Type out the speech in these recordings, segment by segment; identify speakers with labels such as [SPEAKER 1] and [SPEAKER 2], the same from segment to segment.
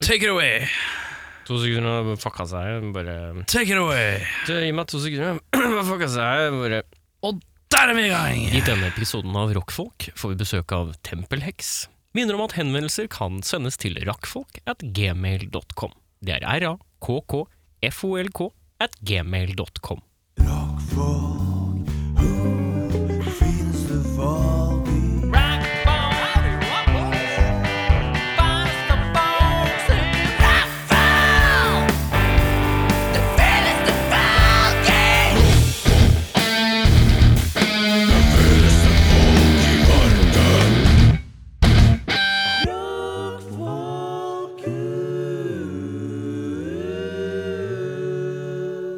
[SPEAKER 1] Take it away!
[SPEAKER 2] To sekunder, og fucka seg. Bare
[SPEAKER 1] Take it away!
[SPEAKER 2] Du, Gi meg to sekunder. Bare fucka seg. Bare
[SPEAKER 1] Og der er vi i gang!
[SPEAKER 2] I denne episoden av Rockfolk får vi besøk av Tempelheks. Minner om at henvendelser kan sendes til rakkfolk at gmail.com. Det er r-a-k-k-f-o-l-k at gmail.com.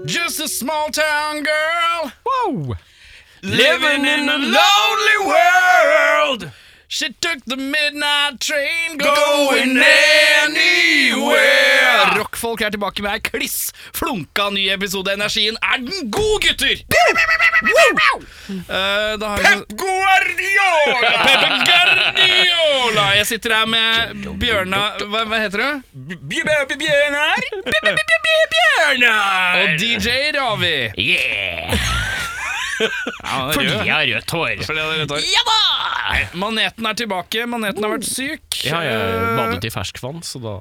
[SPEAKER 1] Just a small town girl
[SPEAKER 2] Wow!
[SPEAKER 1] living in a lonely world. She took the midnight train going anywhere. Rockfolk er tilbake med ei kliss flunka ny episode. Energien er den god, gutter! Wow! Eh, da har vi-
[SPEAKER 3] Guardiola!
[SPEAKER 1] Pepe Guardiola! Jeg sitter her med Bjørna Hva, hva heter du?
[SPEAKER 3] Bjørnar?
[SPEAKER 1] Og
[SPEAKER 3] Bjørnar!
[SPEAKER 1] DJ Ravi.
[SPEAKER 2] Yeah!
[SPEAKER 1] Ja,
[SPEAKER 2] Fordi jeg har rødt hår.
[SPEAKER 3] Ja da!
[SPEAKER 1] Maneten er tilbake. Maneten har vært syk.
[SPEAKER 2] Ja, jeg
[SPEAKER 1] Eh,
[SPEAKER 2] badet i ferskvann, så da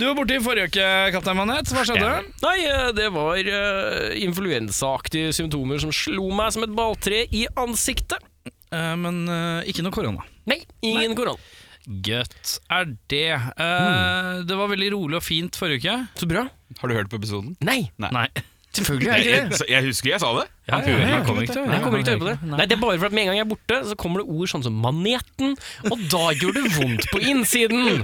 [SPEAKER 1] Du var borte i forrige uke, Kaptein Manet. Hva skjedde?
[SPEAKER 2] Ja. Nei, eh, det var eh, influensaaktige symptomer som slo meg som et balltre i ansiktet.
[SPEAKER 1] Eh, men eh, ikke noe korona.
[SPEAKER 2] Nei, ingen korona.
[SPEAKER 1] Gøtt er det. Eh, Det var veldig rolig og fint forrige uke.
[SPEAKER 2] Så bra.
[SPEAKER 3] Har du hørt på episoden?
[SPEAKER 2] Nei,
[SPEAKER 3] Nei.
[SPEAKER 2] selvfølgelig er
[SPEAKER 3] Jeg,
[SPEAKER 2] det ikke det.
[SPEAKER 3] jeg, jeg husker jeg sa det.
[SPEAKER 2] Ja, ja, ja,
[SPEAKER 1] kommer ikke til å
[SPEAKER 2] Nei, jeg kommer ikke til å høre på det. Nei, det er bare for at Med en gang jeg er borte, så kommer det ord sånn som 'maneten', og da gjør det vondt på innsiden.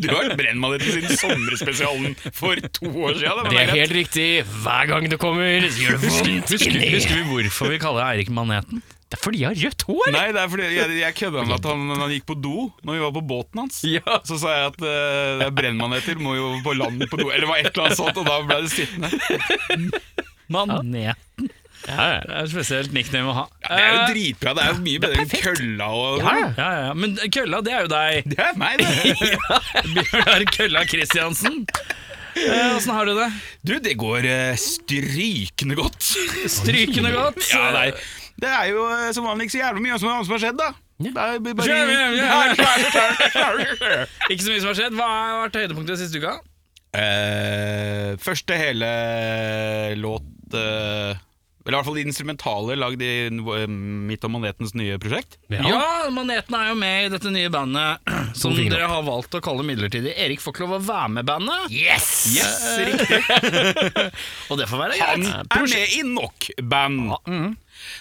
[SPEAKER 3] Du har vært brennmaneten siden sommerspesialen for to år siden.
[SPEAKER 2] Det er helt riktig. Hver gang det kommer, så gjør det vondt inni.
[SPEAKER 1] Husker vi hvorfor vi kaller Eirik Maneten?
[SPEAKER 2] Det er fordi jeg har rødt hår!
[SPEAKER 3] Nei, det er fordi jeg, jeg kødda med at han, når han gikk på do når vi var på båten hans.
[SPEAKER 2] Ja.
[SPEAKER 3] Så sa jeg at eh, det er brennmaneter, må jo på land på do, eller det var et eller annet sånt, og da ble det sittende.
[SPEAKER 1] Manet.
[SPEAKER 2] Ja, ja.
[SPEAKER 1] Det er et spesielt nickname å ha.
[SPEAKER 3] Ja, det er jo
[SPEAKER 1] Eh,
[SPEAKER 3] dritbra, det er jo mye bedre enn kølla og
[SPEAKER 2] Ja, ja.
[SPEAKER 1] ja, ja, ja. Men kølla, det er jo deg.
[SPEAKER 3] Det er meg, det.
[SPEAKER 1] Bjørnar Kølla Kristiansen. Åssen har du det?
[SPEAKER 3] Du, det går eh, strykende godt.
[SPEAKER 1] Strykende godt.
[SPEAKER 3] Ja, nei. Det er jo eh, som vanlig ikke så jævlig mye som annet som har skjedd, da. Det er jo bare...
[SPEAKER 1] Ja, ja, ja.
[SPEAKER 3] ja.
[SPEAKER 1] Ikke så mye som har skjedd. Hva har vært høydepunktet siste uka?
[SPEAKER 3] Eh, første hele låt eh, Eller i hvert fall de instrumentale lagd i eh, mitt og Manetens nye prosjekt.
[SPEAKER 1] Ja. Maneten er jo med i dette nye bandet som
[SPEAKER 2] fingre
[SPEAKER 1] dere har valgt å kalle midlertidig. Erik får ikke lov å være med i bandet,
[SPEAKER 2] Yes!
[SPEAKER 3] Yes, riktig.
[SPEAKER 1] og det får være
[SPEAKER 3] Eh, Han
[SPEAKER 1] greit.
[SPEAKER 3] er med i nok band.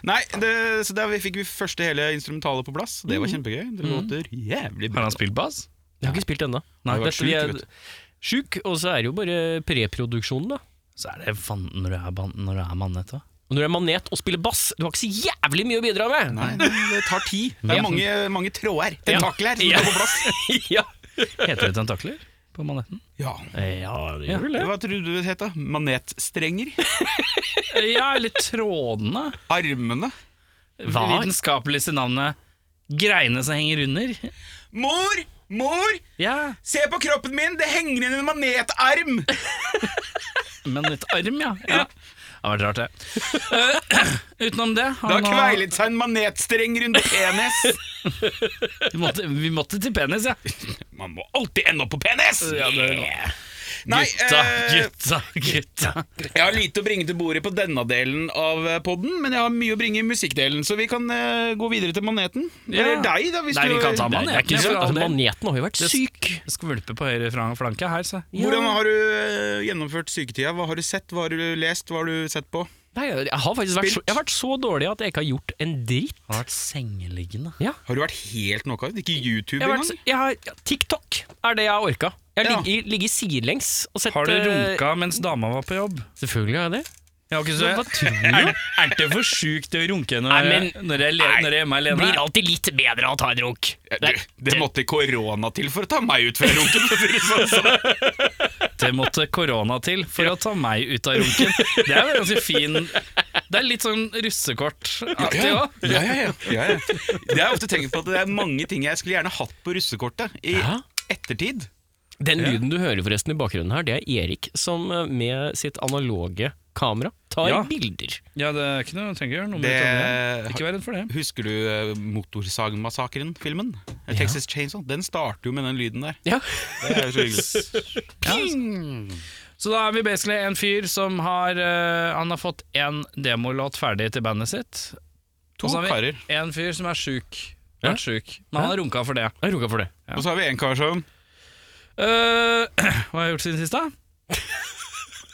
[SPEAKER 3] Nei, det, så der fikk vi første hele instrumentale på plass. Det var kjempegøy. Det låter jævlig bra.
[SPEAKER 1] Har han spilt bass?
[SPEAKER 2] Jeg har ikke spilt ennå.
[SPEAKER 3] Nei, du har vært
[SPEAKER 2] Dette vi
[SPEAKER 3] sjuk,
[SPEAKER 2] er-
[SPEAKER 3] vet
[SPEAKER 2] Sjuk, og så er det jo bare preproduksjonen, da.
[SPEAKER 1] Så er det fan når du er, ban- når du er manet, da.
[SPEAKER 2] Og når du er manet og spiller bass, du har ikke så jævlig mye å bidra med!
[SPEAKER 3] Nei, det tar tid. Det er mange, mange tråder. Tentakler som skal på plass.
[SPEAKER 2] ja.
[SPEAKER 1] Heter det tentakler på maneten?
[SPEAKER 3] Ja.
[SPEAKER 1] Eh,
[SPEAKER 2] ja, det gjør vel det.
[SPEAKER 3] Hva trodde du det het? da? Manetstrenger?
[SPEAKER 1] Ja, eller trådene.
[SPEAKER 3] Armene?
[SPEAKER 1] Hva? Vitenskapeligste navnet greiene som henger under.
[SPEAKER 3] Mor! Mor!
[SPEAKER 1] Ja,
[SPEAKER 3] Se på kroppen min! Det henger igjen en manetarm!
[SPEAKER 1] men litt arm, ja. ja. Det har vært rart, det. Eh, utenom det
[SPEAKER 3] Det har
[SPEAKER 1] han
[SPEAKER 3] kveilet seg en manetstreng rundt penis.
[SPEAKER 1] Vi måtte, vi måtte til penis, ja.
[SPEAKER 3] Man må alltid ende opp på penis!
[SPEAKER 1] Ja, det-
[SPEAKER 3] Yeah. Nei,
[SPEAKER 1] Gutta,
[SPEAKER 3] eh,
[SPEAKER 1] gutta, gutta.
[SPEAKER 3] jeg har lite å bringe til bordet på denne delen av eh, podden, men jeg har mye å bringe i musikkdelen, så vi kan eh, gå videre til maneten. Eller deg, da. Hvis
[SPEAKER 1] Nei,
[SPEAKER 3] du,
[SPEAKER 1] vi kan ta
[SPEAKER 3] Nei,
[SPEAKER 1] maneten.
[SPEAKER 3] det er ikke
[SPEAKER 1] Ja,
[SPEAKER 3] så-
[SPEAKER 1] for all
[SPEAKER 2] Altså,
[SPEAKER 1] del.
[SPEAKER 2] maneten har jo vært syk.
[SPEAKER 1] Skvulpe på høyre fra- flanke her, så.
[SPEAKER 3] Hvordan har du eh, gjennomført syketida? Hva har du sett, hva har du lest, hva har du sett på?
[SPEAKER 2] Nei, jeg jeg har faktisk vært så,
[SPEAKER 3] Spilt.
[SPEAKER 2] jeg har vært så dårlig at jeg ikke har gjort en dritt.
[SPEAKER 1] Han har vært sengeliggende.
[SPEAKER 3] Har du vært helt knockout? Ikke YouTube
[SPEAKER 2] Jeg har vært,
[SPEAKER 3] engang?
[SPEAKER 2] så- jeg har, ja, TikTok er det jeg har orka. Jeg har
[SPEAKER 3] Ja.
[SPEAKER 2] ligget- ligget sidelengs og sett
[SPEAKER 1] Har du
[SPEAKER 2] eh,
[SPEAKER 1] runka mens dama var på jobb?
[SPEAKER 2] Selvfølgelig har jeg det.
[SPEAKER 1] Jeg har ikke
[SPEAKER 2] Hva, hva tror du?
[SPEAKER 1] Er, er det for sjukt å runke når,
[SPEAKER 2] Nei, men-
[SPEAKER 1] jeg- når, jeg, le,
[SPEAKER 2] Nei,
[SPEAKER 1] når jeg er hjemme
[SPEAKER 2] Det
[SPEAKER 1] alene?
[SPEAKER 2] blir alltid litt bedre av å ta en runk.
[SPEAKER 3] Ja, du, det måtte korona til for å ta meg ut fra runken! for å si det sånn, så.
[SPEAKER 1] Det måtte korona til for å ta meg ut av runken. Det er jo en ganske fin Det er litt sånn russekort-aktig
[SPEAKER 3] Ja,
[SPEAKER 1] òg.
[SPEAKER 3] ja, ja, ja, ja, ja. Det har jeg ofte tenkt på at det er mange ting jeg skulle gjerne hatt på russekortet i
[SPEAKER 2] Ja.
[SPEAKER 3] ettertid.
[SPEAKER 2] Den lyden du hører forresten i bakgrunnen her, det er Erik som eh, med sitt analoge kamera tar
[SPEAKER 1] Ja.
[SPEAKER 2] bilder.
[SPEAKER 1] Ja, det er ikke noe, trenger ikke gjøre noe med det.
[SPEAKER 3] Det,
[SPEAKER 1] Ikke vær redd for det.
[SPEAKER 3] husker du eh, Motorsagmassakren-filmen? Eh, Texas Chainsaw. Den starter jo med den lyden der.
[SPEAKER 2] Ja.
[SPEAKER 3] Det er jo så hyggelig.
[SPEAKER 1] Så da er vi basically en fyr som har eh, Han har fått én demolåt ferdig til bandet sitt.
[SPEAKER 3] To
[SPEAKER 1] Og så har vi
[SPEAKER 3] karer.
[SPEAKER 1] En fyr som er sjuk.
[SPEAKER 2] Ja.
[SPEAKER 1] Vært sjuk. Men han har runka for det.
[SPEAKER 2] Jeg roka for det.
[SPEAKER 3] Og så har vi en kar som
[SPEAKER 1] Eh, hva har jeg gjort siden sist, da?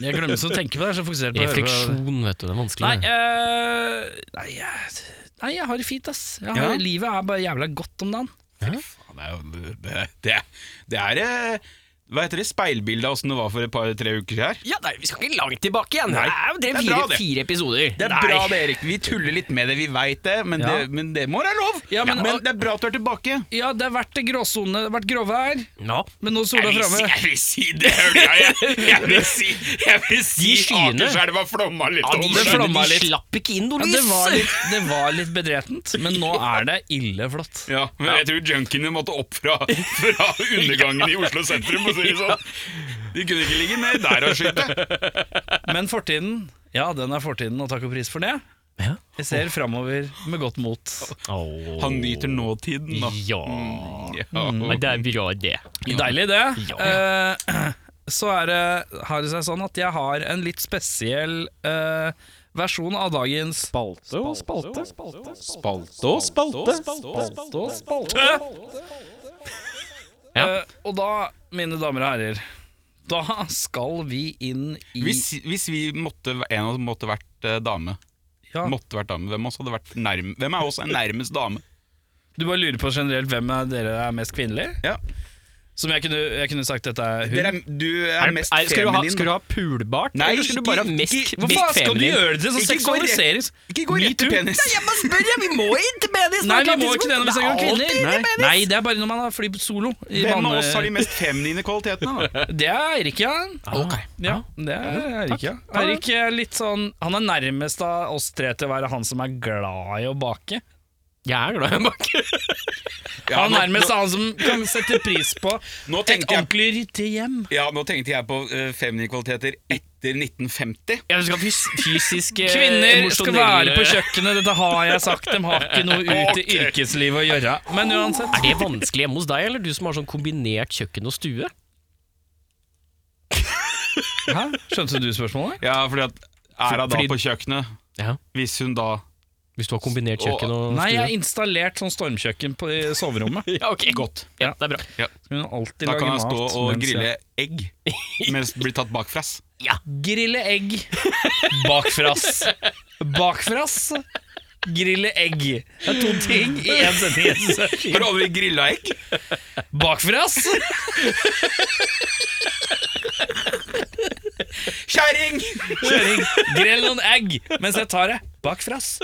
[SPEAKER 1] Jeg glemmer så å tenke på det. Jeg er så fokusert på å høre på-
[SPEAKER 2] Refleksjon, vet du. Det er vanskelig.
[SPEAKER 1] Nei, eh, nei, jeg, nei, jeg har det fint, ass. Jeg har,
[SPEAKER 3] Ja.
[SPEAKER 1] Livet er bare jævla godt om dagen.
[SPEAKER 3] Faen, det er jo- det, det, det er eh, Hva heter det? Speilbildet av åssen det var for et par-tre uker her.
[SPEAKER 2] Ja, nei, Vi skal ikke langt tilbake igjen.
[SPEAKER 3] Nei.
[SPEAKER 2] det er jo det
[SPEAKER 3] Det er
[SPEAKER 2] fire,
[SPEAKER 3] bra, det.
[SPEAKER 2] fire episoder.
[SPEAKER 3] Det er
[SPEAKER 2] Nei.
[SPEAKER 3] bra det, Erik. Vi tuller litt med det, vi veit det, men,
[SPEAKER 1] Ja.
[SPEAKER 3] det, men det må være lov.
[SPEAKER 1] Ja, men-
[SPEAKER 3] men, det er bra at du er tilbake.
[SPEAKER 1] Ja, det har vært det gråsone, det har vært gråvær,
[SPEAKER 2] Ja.
[SPEAKER 1] men nå er sola framme.
[SPEAKER 3] jeg vil si det, hører jeg. Jeg vil si, jeg vil si
[SPEAKER 2] skyene.
[SPEAKER 3] flomma litt
[SPEAKER 2] Ja, de,
[SPEAKER 1] det
[SPEAKER 2] skjønner,
[SPEAKER 1] flomma
[SPEAKER 2] de
[SPEAKER 1] litt.
[SPEAKER 2] slapp ikke inn noe
[SPEAKER 1] Ja,
[SPEAKER 2] lys!
[SPEAKER 1] det, var litt, det var litt bedretent, men nå er det ille flott.
[SPEAKER 3] Ja, men jeg tror junkiene måtte opp fra, fra undergangen i Oslo sentrum. Og si det sånn. De kunne ikke ligge ned der og skyte.
[SPEAKER 1] Men fortiden, ja, den er fortiden, og takk og pris for det.
[SPEAKER 2] Ja.
[SPEAKER 1] Jeg ser framover med godt mot.
[SPEAKER 2] Åh.
[SPEAKER 3] Han nyter nåtiden, da. Mm,
[SPEAKER 2] Ja. Mm,
[SPEAKER 3] Ja.
[SPEAKER 2] Men det er bra, det.
[SPEAKER 1] Deilig, det.
[SPEAKER 2] Ja.
[SPEAKER 1] Eh, så er det, har det seg sånn at jeg har en litt spesiell eh, versjon av dagens
[SPEAKER 4] Spalte og spalte. Spalte og spalte. Spalte og spalte.
[SPEAKER 2] Ja.
[SPEAKER 1] Eh, og da, mine damer og herrer, da skal vi inn i
[SPEAKER 3] Hvis, hvis vi måtte, en av oss måtte vært eh, dame,
[SPEAKER 1] ja,
[SPEAKER 3] måtte vært dame, hvem av oss hadde vært nærm, Hvem av oss er nærmest dame?
[SPEAKER 1] Du bare lurer på generelt hvem av dere er mest kvinnelig?
[SPEAKER 3] Ja.
[SPEAKER 1] Som jeg kunne, jeg kunne sagt dette er hun.
[SPEAKER 3] Dere er, du er mest
[SPEAKER 2] er, skal, du ha,
[SPEAKER 3] feminin.
[SPEAKER 2] skal du ha pulbart,
[SPEAKER 3] Nei,
[SPEAKER 2] eller skal du
[SPEAKER 3] ikke-
[SPEAKER 2] bare ha mest,
[SPEAKER 3] ikke-
[SPEAKER 1] Hva
[SPEAKER 2] mest
[SPEAKER 1] faen skal du
[SPEAKER 2] feminin?
[SPEAKER 1] gjøre det til? Sånn
[SPEAKER 3] Ikke gå rett-
[SPEAKER 1] seksualiseres.
[SPEAKER 3] Ikke gå rett til
[SPEAKER 1] Metoo.
[SPEAKER 3] penis.
[SPEAKER 2] Jeg bare spør, jeg. Vi må inn til penis!
[SPEAKER 1] Nei, vi må ikke det når vi snakker om kvinner.
[SPEAKER 3] alltid
[SPEAKER 1] Nei. Nei, det er bare når man har flydd solo. i
[SPEAKER 3] Hvem av
[SPEAKER 1] vanlig-
[SPEAKER 3] oss har
[SPEAKER 2] eh.
[SPEAKER 3] de mest feminine kvalitetene? Da?
[SPEAKER 1] Det er Eirik, ja.
[SPEAKER 2] Ok.
[SPEAKER 1] Ja, det er Eirik, ja. Eirik er litt sånn Han er nærmest av oss tre til å være han som er glad i å bake.
[SPEAKER 2] Jeg er glad i en bakke.
[SPEAKER 3] Ja,
[SPEAKER 1] Han
[SPEAKER 3] nå,
[SPEAKER 1] er nærmest han som kan sette pris på
[SPEAKER 3] nå,
[SPEAKER 1] et
[SPEAKER 3] tenkte jeg,
[SPEAKER 1] ordentlig ryddig hjem.
[SPEAKER 3] ja, nå tenkte jeg på eh, feminine kvaliteter etter 1950.
[SPEAKER 2] Ja, du skal ha fys fysisk eh,
[SPEAKER 1] Kvinner skal være
[SPEAKER 2] emosjonelle-
[SPEAKER 1] på kjøkkenet, dette har jeg sagt. De har ikke noe ut i
[SPEAKER 3] Ok.
[SPEAKER 1] yrkeslivet å gjøre. Men uansett.
[SPEAKER 2] Er det vanskelig hjemme hos deg, eller du som har sånn kombinert kjøkken og stue?
[SPEAKER 1] Hæ? Skjønte du spørsmålet?
[SPEAKER 3] Ja, fordi at er hun da
[SPEAKER 2] Fordi-
[SPEAKER 3] på kjøkkenet?
[SPEAKER 2] Ja.
[SPEAKER 3] Hvis hun da
[SPEAKER 2] Hvis du har kombinert kjøkken og
[SPEAKER 1] Nei, jeg
[SPEAKER 2] stue?
[SPEAKER 1] har installert sånn stormkjøkken på, i soverommet.
[SPEAKER 2] Ja, ok. Godt. Ja, det er bra.
[SPEAKER 1] Så Hun alltid
[SPEAKER 3] Da
[SPEAKER 1] lager
[SPEAKER 3] kan
[SPEAKER 1] mat.
[SPEAKER 3] jeg stå og
[SPEAKER 1] mens jeg-
[SPEAKER 3] grille egg mens det blir tatt bakfrass.
[SPEAKER 1] Grille egg. Bakfrass. Bakfrass. Grille egg. Det er to ting i én setning.
[SPEAKER 3] Har du aldri grilla egg?
[SPEAKER 1] Bakfrass.
[SPEAKER 3] Kjerring!
[SPEAKER 1] Kjøring. Grill noen egg mens jeg tar det. Bakfrass.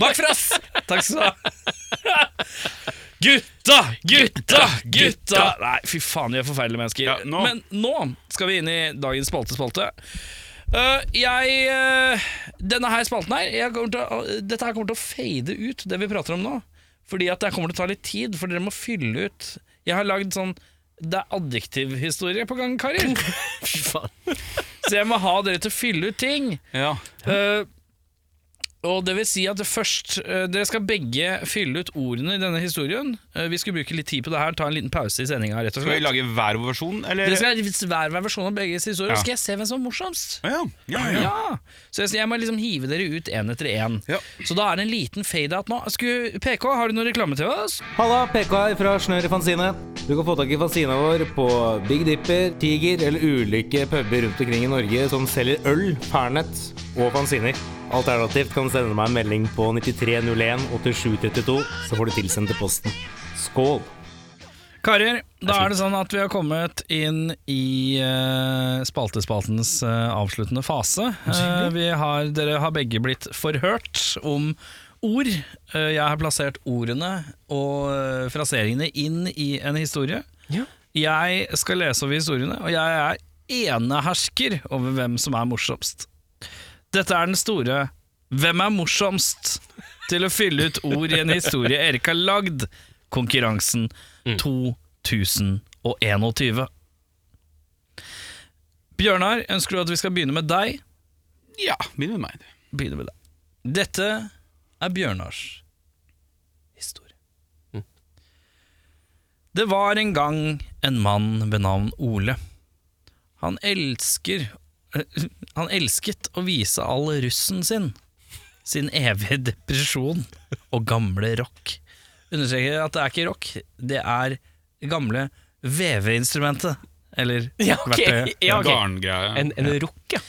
[SPEAKER 1] Bakfrass! Takk skal du ha. Gutta, gutta, gutta! Nei, fy faen, vi er forferdelige mennesker.
[SPEAKER 3] Ja, nå-
[SPEAKER 1] Men nå skal vi inn i dagens spalte-spalte. Øh, jeg øh, Denne her spalten her jeg kommer til, å- øh, Dette her kommer til å fade ut, det vi prater om nå. Fordi at det her kommer til å ta litt tid, for dere må fylle ut. Jeg har lagd sånn Det er adjektivhistorie på gang, karer.
[SPEAKER 2] Fy faen.
[SPEAKER 1] Så jeg må ha dere til å fylle ut ting.
[SPEAKER 3] Ja.
[SPEAKER 1] Eh, og det vil si at det først eh, Dere skal begge fylle ut ordene i denne historien. Eh, vi skulle bruke litt tid på det her, ta en liten pause i sendinga. rett og
[SPEAKER 3] Skal vi
[SPEAKER 1] slett.
[SPEAKER 3] lage hver vår versjon, eller?
[SPEAKER 1] Dere skal ha hver hver versjon av begges historier,
[SPEAKER 3] Ja.
[SPEAKER 1] og skal jeg se hvem som er morsomst.
[SPEAKER 3] Ja, ja, ja.
[SPEAKER 1] Ja, Så jeg, jeg må liksom hive dere ut én etter én.
[SPEAKER 3] Ja.
[SPEAKER 1] Så da er det en liten fade-out nå. Skulle, PK, har du noe reklame til oss?
[SPEAKER 5] Halla, PK her fra Snør i Fanzine. Du kan få tak i fanzina vår på Big Dipper, Tiger eller ulike puber rundt omkring i Norge som selger øl, Fernet og fanziner. Alternativt kan du sende meg en melding på 9301 8732, så får du tilsendt til posten. Skål!
[SPEAKER 1] Karer, da er det sånn at vi har kommet inn i eh, spaltespaltens eh, avsluttende fase. Eh, vi har, dere har begge blitt forhørt om ord. Eh, jeg har plassert ordene og eh, fraseringene inn i en historie.
[SPEAKER 2] Ja.
[SPEAKER 1] Jeg skal lese over historiene, og jeg er enehersker over hvem som er morsomst. Dette er den store Hvem er morsomst til å fylle ut ord i en historie Erik har lagd? Konkurransen 2021. Bjørnar, ønsker du at vi skal begynne med deg?
[SPEAKER 3] Ja, begynn med meg. du.
[SPEAKER 1] Begynner med deg. Dette er Bjørnars historie. Det var en gang en mann ved navn Ole. Han elsker Han elsket å vise all russen sin. Sin evige depresjon og gamle rock. Understreker at det er ikke rock, det er gamle veveinstrumentet. Eller
[SPEAKER 2] Ja, ok.
[SPEAKER 1] verktøyet.
[SPEAKER 2] Ja, ok.
[SPEAKER 3] Garngreie.
[SPEAKER 2] En, en rock, ja.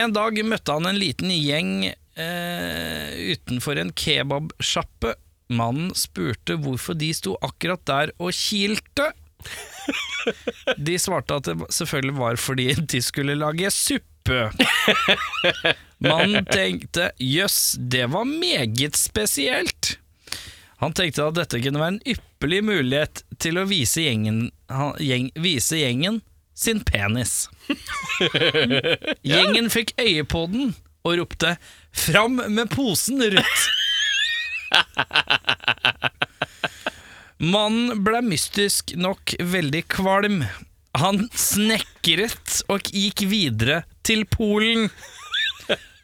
[SPEAKER 1] En dag møtte han en liten gjeng eh, utenfor en kebabsjappe. Mannen spurte hvorfor de sto akkurat der og kilte. De svarte at det selvfølgelig var fordi de skulle lage suppe. Mannen tenkte jøss, det var meget spesielt. Han tenkte at dette kunne være en ypperlig mulighet til å vise gjengen, han- gjeng, vise gjengen sin penis. Gjengen fikk øye på den og ropte 'Fram med posen, Ruth'. Mannen ble mystisk nok veldig kvalm. Han snekret og gikk videre til Polen.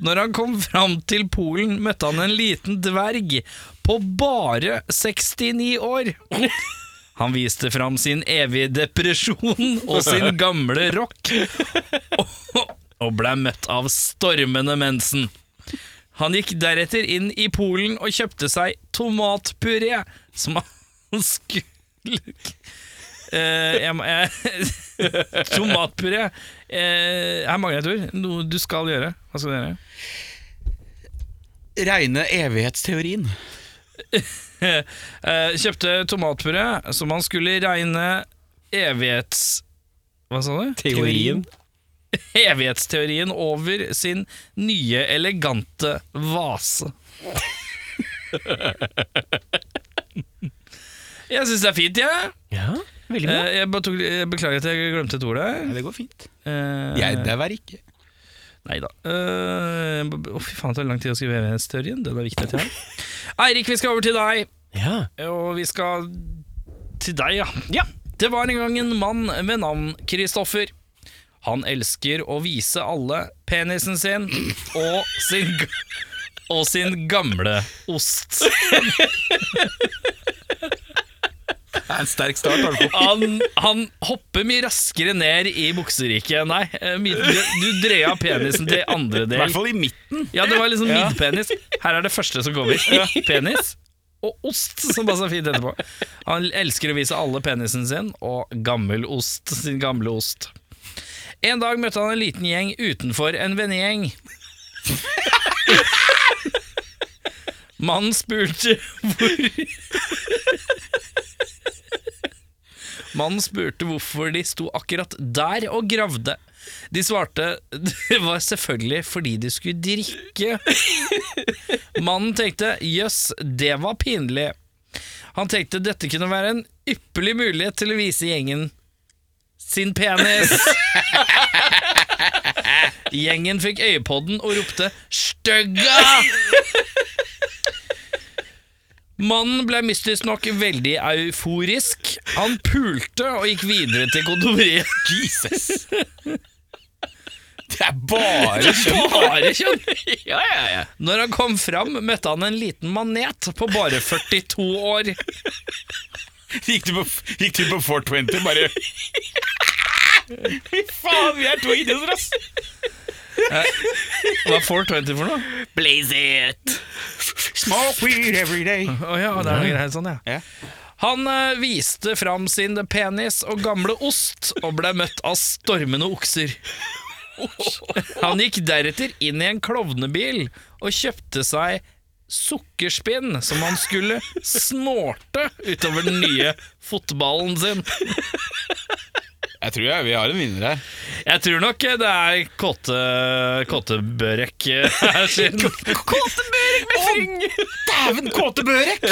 [SPEAKER 1] Når han kom fram til Polen, møtte han en liten dverg på bare 69 år. Han viste fram sin evige depresjon og sin gamle rock, og, og ble møtt av stormende mensen. Han gikk deretter inn i Polen og kjøpte seg tomatpuré, som han skulle Eh, jeg, må- jeg, tomatpuré. Eh, her mangler jeg et ord. Noe du skal gjøre. Hva skal du gjøre?
[SPEAKER 3] Reine evighetsteorien.
[SPEAKER 1] Eh, kjøpte tomatpuré som han skulle regne evighets... Hva sa du?
[SPEAKER 2] Teorien.
[SPEAKER 1] evighetsteorien over sin nye elegante vase. Jeg syns det er fint, jeg.
[SPEAKER 2] Ja, veldig bra.
[SPEAKER 1] Eh, Jeg, bare tok, jeg beklager at jeg glemte et ord der.
[SPEAKER 3] Det går fint.
[SPEAKER 1] Eh,
[SPEAKER 3] Jeg dauer ikke.
[SPEAKER 1] Nei da. Eh, b- Å, fy faen, det tar lang tid å skrive evighetsteorien. Den er viktig at jeg har. Eirik, vi skal over til deg.
[SPEAKER 2] Ja.
[SPEAKER 1] Og vi skal til deg, ja. ja. Det var en gang en mann ved navn Kristoffer. Han elsker å vise alle penisen sin og sin, g- og sin gamle ost.
[SPEAKER 3] Det er en sterk start. Har du fått.
[SPEAKER 1] Han, han hopper mye raskere ned i bukseriket. Nei, eh, mid- du dreia penisen til andre
[SPEAKER 3] I hvert
[SPEAKER 1] del.
[SPEAKER 3] fall i midten.
[SPEAKER 1] Ja, det var liksom midpenis. Her er det første som kommer. Penis og ost, som passer fint etterpå. Han elsker å vise alle penisen sin og gammel ost, sin gamle ost. En dag møtte han en liten gjeng utenfor en vennegjeng. Mannen spurte hvor Mannen spurte hvorfor de sto akkurat der og gravde. De svarte det var selvfølgelig fordi de skulle drikke. Mannen tenkte jøss, det var pinlig. Han tenkte dette kunne være en ypperlig mulighet til å vise gjengen sin penis. Gjengen fikk øye på den og ropte 'stygga'! Mannen ble mystisk nok veldig euforisk. Han pulte og gikk videre til kondomeriet.
[SPEAKER 3] Jesus! Det er bare
[SPEAKER 1] Bare kjønn!
[SPEAKER 2] ja, ja, ja.
[SPEAKER 1] Når han kom fram, møtte han en liten manet på bare 42 år.
[SPEAKER 3] Gikk du på, gikk du på 420, bare Fy faen, vi er to idioter, ass!
[SPEAKER 1] Hva er 420 for noe?
[SPEAKER 2] Blaze it!
[SPEAKER 3] Smoke weed every day.
[SPEAKER 1] Å ja, det er noe greier sånn,
[SPEAKER 3] Ja.
[SPEAKER 1] Han eh, viste fram sin penis og gamle ost og ble møtt av stormende okser. Han gikk deretter inn i en klovnebil og kjøpte seg sukkerspinn som han skulle snorte utover den nye fotballen sin.
[SPEAKER 3] Jeg tror jeg, vi har en vinner her.
[SPEAKER 1] Jeg tror nok det er kåte, kåtebørek her sin. Kåtebørek med fryng!
[SPEAKER 3] Dæven kåte Børek!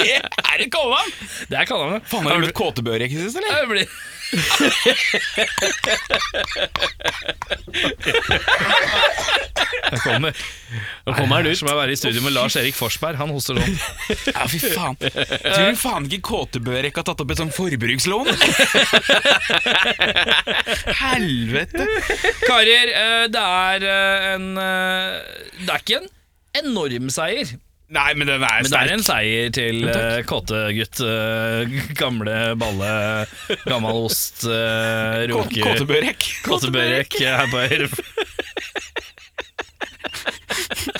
[SPEAKER 3] Det er et kallenavn!
[SPEAKER 1] Det er kallenavnet.
[SPEAKER 3] Faen, har du blitt kåte Børek i sist, eller?
[SPEAKER 1] Jeg blir- Jeg kommer. Nå kommer han ut. Som å være i studio med Lars Erik Forsberg. Han hoster sånn.
[SPEAKER 3] Ja, fy faen. Tror du faen ikke KTB-rekka har tatt opp et sånt forbrukslån? Helvete.
[SPEAKER 1] Karer, eh, det er eh, en eh, Det er ikke en enorm seier,
[SPEAKER 3] Nei, men den er
[SPEAKER 1] men det er
[SPEAKER 3] sterk.
[SPEAKER 1] en seier til eh, kåtegutt. eh, Gamle balle, gammel ost, eh, runke
[SPEAKER 3] KTB-rekk.
[SPEAKER 1] Kåtebørek eh, her på høyre.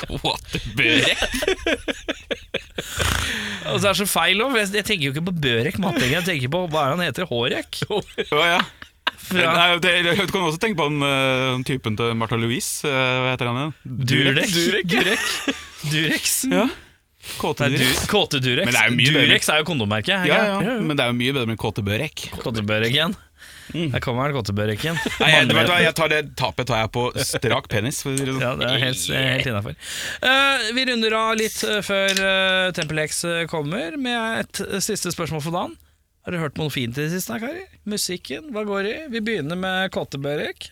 [SPEAKER 3] KTB-rekk.
[SPEAKER 1] Og så er Altså, det så feil òg. Jeg tenker jo ikke på Børek Matting, jeg tenker på hva er han heter? Hårek?
[SPEAKER 3] Å ja.
[SPEAKER 1] Fra
[SPEAKER 3] Nei, det, du kan også tenke på den, eh, den typen til Martha Louise. eh, Hva heter han igjen?
[SPEAKER 1] Durek. Durek. Durex.
[SPEAKER 3] Ja.
[SPEAKER 1] Det er
[SPEAKER 3] KTB-rekk.
[SPEAKER 1] du- Kåte-Durex.
[SPEAKER 3] Men det er jo mye bedre.
[SPEAKER 1] Durex er jo kondommerket. er ikke
[SPEAKER 3] Ja,
[SPEAKER 1] det?
[SPEAKER 3] ja, men det er jo mye bedre med KTB-rekk.
[SPEAKER 1] Kottebøreken. Der kommer han, kottebøreken.
[SPEAKER 3] Nei, jeg, vet du hva, jeg tar det tapet tar jeg på strak penis. For å si det sånn.
[SPEAKER 1] Ja, det er helt, helt innafor. vi runder av litt eh, før uh, Tempel X eh, kommer, med et eh, siste spørsmål for dagen. Har du hørt noe fint i det siste, da, karer? Musikken, hva går i? Vi begynner med Kottebørek.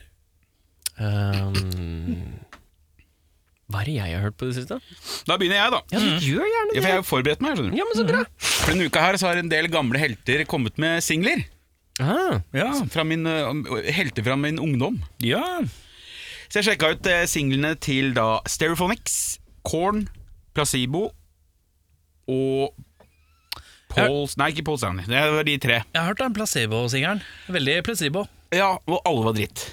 [SPEAKER 2] Ehm, hva er det jeg har hørt på det siste?
[SPEAKER 3] Da begynner jeg, da.
[SPEAKER 2] Ja, du gjør gjerne
[SPEAKER 3] Ja, for jeg har jo forberedt meg. skjønner du Mm.
[SPEAKER 2] Ja, men så bra.
[SPEAKER 3] For Denne uka her så har en del gamle helter kommet med singler.
[SPEAKER 2] Ah,
[SPEAKER 1] Ja.
[SPEAKER 3] Fra min, eh, helter fra min ungdom.
[SPEAKER 1] ja.
[SPEAKER 3] Så jeg sjekka ut eh, singlene til da Stereophonics, Korn, Placebo og Paul Nei, ikke Paul Stanley. Det var de tre.
[SPEAKER 1] Jeg har hørt den placebo-singelen. Veldig placebo.
[SPEAKER 3] Ja, Og alle var dritt.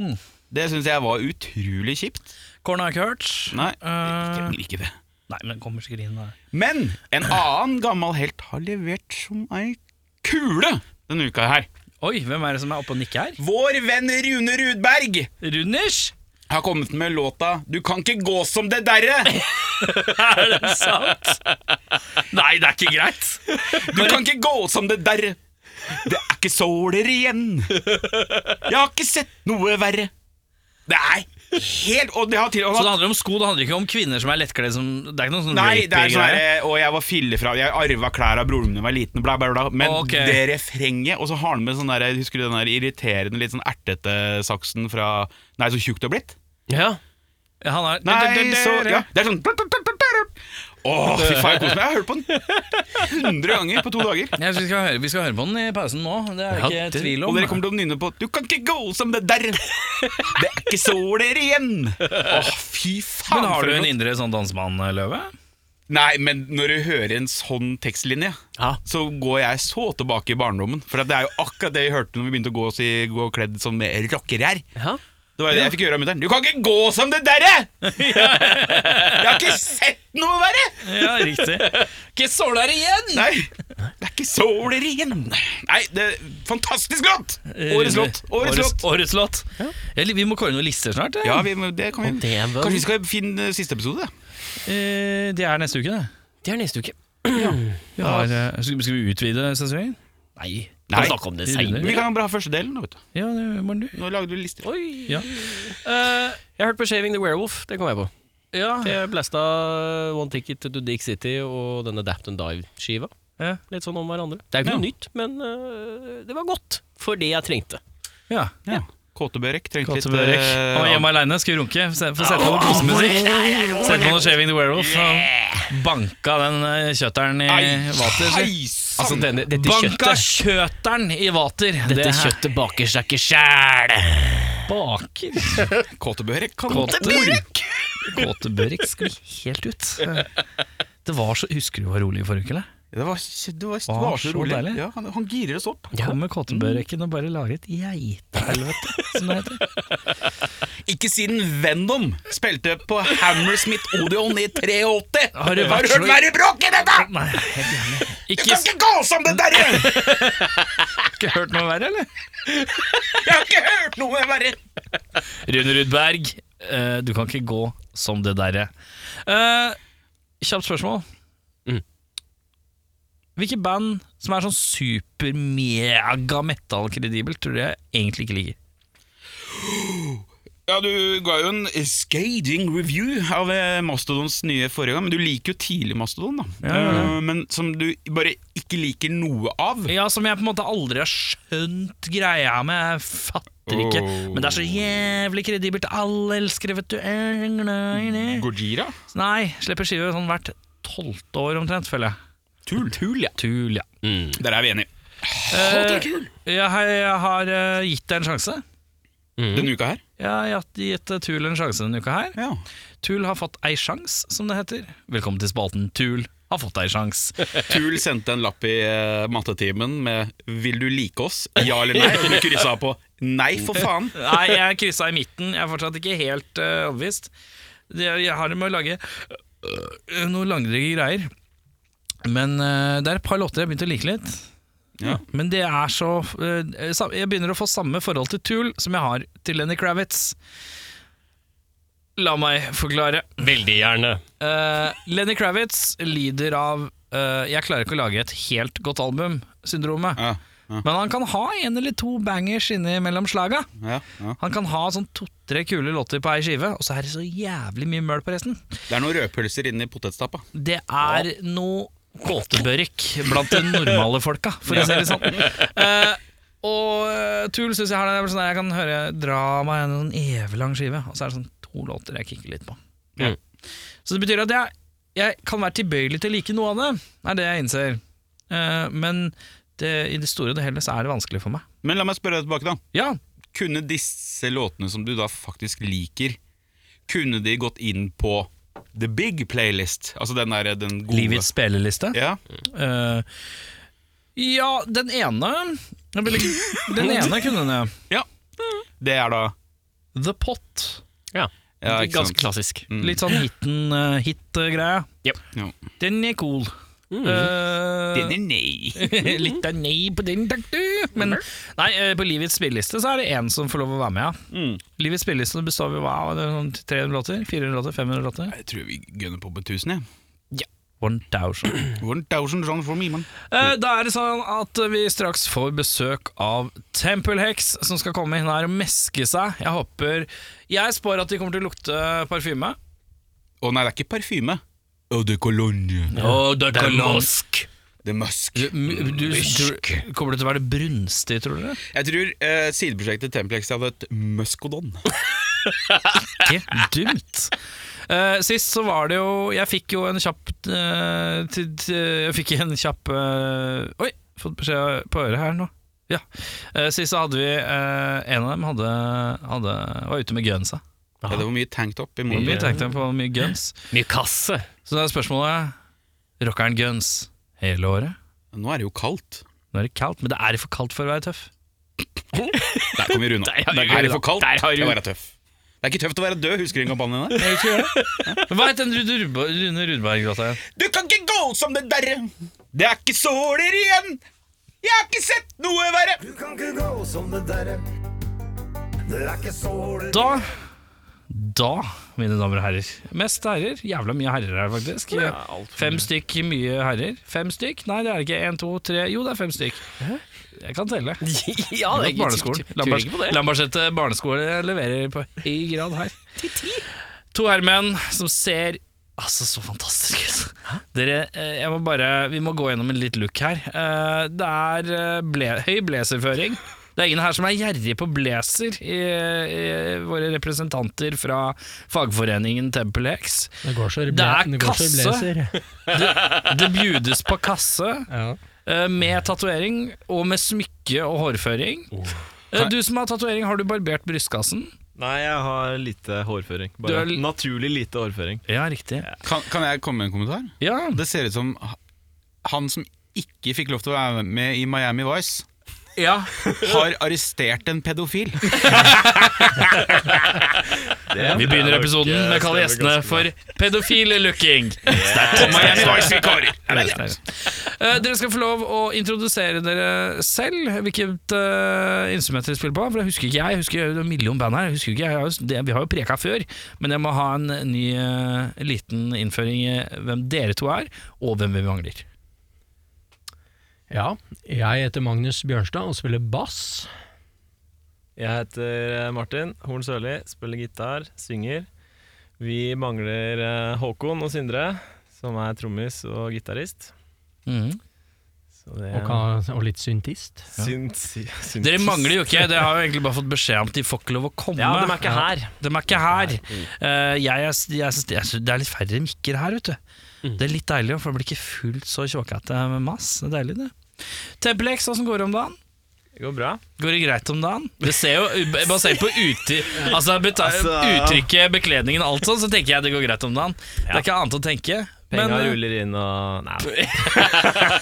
[SPEAKER 1] Mm.
[SPEAKER 3] Det syns jeg var utrolig kjipt.
[SPEAKER 1] Korn har jeg ikke hørt.
[SPEAKER 3] Nei, jeg
[SPEAKER 1] Eh,
[SPEAKER 3] trenger ikke det.
[SPEAKER 1] nei, men kommer sikkert inn der.
[SPEAKER 3] Men en annen gammel helt har levert som ei kule denne uka her.
[SPEAKER 1] Oi, hvem er det som er oppe og nikker her?
[SPEAKER 3] Vår venn Rune Rudberg
[SPEAKER 1] Runders!
[SPEAKER 3] har kommet med låta 'Du kan ikke gå som det derre'.
[SPEAKER 1] Er det sant? Nei, det er ikke greit.
[SPEAKER 3] Du kan ikke gå som det derre. Det er ikke såler igjen. Jeg har ikke sett noe verre. Det er helt Og det har til og
[SPEAKER 1] Så det
[SPEAKER 3] med
[SPEAKER 1] handler om sko, det handler ikke om kvinner som er lettkledd som Det er ikke noe sånn
[SPEAKER 3] Nei, det er sånn
[SPEAKER 1] rape-greie.
[SPEAKER 3] her, Og jeg var fillefra Jeg arva klær av broren min da jeg var liten, bla, bla, bla. Men
[SPEAKER 1] Ok.
[SPEAKER 3] det refrenget Og så har han med sånn der Husker du den der irriterende, litt sånn ertete saksen fra Nei, så tjukt du har blitt?
[SPEAKER 2] ja.
[SPEAKER 1] Ja, Han er
[SPEAKER 3] Nei, så ja, Det er sånn Åh, fy faen, jeg koser meg. Jeg har hørt på den 100 ganger på to dager.
[SPEAKER 1] Jeg synes vi, skal høre, vi skal høre på den i pausen nå, det er
[SPEAKER 2] Ja,
[SPEAKER 1] ikke
[SPEAKER 2] det-
[SPEAKER 1] tvil om.
[SPEAKER 3] Og dere kommer til å nynne på 'Du kan ikke gå som det der'. Det er ikke såler igjen. Åh, fy faen.
[SPEAKER 1] Men har
[SPEAKER 3] for
[SPEAKER 1] du en
[SPEAKER 3] en låt.
[SPEAKER 1] indre sånn dansemannløve?
[SPEAKER 3] Nei, men når du hører en sånn tekstlinje,
[SPEAKER 2] Ja.
[SPEAKER 3] så går jeg så tilbake i barndommen. For at det er jo akkurat det vi hørte når vi begynte å gå, og si, gå kledd som rockere her.
[SPEAKER 2] ja.
[SPEAKER 3] Det var jo det jeg fikk høre av mutter'n. 'Du kan ikke gå som det derre!' Jeg har ikke sett noe verre!
[SPEAKER 1] Ja, riktig. Ikke såla det igjen!
[SPEAKER 3] Nei, det er ikke såler igjen. Nei, det er fantastisk låt! Årets låt. Årets låt.
[SPEAKER 1] Årets låt. Eller, vi må kåre noen lister snart. eh.
[SPEAKER 3] Ja, vi, må- det kan vi.
[SPEAKER 2] Og det var-
[SPEAKER 3] Kanskje vi skal finne siste episode? da?
[SPEAKER 1] Eh, det er neste uke, det.
[SPEAKER 2] Det er neste uke.
[SPEAKER 1] Vi har, eh, skal, skal vi utvide sesongen?
[SPEAKER 2] Nei.
[SPEAKER 3] Nei.
[SPEAKER 2] Kan snakke om det
[SPEAKER 3] Vi
[SPEAKER 2] seinere.
[SPEAKER 3] kan bare ha første delen. da, vet du.
[SPEAKER 1] Ja, det må du.
[SPEAKER 3] Nå lager du lister.
[SPEAKER 1] Ja.
[SPEAKER 2] Eh, Jeg hørte på 'Shaving the Werewolf'. Det kom jeg på.
[SPEAKER 1] Ja.
[SPEAKER 2] Jeg blasta One Ticket to Dick City og denne Dapt and Dive-skiva.
[SPEAKER 1] Ja.
[SPEAKER 2] Litt sånn om hverandre. Det er ikke noe nytt, men øh, det var godt for det jeg trengte.
[SPEAKER 1] ja.
[SPEAKER 3] Ja. Kåtebørek trengte litt
[SPEAKER 1] Kattebørek.
[SPEAKER 3] eh,
[SPEAKER 1] Han var hjemme aleine, skulle runke. Se- Få sette på noe kosemusikk. Sette på noe 'Shaving the Werewolf'. Og banka den eh, kjøtteren i
[SPEAKER 3] Ei,
[SPEAKER 1] vater. si.
[SPEAKER 3] hei, sann!
[SPEAKER 2] Altså, denne, dette
[SPEAKER 1] Banka
[SPEAKER 2] kjøttet
[SPEAKER 1] kjøtteren i vater.
[SPEAKER 2] Dette kjøttet baker seg ikke sjæl!
[SPEAKER 1] baker
[SPEAKER 3] Kåtebørek kan
[SPEAKER 1] Kåtebørek. Kåtebørek skulle helt ut. Det var så, Husker du hvor rolig i forrige uke? eller?
[SPEAKER 3] Det var, det var, det
[SPEAKER 1] Å,
[SPEAKER 3] var så
[SPEAKER 1] så
[SPEAKER 3] rolig.
[SPEAKER 1] deilig.
[SPEAKER 3] Ja, han, han girer oss opp.
[SPEAKER 2] Ja.
[SPEAKER 1] Kom med kåtebøreken og bare lager et geitehelvete, som det heter.
[SPEAKER 3] Ikke siden Venom spilte på Hammersmith Odeon i 83!
[SPEAKER 1] Har du vært
[SPEAKER 3] du hørt
[SPEAKER 1] så-
[SPEAKER 3] verre bråk i dette?!
[SPEAKER 1] Nei, helt gjerne.
[SPEAKER 3] Du kan ikke gå som det derre!
[SPEAKER 1] Ikke hørt noe verre, eller?
[SPEAKER 3] Jeg har ikke hørt noe verre!
[SPEAKER 1] Rune Rudberg, eh, du kan ikke gå som det derre. Eh, kjapt spørsmål.
[SPEAKER 2] Mm.
[SPEAKER 1] Hvilke band som er sånn super-mega-metal-kredibelt, tror du jeg egentlig ikke liker?
[SPEAKER 3] Ja, du ga jo en skating review av eh, Mastodons nye forrige gang, men du liker jo tidlig Mastodon, da. Eh, Men som du bare ikke liker noe av.
[SPEAKER 1] Ja, som jeg på en måte aldri har skjønt greia med. Jeg fatter ikke.
[SPEAKER 3] Oh.
[SPEAKER 1] Men det er så jævlig kredibelt. Alle elsker det, vet du. Er glad i det.
[SPEAKER 3] Gojira?
[SPEAKER 1] Nei, slipper skive sånn hvert tolvte år omtrent, føler jeg.
[SPEAKER 3] Tul. Tul, ja.
[SPEAKER 1] Tull, ja.
[SPEAKER 3] Der er vi enige.
[SPEAKER 1] Eh, jeg, har- jeg har eh, gitt det en sjanse.
[SPEAKER 3] Denne uka her?
[SPEAKER 1] Jeg har gitt- gitt eh, Tull en sjanse denne uka her.
[SPEAKER 3] Ja.
[SPEAKER 1] Tull har fått ei sjans, som det heter. Velkommen til spalten Tull har fått ei sjans.
[SPEAKER 3] Tul sendte en lapp i eh, mattetimen med 'Vil du like oss?' Ja eller nei? Og du kryssa på 'Nei, for faen'.
[SPEAKER 1] Nei, jeg kryssa i midten. Jeg er fortsatt ikke helt eh, overbevist. Det- Jeg har det med å lage øh, noen langdryge greier. Men eh, det er et par låter jeg begynte å like litt.
[SPEAKER 3] Ja.
[SPEAKER 1] Men det er så eh, sam- Jeg begynner å få samme forhold til Tool som jeg har til Lenny Kravitz. La meg forklare.
[SPEAKER 2] Veldig gjerne.
[SPEAKER 1] Eh, Lenny Kravitz lider av eh, 'jeg klarer ikke å lage et helt godt album'-syndromet.
[SPEAKER 3] Ja,
[SPEAKER 1] Men han kan ha en eller to bangers innimellom slaga.
[SPEAKER 3] ja, ja.
[SPEAKER 1] Han kan ha sånn to-tre kule låter på ei skive, og så er det så jævlig mye møl på resten.
[SPEAKER 3] Det er noen rødpølser inni potetstappa.
[SPEAKER 1] Det er noe gåtebørk blant de normale folka, for å si det sånn. Eh, og eh, Tool syns jeg har det. det er vel sånn der, jeg kan høre dra meg en sånn eviglang skive, og så er det sånn to låter jeg kicker litt på.
[SPEAKER 2] Mm.
[SPEAKER 1] Så det betyr at jeg, jeg kan være tilbøyelig til å like noe av det, er det jeg innser. Eh, men det, i det store og det hele så er det vanskelig for meg.
[SPEAKER 3] Men la meg spørre deg tilbake, da.
[SPEAKER 1] Ja,
[SPEAKER 3] Kunne disse låtene som du da faktisk liker, kunne de gått inn på The Big Playlist? Altså den derre den gode
[SPEAKER 1] Livets spilleliste.
[SPEAKER 3] Ja.
[SPEAKER 1] Eh, ja, den ene jeg vil ikke- Den ene kunne den, ja.
[SPEAKER 3] ja. Det er da
[SPEAKER 1] The Pot.
[SPEAKER 2] Ja,
[SPEAKER 3] Ja, ikke
[SPEAKER 2] Ganske
[SPEAKER 3] sant.
[SPEAKER 2] klassisk.
[SPEAKER 3] Mm.
[SPEAKER 1] Litt sånn hiten, eh, hit-greie.
[SPEAKER 3] Ja.
[SPEAKER 1] Den er cool. Eh,
[SPEAKER 3] Den er nei.
[SPEAKER 1] litt av nei på den, takk du. Men nei, eh, på Livets spilleliste så er det én som får lov å være med, ja.
[SPEAKER 3] Mm.
[SPEAKER 1] Livets spilleliste består av wow, det er sånn 300 låter? 400 låter? 500 låter?
[SPEAKER 3] Jeg tror vi gønner på på 1000,
[SPEAKER 1] 1000.
[SPEAKER 3] jeg. One thousand songs for me, man.
[SPEAKER 1] Eh, Da er det sånn at vi straks får besøk av Tempelheks, som skal komme inn her og meske seg. Jeg håper Jeg spår at de kommer til å lukte parfyme.
[SPEAKER 3] Å nei, det er ikke parfyme. Eau de cologne.
[SPEAKER 1] Oh, det er
[SPEAKER 3] The Musk.
[SPEAKER 1] Du, du, tror- kommer det til å være det brunstig, tror dere?
[SPEAKER 3] Jeg tror eh, sideprosjektet Templex hadde et muskodon.
[SPEAKER 1] Ikke dumt. Eh, sist så var det jo Jeg fikk jo en kjapp eh, til- til- Jeg fikk en kjapp eh, Oi, fått beskjed på øret her nå. Ja. Eh, sist så hadde vi eh, En av dem hadde, hadde, var ute med gunsa.
[SPEAKER 3] Ja, det var mye tanktop i
[SPEAKER 1] Og
[SPEAKER 3] morgen.
[SPEAKER 1] Vi tenkte på mye guns.
[SPEAKER 2] Mye kasse.
[SPEAKER 1] Så da er spørsmålet Rockeren guns hele året?
[SPEAKER 3] Nå er det jo kaldt.
[SPEAKER 1] Nå er det kaldt, men det er for kaldt for å være tøff.
[SPEAKER 3] Der kom vi unna.
[SPEAKER 2] Der har
[SPEAKER 3] Det
[SPEAKER 2] vi
[SPEAKER 3] er
[SPEAKER 2] det.
[SPEAKER 3] det for kaldt
[SPEAKER 2] Der har
[SPEAKER 3] til
[SPEAKER 2] vi-
[SPEAKER 3] å være tøff. Det er ikke tøft å være død, husker du den kampanjen der?
[SPEAKER 1] Hva het den Rune Rudberg- Rune Rudberg-låta igjen?
[SPEAKER 3] Du kan ikke gå som det derre. Det er ikke såler igjen. Jeg har ikke sett noe verre.
[SPEAKER 1] Da da, mine damer og herrer. Mest herrer. Jævla mye herrer her, faktisk. fem stykk mye herrer. Fem stykk? Nei, det er det ikke. En, to, tre Jo, det er fem stykk. Jeg kan telle.
[SPEAKER 2] ja,
[SPEAKER 1] Det er
[SPEAKER 2] det er
[SPEAKER 1] barneskolen.
[SPEAKER 2] Lambert. Ikke på det.
[SPEAKER 1] Lambertseter barneskole leverer på høy grad her. To herremenn som ser Altså, så fantastisk ut. Dere, eh, jeg må bare Vi må gå gjennom en litt look her. Eh, Det er eh, ble, høy blazerføring. Det er ingen her som er gjerrig på blazer, i, i våre representanter fra fagforeningen Temple X.
[SPEAKER 6] Det går så i
[SPEAKER 1] Det er
[SPEAKER 6] ble- det går så i
[SPEAKER 1] kasse.
[SPEAKER 6] blazer.
[SPEAKER 1] Det bjudes på kasse
[SPEAKER 6] Ja.
[SPEAKER 1] eh, med tatovering og med smykke og hårføring. Eh, Du som har tatovering, har du barbert brystkassen?
[SPEAKER 7] Nei, jeg har lite hårføring. Bare
[SPEAKER 1] Du er l-
[SPEAKER 7] Naturlig lite hårføring.
[SPEAKER 1] Ja, riktig.
[SPEAKER 3] Kan, kan jeg komme med en kommentar?
[SPEAKER 1] Ja,
[SPEAKER 3] Det ser ut som h- han som ikke fikk lov til å være med i Miami Vice,
[SPEAKER 1] ja.
[SPEAKER 3] har arrestert en pedofil.
[SPEAKER 1] Vi begynner episoden med Kalle Gjestene for pedofile looking. Sterkt.
[SPEAKER 3] Miami Vice-vikarer.
[SPEAKER 1] Eh, dere skal få lov å introdusere dere selv, hvilket eh, instrument dere spiller på. For det husker ikke jeg. Jeg husker det er en million band her. Jeg husker ikke, jeg har jo, det, vi har jo preka før, men jeg må ha en ny eh, liten innføring i hvem dere to er, og hvem vi mangler.
[SPEAKER 6] ja. Jeg heter Magnus Bjørnstad og spiller bass.
[SPEAKER 7] Jeg heter eh, Martin Horn Sørli, spiller gitar, synger. Vi mangler eh, Håkon og Sindre, som er trommis og gitarist.
[SPEAKER 1] Mhm.
[SPEAKER 7] Så det
[SPEAKER 2] Og, ka- og litt syntist.
[SPEAKER 7] Synt- sy- synt-
[SPEAKER 1] Dere mangler jo ikke, dere har jo egentlig bare fått beskjed om at de får ikke lov å komme.
[SPEAKER 2] Ja, de er ikke her.
[SPEAKER 1] De er ikke her. Eh, jeg, er- jeg, synes- jeg, synes det er litt færre mikker her, vet du. Det er litt deilig, for det blir ikke fullt så tjåkete med mass. Det er deilig, det. Tempelex, åssen går det om dagen?
[SPEAKER 7] Det går bra.
[SPEAKER 1] Går det greit om dagen? Det ser jo, Basert på uti, altså, beta-
[SPEAKER 7] Altså, ja.
[SPEAKER 1] uttrykket, bekledningen og alt sånt, så tenker jeg det går greit om dagen. Det er ikke annet å tenke. Men
[SPEAKER 7] Penga
[SPEAKER 1] eh,
[SPEAKER 7] ruller inn og Nei.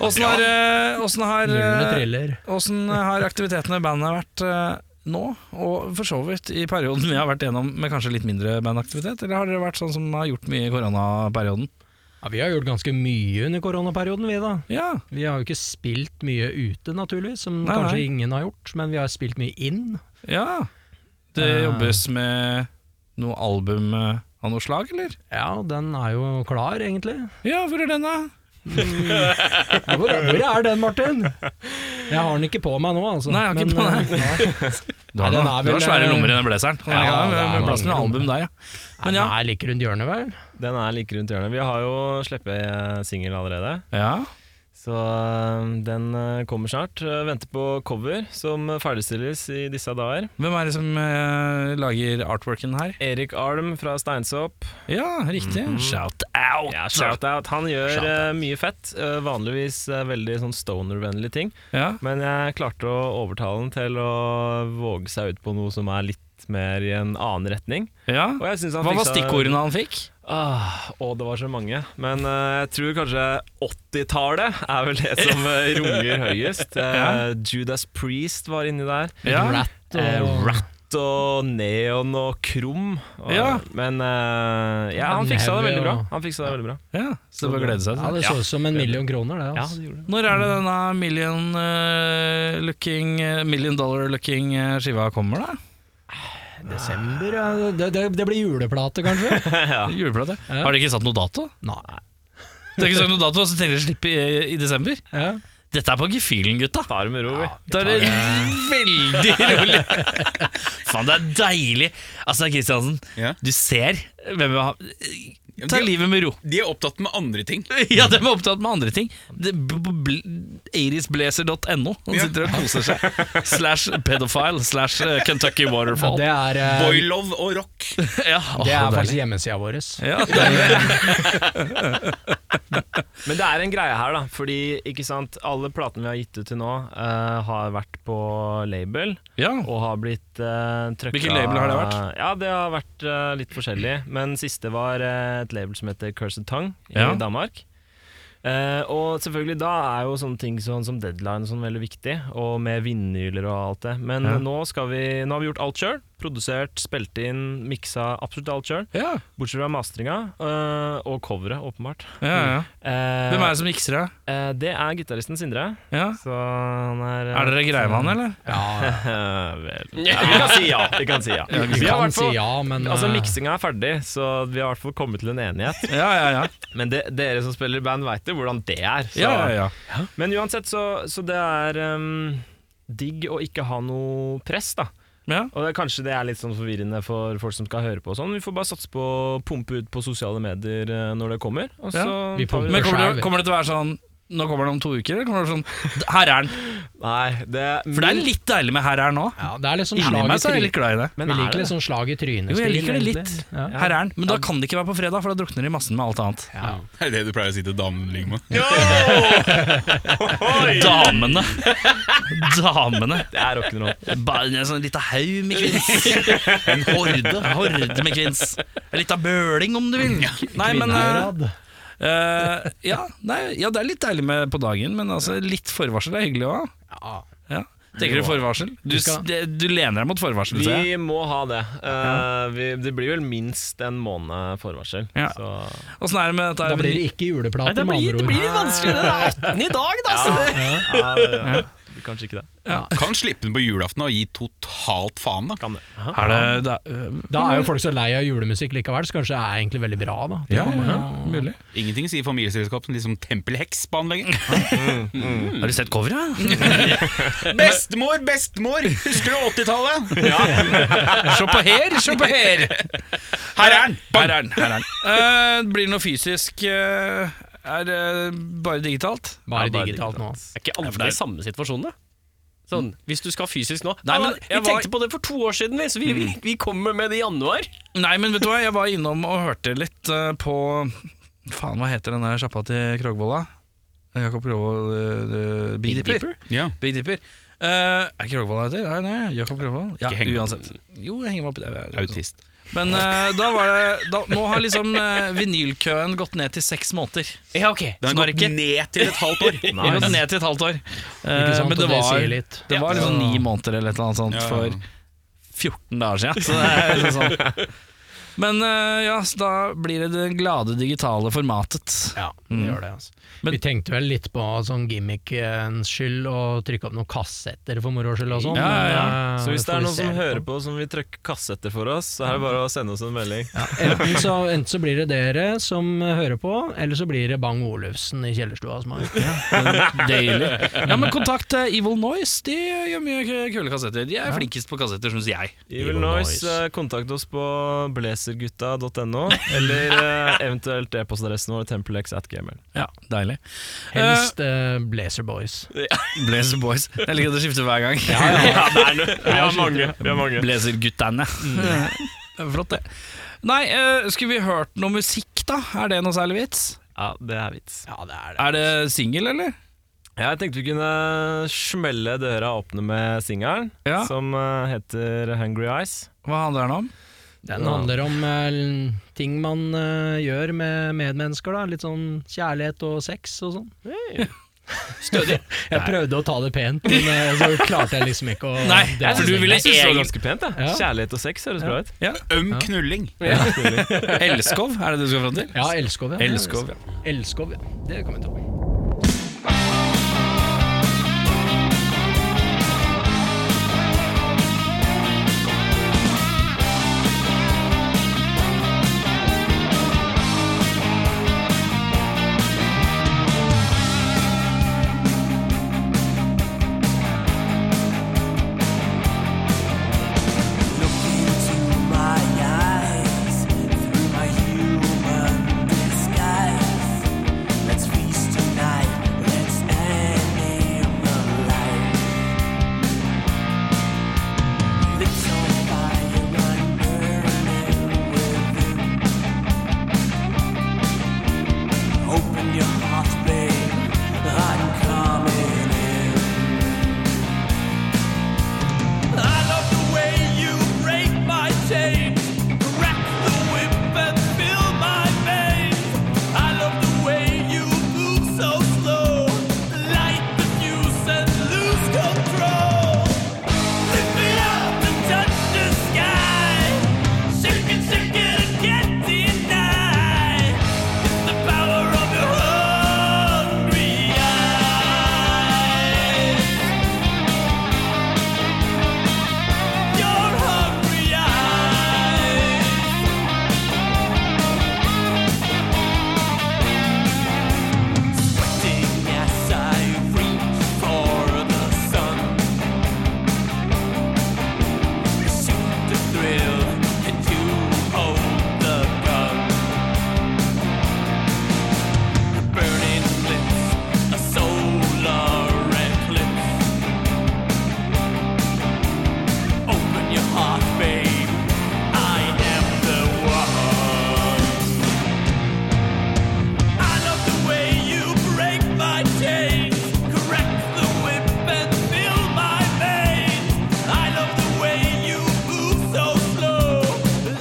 [SPEAKER 1] åssen har, eh, åssen har,
[SPEAKER 2] Nullene
[SPEAKER 1] eh,
[SPEAKER 2] triller.
[SPEAKER 1] åssen har aktivitetene i bandet vært eh, nå? Og for så vidt i perioden vi har vært gjennom med kanskje litt mindre bandaktivitet? Eller har dere vært sånn som har gjort mye i koronaperioden?
[SPEAKER 2] Ja, vi har gjort ganske mye under koronaperioden, vi da.
[SPEAKER 1] Ja,
[SPEAKER 2] Vi har jo ikke spilt mye ute, naturligvis, som
[SPEAKER 1] Nei,
[SPEAKER 2] kanskje
[SPEAKER 1] nei.
[SPEAKER 2] ingen har gjort, men vi har spilt mye inn.
[SPEAKER 1] ja. Det
[SPEAKER 2] Eh.
[SPEAKER 1] jobbes med noe album eh, av noe slag, eller?
[SPEAKER 2] Ja, den er jo klar, egentlig.
[SPEAKER 1] Ja, hvor er den, da?
[SPEAKER 2] Hvor, hvor er den, Martin? Jeg har den ikke på meg nå, altså.
[SPEAKER 1] Nei, jeg har ikke på
[SPEAKER 2] eh, nei.
[SPEAKER 1] Du har,
[SPEAKER 2] Nei, den
[SPEAKER 1] noe-
[SPEAKER 2] er
[SPEAKER 1] du
[SPEAKER 2] vel,
[SPEAKER 1] har svære
[SPEAKER 2] eh,
[SPEAKER 1] lommer i den blazeren. Ja,
[SPEAKER 2] ja,
[SPEAKER 1] ja,
[SPEAKER 2] det er
[SPEAKER 1] plass til
[SPEAKER 2] mange
[SPEAKER 1] en album der, ja. Men ja.
[SPEAKER 2] Den er like rundt hjørnet, vel?
[SPEAKER 7] Den er like rundt hjørnet. Vi har jo sluppet singel allerede.
[SPEAKER 1] ja.
[SPEAKER 7] Så øh, den øh, kommer snart. Øh, Venter på cover, som øh, ferdigstilles i disse dager.
[SPEAKER 1] Hvem er det som eh, lager artworken her?
[SPEAKER 7] Erik Alm fra Steinsopp.
[SPEAKER 1] Ja, riktig.
[SPEAKER 2] Mm,
[SPEAKER 1] Shout out!
[SPEAKER 7] Ja, Shout-out. Han gjør
[SPEAKER 1] Shout
[SPEAKER 7] øh, mye fett. Øh, vanligvis øh, veldig sånn stoner-vennlige ting.
[SPEAKER 1] Ja.
[SPEAKER 7] Men jeg klarte å overtale han til å våge seg ut på noe som er litt mer i en annen retning.
[SPEAKER 1] ja.
[SPEAKER 7] Og jeg synes han
[SPEAKER 1] Hva var
[SPEAKER 7] fiksa-
[SPEAKER 1] stikkordene han fikk?
[SPEAKER 7] Ah, å, det var så mange. Men eh, jeg tror kanskje 80-tallet er vel det som eh, runger høyest. Eh, Judas Priest var inni der.
[SPEAKER 1] Ja.
[SPEAKER 2] Rat og
[SPEAKER 7] Eh, Rat og neon og krum. Og,
[SPEAKER 1] Ja.
[SPEAKER 7] Men eh, ja, han fiksa det veldig bra. Han fiksa det veldig bra.
[SPEAKER 1] ja. Så det bare å glede seg
[SPEAKER 2] Ja,
[SPEAKER 1] til.
[SPEAKER 2] det så ut som en million kroner, det.
[SPEAKER 7] Ja,
[SPEAKER 2] Altså.
[SPEAKER 7] det gjorde det.
[SPEAKER 1] Når er det denne million, eh, looking, eh, million dollar looking eh, skiva kommer, da?
[SPEAKER 2] Desember, ja. Det, det, det blir juleplate, kanskje?
[SPEAKER 1] Juleplate?
[SPEAKER 2] Ja.
[SPEAKER 1] Har de ikke satt noe dato?
[SPEAKER 2] Nei.
[SPEAKER 1] Det er ikke satt noe dato, så tenker de å slippe i, i desember?
[SPEAKER 2] Ja.
[SPEAKER 1] Dette er på gefühlen, gutta.
[SPEAKER 7] Ta det med ro, vi.
[SPEAKER 1] Da er det veldig rolig. Faen, det er deilig. Altså, Kristiansen,
[SPEAKER 3] Ja.
[SPEAKER 1] du ser hvem vi har Ta
[SPEAKER 3] de-
[SPEAKER 1] livet med ro.
[SPEAKER 3] De er opptatt med andre ting.
[SPEAKER 1] Ja, de er opptatt med andre ting. Det- b- b- bl- Irisblazer.no. Han sitter og koser seg. Slash pedophile. Slash eh, Kentucky
[SPEAKER 2] Ja,
[SPEAKER 1] Waterfall.
[SPEAKER 2] det er, eh,
[SPEAKER 3] Boylove og rock.
[SPEAKER 1] Ja, åh,
[SPEAKER 2] det er
[SPEAKER 1] deilig.
[SPEAKER 2] faktisk hjemmesida vår.
[SPEAKER 1] ja, deilig.
[SPEAKER 7] Men det er en greie her, da. Fordi ikke sant, alle platene vi har gitt ut til nå, eh, har vært på label.
[SPEAKER 1] ja.
[SPEAKER 7] Og har blitt uh, trøkka
[SPEAKER 1] Hvilken label har det vært?
[SPEAKER 7] Ja, Det har vært eh, litt forskjellig. Men siste var eh, et label som heter Cursed Tongue i
[SPEAKER 1] Ja.
[SPEAKER 7] Danmark. Eh, og selvfølgelig da er jo sånne ting sånn som deadline og sånn veldig viktig, og med vinyler og alt det. Men
[SPEAKER 1] Ja.
[SPEAKER 7] nå, skal vi, nå har vi gjort alt sjøl. Produsert, spilt inn, miksa absolutt alt sjøl.
[SPEAKER 1] Ja,
[SPEAKER 7] Bortsett fra mastringa eh, og coveret, åpenbart.
[SPEAKER 1] ja, ja.
[SPEAKER 7] Eh,
[SPEAKER 1] Hvem er det som mikser det?
[SPEAKER 7] eh, det er gitaristen Sindre.
[SPEAKER 1] Ja.
[SPEAKER 7] Så han er eh,
[SPEAKER 1] Er dere greie med han, eller?
[SPEAKER 2] Ja,
[SPEAKER 7] Vel Vi kan si ja. Vi kan si ja.
[SPEAKER 2] vi
[SPEAKER 7] Vi har
[SPEAKER 2] kan
[SPEAKER 7] hvert
[SPEAKER 2] si
[SPEAKER 7] fall-
[SPEAKER 2] ja, men
[SPEAKER 7] Altså
[SPEAKER 2] eh,
[SPEAKER 7] Miksinga er ferdig, så vi har i hvert fall kommet til en enighet.
[SPEAKER 1] Ja, ja, ja.
[SPEAKER 7] Men det, dere som spiller i band, veit jo hvordan det er. Så.
[SPEAKER 1] ja, ja, ja.
[SPEAKER 7] Men uansett, så, så det er ehm, digg å ikke ha noe press, da.
[SPEAKER 1] ja.
[SPEAKER 7] Og det, er kanskje det er litt sånn forvirrende for folk som skal høre på og sånn. Vi får bare satse på å pumpe ut på sosiale medier eh, når det kommer. Og
[SPEAKER 1] Ja.
[SPEAKER 7] så
[SPEAKER 2] Vi
[SPEAKER 7] tar vi-
[SPEAKER 1] Men kommer det, kommer det til å være sånn Nå kommer den om to uker? Eller kommer det sånn Her er den!
[SPEAKER 7] Nei, det
[SPEAKER 1] For det er litt deilig med 'her er nå'.
[SPEAKER 2] ja, det er litt sånn
[SPEAKER 1] Inni
[SPEAKER 2] slag
[SPEAKER 1] meg
[SPEAKER 2] i
[SPEAKER 1] så er jeg litt
[SPEAKER 2] trynet.
[SPEAKER 1] glad i det.
[SPEAKER 7] Men
[SPEAKER 2] Vi
[SPEAKER 7] er
[SPEAKER 2] liker
[SPEAKER 7] det
[SPEAKER 2] litt sånn slag i
[SPEAKER 1] Jo,
[SPEAKER 2] trynet.
[SPEAKER 1] jeg liker det
[SPEAKER 2] egentlig.
[SPEAKER 1] litt.
[SPEAKER 2] Ja.
[SPEAKER 1] Her er den. Men da kan det ikke være på fredag, for da drukner det i massen med alt annet.
[SPEAKER 2] Ja.
[SPEAKER 3] Er det det du pleier å si til liksom? damene du ligger med?
[SPEAKER 1] Damene. Damene.
[SPEAKER 7] Det er rock'n'roll.
[SPEAKER 1] Bare en sånn lita haug med kvinns. En horde. En horde med kvinns. En lita bøling, om du vil. Nei, men eh,
[SPEAKER 2] Kvinnehørad.
[SPEAKER 1] eh, ja, nei, ja, det er litt deilig med på dagen, men altså, litt forvarsel er hyggelig òg.
[SPEAKER 2] Ja.
[SPEAKER 1] Ja. Tenker du forvarsel? Du, s- det- du lener deg mot forvarsel, ser jeg.
[SPEAKER 7] Vi må ha det. Eh, vi, det blir vel minst en måned forvarsel.
[SPEAKER 1] Ja.
[SPEAKER 7] Så
[SPEAKER 1] Åssen er det med dette?
[SPEAKER 2] Da
[SPEAKER 1] her?
[SPEAKER 2] blir det ikke juleplate, med andre ord.
[SPEAKER 1] litt vanskelig. Det er 18 i dag, da!
[SPEAKER 7] Ja, ja, ja. kanskje ikke det.
[SPEAKER 3] Kan slippe den på julaften og gi totalt faen, da.
[SPEAKER 7] Kan det.
[SPEAKER 1] Er det, det er,
[SPEAKER 6] Da er jo folk så lei av julemusikk likevel, så kanskje det er egentlig veldig bra, da.
[SPEAKER 1] ja, mulig.
[SPEAKER 3] Ingenting sier familieselskap som liksom tempelheks på anlegget.
[SPEAKER 1] Har du sett coveret?
[SPEAKER 3] Bestemor, bestemor! Husker du 80-tallet?
[SPEAKER 1] Se på her, se på her!
[SPEAKER 3] Her er den!
[SPEAKER 1] Her er den. her er den Eh, Blir det noe fysisk? eh, er det bare digitalt?
[SPEAKER 6] Bare
[SPEAKER 2] Ja, bare
[SPEAKER 6] digitalt nå.
[SPEAKER 2] Det er ikke alle i samme situasjon, da. Sånn, Hvis du skal fysisk nå
[SPEAKER 1] Nei, men
[SPEAKER 2] Ja, Mm. Vi
[SPEAKER 1] jeg var-
[SPEAKER 2] tenkte på det for to år siden, vi, så vi, vi, vi kommer med det i januar.
[SPEAKER 1] Nei, men vet du hva, jeg var innom og hørte litt eh, på Faen, hva heter den der sjappa til Krogvolla? Jakob Krogvoll eh, eh, Big Dipper.
[SPEAKER 3] Ja.
[SPEAKER 1] Big Dipper. Eh, er ikke Krogvoll heter? Nei, nei, Jakob Krogvoll. Ja,
[SPEAKER 3] Ikke heng meg opp.
[SPEAKER 1] uansett. Jo, jeg henger meg opp i det. Jeg er-
[SPEAKER 3] Autist.
[SPEAKER 1] Men eh, da var det da, Nå har liksom eh, vinylkøen gått ned til seks måneder.
[SPEAKER 2] Ja, ok
[SPEAKER 1] Så
[SPEAKER 3] Den
[SPEAKER 1] nå er
[SPEAKER 3] har
[SPEAKER 1] det
[SPEAKER 3] gått
[SPEAKER 1] ikke-
[SPEAKER 3] ned til et halvt år.
[SPEAKER 1] Den har gått ned til et halvt år. Eh,
[SPEAKER 6] Ikke sant?
[SPEAKER 1] men det
[SPEAKER 6] og det
[SPEAKER 1] var,
[SPEAKER 6] sier litt.
[SPEAKER 1] det var liksom ni måneder eller et eller annet sånt
[SPEAKER 3] Ja, ja.
[SPEAKER 1] for 14 dager siden. Så det er liksom sånn. Men eh, ja, så da blir det det glade digitale formatet.
[SPEAKER 6] Ja, det
[SPEAKER 7] Mm.
[SPEAKER 6] gjør det. Altså.
[SPEAKER 1] Men-
[SPEAKER 6] vi tenkte vel litt på sånn gimmickens skyld å trykke opp noen kassetter for moro skyld og sånn.
[SPEAKER 1] Ja, ja, ja.
[SPEAKER 6] men, eh,
[SPEAKER 7] Så hvis det
[SPEAKER 6] får
[SPEAKER 7] er
[SPEAKER 6] vi
[SPEAKER 7] noen
[SPEAKER 6] se
[SPEAKER 7] som
[SPEAKER 6] litt
[SPEAKER 7] hører på som vil trykke kassetter for oss, så er det bare å sende oss en melding.
[SPEAKER 6] Ja, enten, så, enten så blir det dere som hører på, eller så blir det Bang Olufsen i kjellerstua hos meg.
[SPEAKER 1] Deilig. Ja, men kontakt eh, Evil Noise. De gjør mye k- kule kassetter. De er flinkest på kassetter, syns jeg.
[SPEAKER 7] Evil Noise, eh, kontakt oss på blazergutta.no, eller eh, eventuelt e-postadressen vår tempelx.gmail.
[SPEAKER 1] Ja, deilig.
[SPEAKER 6] Helst eh, Blazer Boys.
[SPEAKER 1] Blazer Boys. Jeg liker at det skifter hver gang.
[SPEAKER 7] Vi har mange. vi har mange
[SPEAKER 1] Blazerguttene. Det er Flott, det. Nei, eh, skulle vi hørt noe musikk, da? Er det noe særlig vits?
[SPEAKER 7] Ja, det er vits.
[SPEAKER 1] Er det singel, eller?
[SPEAKER 7] Jeg tenkte vi kunne smelle døra åpne med singelen,
[SPEAKER 1] Ja.
[SPEAKER 7] som eh, heter Hungry Eyes.
[SPEAKER 1] Hva handler den om?
[SPEAKER 6] Den
[SPEAKER 7] Ja.
[SPEAKER 6] handler om eh, ting man eh, gjør med medmennesker, da. Litt sånn kjærlighet og sex og sånn. Stødig. jeg prøvde å ta det pent, men eh, så klarte jeg liksom ikke å
[SPEAKER 1] Nei,
[SPEAKER 6] det var
[SPEAKER 1] for du
[SPEAKER 6] så
[SPEAKER 1] ville
[SPEAKER 7] Jeg synes
[SPEAKER 6] lenge.
[SPEAKER 7] det var
[SPEAKER 1] egentlig
[SPEAKER 7] ganske pent. jeg.
[SPEAKER 6] Ja.
[SPEAKER 7] Kjærlighet og sex høres bra ut.
[SPEAKER 3] Øm knulling.
[SPEAKER 1] Elskov, er det det du skal fram til?
[SPEAKER 6] Ja, Elskov, ja.
[SPEAKER 1] Elskov, ja.
[SPEAKER 6] Elskov, ja. Det kan vi ta.
[SPEAKER 8] Open your heart, babe. I'm coming in. I love the way you break my chains, crack the whip and fill my veins. I love the way you move so slow, light the fuse and lose control. Lift me up and touch the sky, shake it, shake it and get denied. It's the power of your hungry eyes. Your hungry eyes. Sweating as I reach for the sun. You shoot the thrill and you hold the gun. A burning lips, a solar eclipse. Open your heart, babe. I am the one. I love the way you break my chains, correct the whip and fill my veins. I love the way you move so slow,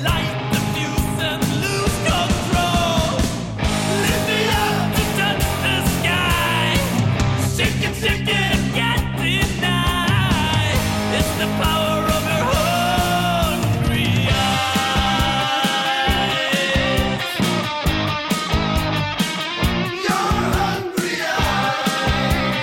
[SPEAKER 8] light the fuse and lose control. Lift me up to touch the sky. Shake it, shake it, get denied. It's the power of your hungry eyes. Your hungry eyes.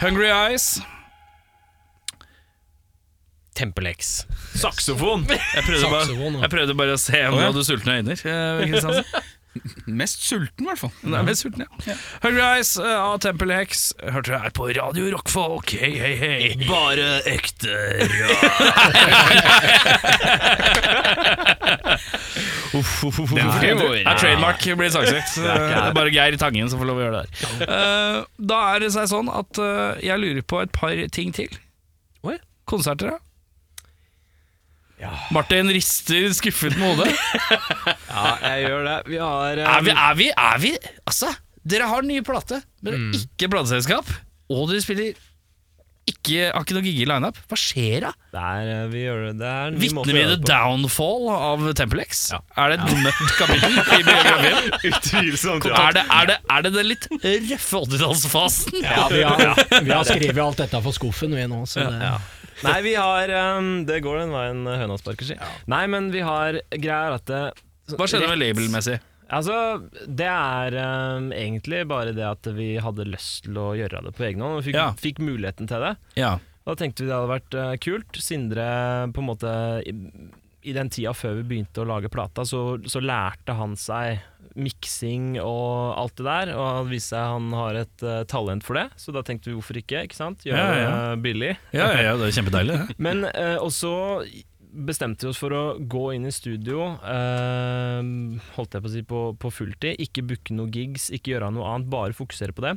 [SPEAKER 1] Hungry Eyes.
[SPEAKER 2] Tempel-X.
[SPEAKER 7] Saksofon!
[SPEAKER 1] Jeg prøvde bare,
[SPEAKER 6] Saksofon, ja.
[SPEAKER 1] jeg prøvde bare å se om du hadde sultne øyne. eh, Kristiansen.
[SPEAKER 3] Mest sulten, i hvert fall.
[SPEAKER 1] Nei, vi er sultne, ja. Hungry Eyes eh, av Temple Hex. Hørte du her på Radio Rockfolk. Hei, hei, hei. Bare ekte rock. Det er trademark, blir saksøkt. Det er bare Geir Tangen som får lov å gjøre det her. Eh, Da er det seg sånn at eh, jeg lurer på et par ting til.
[SPEAKER 2] Oi.
[SPEAKER 1] Konserter, da? Martin rister skuffet med hodet.
[SPEAKER 7] Ja, jeg gjør det. Vi har eh,
[SPEAKER 1] Er vi, er vi, er vi Altså, dere har nye plate Men dere har ikke plateselskap Og dere spiller ikke, Har ikke noe gig i line-up Hva skjer da?
[SPEAKER 7] Det er, eh, vi gjør det. det er en ny måte å
[SPEAKER 1] Vittner vi
[SPEAKER 7] gjøre
[SPEAKER 1] The
[SPEAKER 7] det på.
[SPEAKER 1] Downfall av Temple X? Er det et mørkt kapittel i biografien?
[SPEAKER 7] Utvilsomt. ja.
[SPEAKER 1] Er det, er, det, er det den litt røffe 80-tallsfasen?
[SPEAKER 6] Ja, vi har, vi har skrevet alt dette for skuffen, vi nå. Så det,
[SPEAKER 7] Nei, vi har eh, Det går den veien høna sparker, si. Nei, men vi har greier at det
[SPEAKER 1] Hva skjedde med labelmessig?
[SPEAKER 7] Altså, det er eh, egentlig bare det at vi hadde lyst til å gjøre det på egen hånd, og fikk,
[SPEAKER 1] Ja.
[SPEAKER 7] fikk muligheten til det.
[SPEAKER 1] Ja,
[SPEAKER 7] Da tenkte vi det hadde vært eh, kult. Sindre, på en måte i, i den tida før vi begynte å lage plata, så, så lærte han seg miksing og alt det der, og det viste seg han har et eh, talent for det, så da tenkte vi hvorfor ikke, ikke sant? Gjøre
[SPEAKER 1] Ja,
[SPEAKER 7] det
[SPEAKER 1] ja.
[SPEAKER 7] eh, billig.
[SPEAKER 1] ja, ja, det er kjempedeilig det.
[SPEAKER 7] Men eh, og så bestemte vi oss for å gå inn i studio, eh, holdt jeg på å si, på, på fulltid. Ikke booke noe gigs, ikke gjøre noe annet, bare fokusere på det.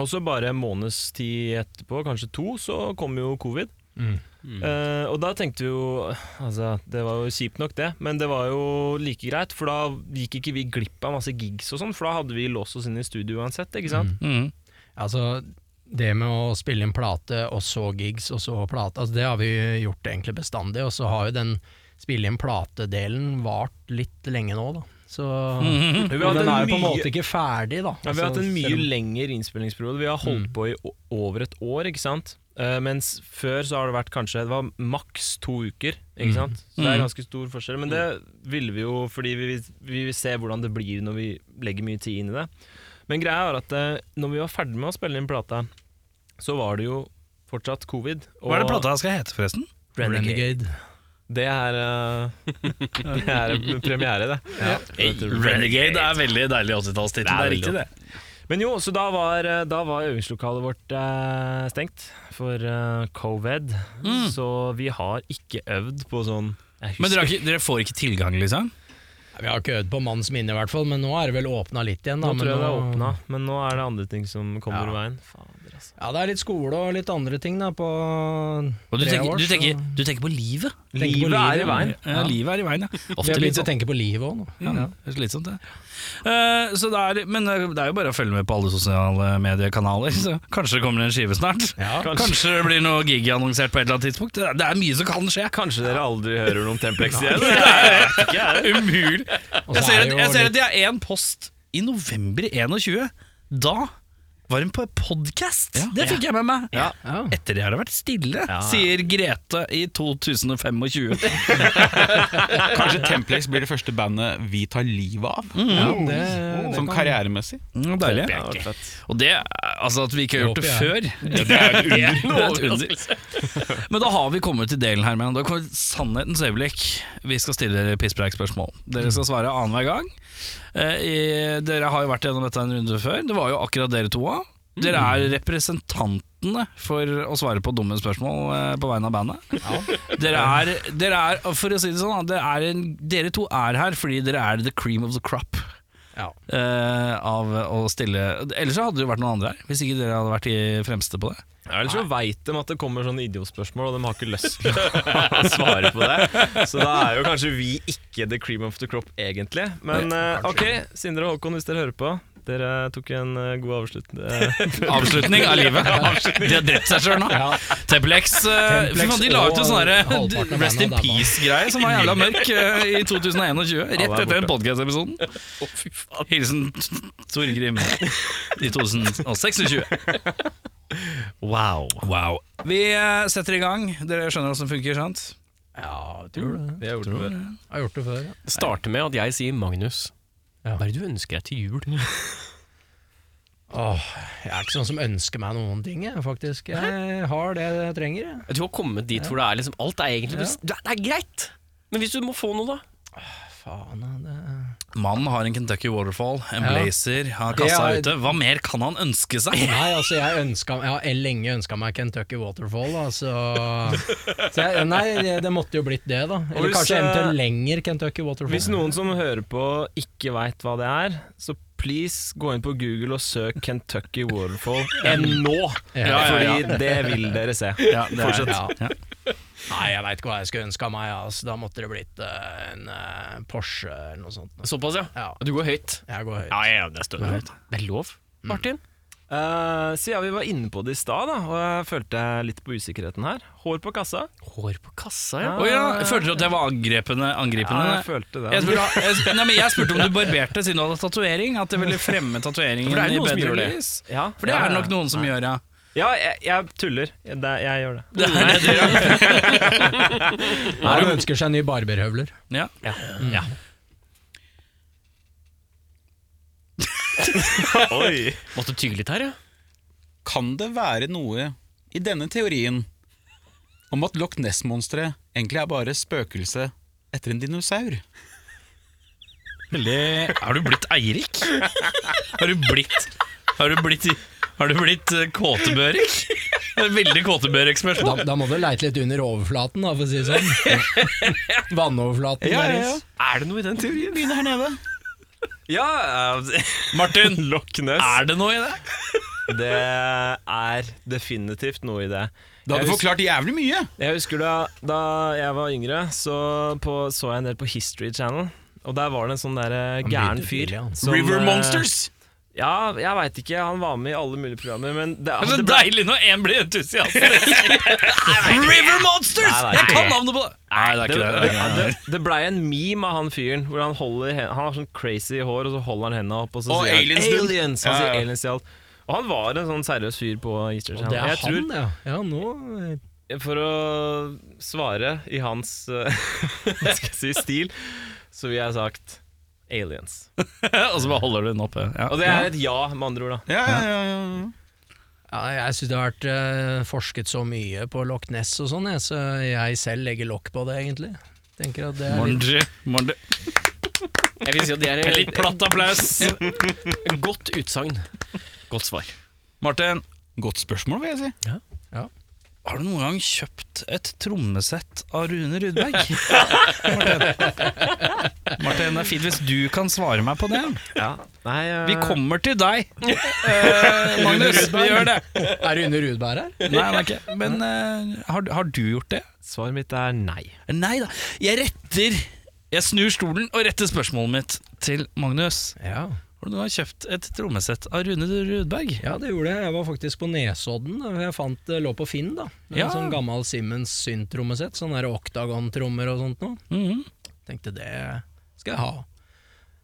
[SPEAKER 7] Og så bare en måneds tid etterpå, kanskje to, så kom jo covid.
[SPEAKER 6] Mm.
[SPEAKER 7] Eh, og da tenkte vi jo Altså, det var jo kjipt nok, det, men det var jo like greit, for da gikk ikke vi glipp av masse gigs og sånn, for da hadde vi låst oss inn i studio uansett, ikke sant?
[SPEAKER 1] Mm.
[SPEAKER 6] altså, det med å spille inn plate, og så gigs, og så plate, altså, det har vi gjort egentlig bestandig. Og så har jo den spille inn plate-delen vart litt lenge nå, da. Så
[SPEAKER 7] Vi
[SPEAKER 6] og
[SPEAKER 7] hadde
[SPEAKER 6] den er jo på en
[SPEAKER 7] mye-
[SPEAKER 6] måte ikke ferdig, da. Altså,
[SPEAKER 7] Ja, vi har hatt en mye
[SPEAKER 6] selv om-
[SPEAKER 7] lengre innspillingsperiode. Vi har holdt på i o- over et år, ikke sant? Eh, mens før så har det vært kanskje Det var maks to uker, ikke sant? Så det er ganske stor forskjell. Men det ville vi jo fordi vi, vi vil se hvordan det blir når vi legger mye tid inn i det. Men greia er at eh, når vi var ferdig med å spille inn plata, så var det jo fortsatt covid. og
[SPEAKER 1] Hva er det plata skal hete forresten?
[SPEAKER 6] Renegade.
[SPEAKER 7] Det er, eh, det er premiere, det.
[SPEAKER 1] Renegade er veldig deilig 80-tallstittel, det er riktig det
[SPEAKER 7] Men jo, så da var, eh, da var øvingslokalet vårt eh, stengt for eh, covid. Så vi har ikke øvd på sånn jeg
[SPEAKER 1] Men dere,
[SPEAKER 7] husker-
[SPEAKER 1] har ikke, dere får ikke tilgang liksom?
[SPEAKER 6] Vi har ikke øvd på mannens minne, i hvert fall, men nå er det vel åpna litt igjen. Da,
[SPEAKER 7] Nå
[SPEAKER 6] men
[SPEAKER 7] tror jeg det er
[SPEAKER 6] nå-
[SPEAKER 7] åpna, men nå er det andre ting som kommer i veien. Fader, altså.
[SPEAKER 6] Ja, det er litt skole og litt andre ting da, på
[SPEAKER 1] Og du
[SPEAKER 6] tre
[SPEAKER 1] tenker,
[SPEAKER 6] år.
[SPEAKER 1] du,
[SPEAKER 6] så-
[SPEAKER 1] tenker, du tenker på livet?
[SPEAKER 6] Tenker på
[SPEAKER 7] Livet er i veien.
[SPEAKER 1] Ja, livet er i veien, ja.
[SPEAKER 6] Vi
[SPEAKER 1] Ofte
[SPEAKER 6] har
[SPEAKER 1] litt
[SPEAKER 6] begynt å
[SPEAKER 1] sånn.
[SPEAKER 6] tenke på livet òg nå.
[SPEAKER 1] Ja,
[SPEAKER 7] Mm.
[SPEAKER 1] det er slitsomt, det. Eh, så det er, men det er jo bare å følge med på alle sosiale mediekanaler. Så kanskje det kommer en skive snart. kanskje. det blir noe gig annonsert på et eller annet tidspunkt. Det er, det er mye som kan skje.
[SPEAKER 7] Kanskje dere aldri hører noe om Templex igjen?
[SPEAKER 1] Umulig.
[SPEAKER 6] Og så
[SPEAKER 1] Jeg ser,
[SPEAKER 6] er
[SPEAKER 1] at,
[SPEAKER 6] det jo
[SPEAKER 1] jeg ser
[SPEAKER 6] litt-
[SPEAKER 1] at det er én post i november 21. Da var hun på podkast! Det fikk jeg med meg.
[SPEAKER 6] Ja.
[SPEAKER 1] Etter det har det vært stille, sier Grete i 2025.
[SPEAKER 3] Kanskje Templex blir det første bandet vi tar livet av,
[SPEAKER 6] det- det
[SPEAKER 3] sånn
[SPEAKER 6] kan-
[SPEAKER 3] karrieremessig.
[SPEAKER 1] Mm, deilig. Og det, altså At vi ikke har gjort det
[SPEAKER 6] Det
[SPEAKER 1] før,
[SPEAKER 6] håper
[SPEAKER 1] det er et under. Det er et under. Men da har vi kommet til delen her, men da kommer sannhetens øyeblikk. Vi skal stille dere pisspreik-spørsmål. Dere skal svare annenhver gang. Eh, i- Dere har jo vært gjennom dette en runde før. Det var jo akkurat dere to òg. Dere er representantene for å svare på dumme spørsmål eh, på vegne av bandet. Dere, er, dere er, for å si det sånn, da, dere, er en, dere to er her fordi dere er the cream of the crop
[SPEAKER 6] Ja.
[SPEAKER 1] eh, av å stille Ellers så hadde det jo vært noen andre her, hvis ikke dere hadde vært de fremste på det.
[SPEAKER 7] Ja, Ellers så veit de at det kommer sånne idiotspørsmål, og de har ikke lyst til å svare på det. Så da er jo kanskje vi ikke the cream of the crop, egentlig. Men eh, ok, Sindre og Håkon, hvis dere hører på. Dere tok en eh, god avslutning.
[SPEAKER 1] Avslutning av livet. De har drept seg sjøl nå. Temple X eh, Fy faen, de la ut en sånn
[SPEAKER 6] Halvparten
[SPEAKER 1] herre
[SPEAKER 6] av
[SPEAKER 1] Rest in
[SPEAKER 6] bandet er dabba.
[SPEAKER 1] Peace-greie som var jævla mørk eh, i 2021. Rett etter den podkast-episoden. Hilsen Torgrim i 2026.
[SPEAKER 2] Wow.
[SPEAKER 1] Wow. Vi eh, setter i gang. Dere skjønner åssen det funker, sant?
[SPEAKER 6] Ja, tror det. Jeg har gjort det før. Ja.
[SPEAKER 2] Det starter med at jeg sier Magnus. Hva er det du ønsker deg til jul?
[SPEAKER 6] Åh, jeg er ikke sånn som ønsker meg noen ting, jeg, faktisk. Jeg har det jeg trenger. Jeg.
[SPEAKER 2] Jeg tror jeg har kommet dit hvor det er liksom Alt er egentlig bes- det, er, det er greit! Men hvis du må få noe, da?
[SPEAKER 6] Faen, ja, det
[SPEAKER 1] Mannen har en Kentucky Waterfall, en
[SPEAKER 6] Ja.
[SPEAKER 1] blazer, har kassa
[SPEAKER 6] Det er-
[SPEAKER 1] ute. Hva mer kan han ønske seg?
[SPEAKER 6] Nei, altså, jeg, ønsket- jeg har lenge ønska meg Kentucky Waterfall, da, så, så jeg, Nei, det, det måtte jo blitt det, da. Eller
[SPEAKER 7] hvis,
[SPEAKER 6] kanskje
[SPEAKER 7] eh,
[SPEAKER 6] eventuelt lenger Kentucky Waterfall.
[SPEAKER 7] Hvis noen som hører på ikke veit hva det er, så please gå inn på Google og søk Kentucky Waterfall enn nå!
[SPEAKER 6] Ja, ja, ja.
[SPEAKER 7] Fordi det vil dere se. Fortsett.
[SPEAKER 6] Ja. Nei, jeg veit ikke hva jeg skulle ønska meg. Altså. Da måtte det blitt eh, en eh, Porsche eller noe sånt.
[SPEAKER 2] Såpass, ja.
[SPEAKER 6] Ja,
[SPEAKER 2] Du går høyt.
[SPEAKER 6] jeg går høyt.
[SPEAKER 2] Ja, ja, det er stødig. Det er lov, Martin.
[SPEAKER 7] Eh, siden vi var inne på det i stad, da, og jeg følte litt på usikkerheten her. Hår på kassa.
[SPEAKER 2] Hår på kassa, ja.
[SPEAKER 1] Å ja, jeg følte du at jeg var angrepende? angripende?
[SPEAKER 7] Ja, jeg følte det.
[SPEAKER 1] Jeg spurte, jeg, nei, men jeg spurte om du barberte siden du hadde tatovering. At det ville fremme tatoveringen
[SPEAKER 2] For det er
[SPEAKER 1] i
[SPEAKER 2] jo noen som
[SPEAKER 1] bedre
[SPEAKER 2] gjør det.
[SPEAKER 1] lys.
[SPEAKER 7] Ja,
[SPEAKER 1] For det er det nok noen som gjør, ja.
[SPEAKER 7] Ja, jeg, jeg tuller. Jeg, det, jeg gjør det.
[SPEAKER 1] Det er det du gjør.
[SPEAKER 6] Nei, de ønsker seg nye barberhøvler.
[SPEAKER 1] Ja.
[SPEAKER 2] Måtte tygge litt her, ja.
[SPEAKER 4] Kan det være noe i denne teorien om at Loch Ness-monsteret egentlig er bare spøkelse etter en dinosaur?
[SPEAKER 1] Har du blitt Eirik? Har du blitt Har du blitt, har du blitt eh, Kåtebørik? Det er et Veldig
[SPEAKER 6] Da,
[SPEAKER 1] Kåtebørik-spørsmål.
[SPEAKER 6] da må du leite litt under overflaten, da, for å si det sånn. Vannoverflaten
[SPEAKER 4] Ja, ja, ja.
[SPEAKER 6] deres.
[SPEAKER 7] Er det noe i den teorien?
[SPEAKER 4] Begynner her nede.
[SPEAKER 7] Ja,
[SPEAKER 1] Martin,
[SPEAKER 7] Loch Ness.
[SPEAKER 1] er det noe i det?
[SPEAKER 7] Det er definitivt noe i det.
[SPEAKER 4] Det
[SPEAKER 7] Jeg
[SPEAKER 4] hadde
[SPEAKER 7] hus-
[SPEAKER 4] forklart jævlig mye.
[SPEAKER 7] Jeg husker da, da jeg var yngre, så på, så jeg en del på History Channel. Og der var det en sånn der eh,
[SPEAKER 6] Han
[SPEAKER 7] gæren
[SPEAKER 6] begynte
[SPEAKER 7] fyr.
[SPEAKER 6] tidlig, han.
[SPEAKER 7] som,
[SPEAKER 4] River
[SPEAKER 7] eh,
[SPEAKER 4] Monsters.
[SPEAKER 7] Ja, jeg veit ikke. Han var med i alle mulige programmer, men det,
[SPEAKER 4] Altså,
[SPEAKER 1] Det er så
[SPEAKER 7] det
[SPEAKER 1] deilig når én blir entusiastisk. River Monsters!
[SPEAKER 7] Nei, det er
[SPEAKER 1] Jeg
[SPEAKER 7] ikke
[SPEAKER 1] kan
[SPEAKER 7] det.
[SPEAKER 1] navnet på det! Nei, det
[SPEAKER 7] det, det, det blei en meme av han fyren. Hvor Han holder hen- Han har sånn crazy hår, og så holder han henda opp. Og så
[SPEAKER 4] Og
[SPEAKER 7] sier
[SPEAKER 4] aliens,
[SPEAKER 7] han
[SPEAKER 4] dude.
[SPEAKER 7] aliens! Han
[SPEAKER 4] Ja, ja.
[SPEAKER 7] sier aliens i alt. Og han var en sånn seriøs fyr på Easter
[SPEAKER 6] Og det
[SPEAKER 7] Channel.
[SPEAKER 6] er
[SPEAKER 7] Jeg tror,
[SPEAKER 6] han, ja. Ja, nå
[SPEAKER 7] For å svare i hans eh, hva skal jeg si, stil, så ville jeg sagt aliens.
[SPEAKER 1] Og så bare holder du den oppe. Ja.
[SPEAKER 7] Og det er et ja, med andre ord. da
[SPEAKER 4] Ja, ja, ja, ja.
[SPEAKER 6] Ja, jeg syns det har vært eh, forsket så mye på Loch Ness og sånn, jeg, så jeg selv legger lokk på det, egentlig. Tenker at det er litt...
[SPEAKER 1] Morgen, morgen.
[SPEAKER 2] Jeg vil si at det er
[SPEAKER 1] En litt platt applaus.
[SPEAKER 2] et godt utsagn. Godt svar.
[SPEAKER 1] Martin,
[SPEAKER 4] Godt spørsmål, vil jeg si.
[SPEAKER 1] har du noen gang kjøpt et trommesett av Rune Rudberg? Martin. Martin, det er fint hvis du kan svare meg på det.
[SPEAKER 7] Nei, eh,
[SPEAKER 1] Vi kommer til deg, Eh, Magnus. Vi gjør det.
[SPEAKER 6] Er Rune Rudberg her?
[SPEAKER 1] Nei, det er ikke. Men eh, har, har du gjort det?
[SPEAKER 7] Svaret mitt er nei.
[SPEAKER 1] Nei da. Jeg retter Jeg snur stolen og retter spørsmålet mitt til Magnus.
[SPEAKER 6] Ja.
[SPEAKER 1] Har du noen gang kjøpt et trommesett av Rune Rudberg?
[SPEAKER 6] ja, det gjorde jeg. Jeg var faktisk på Nesodden. og Jeg fant det lå på Finn, da. En
[SPEAKER 1] Ja.
[SPEAKER 6] sånn gammel Simmons syntrommesett. Sånn der oktagontrommer og sånt noe.
[SPEAKER 1] Mhm.
[SPEAKER 6] Tenkte det skal jeg ha.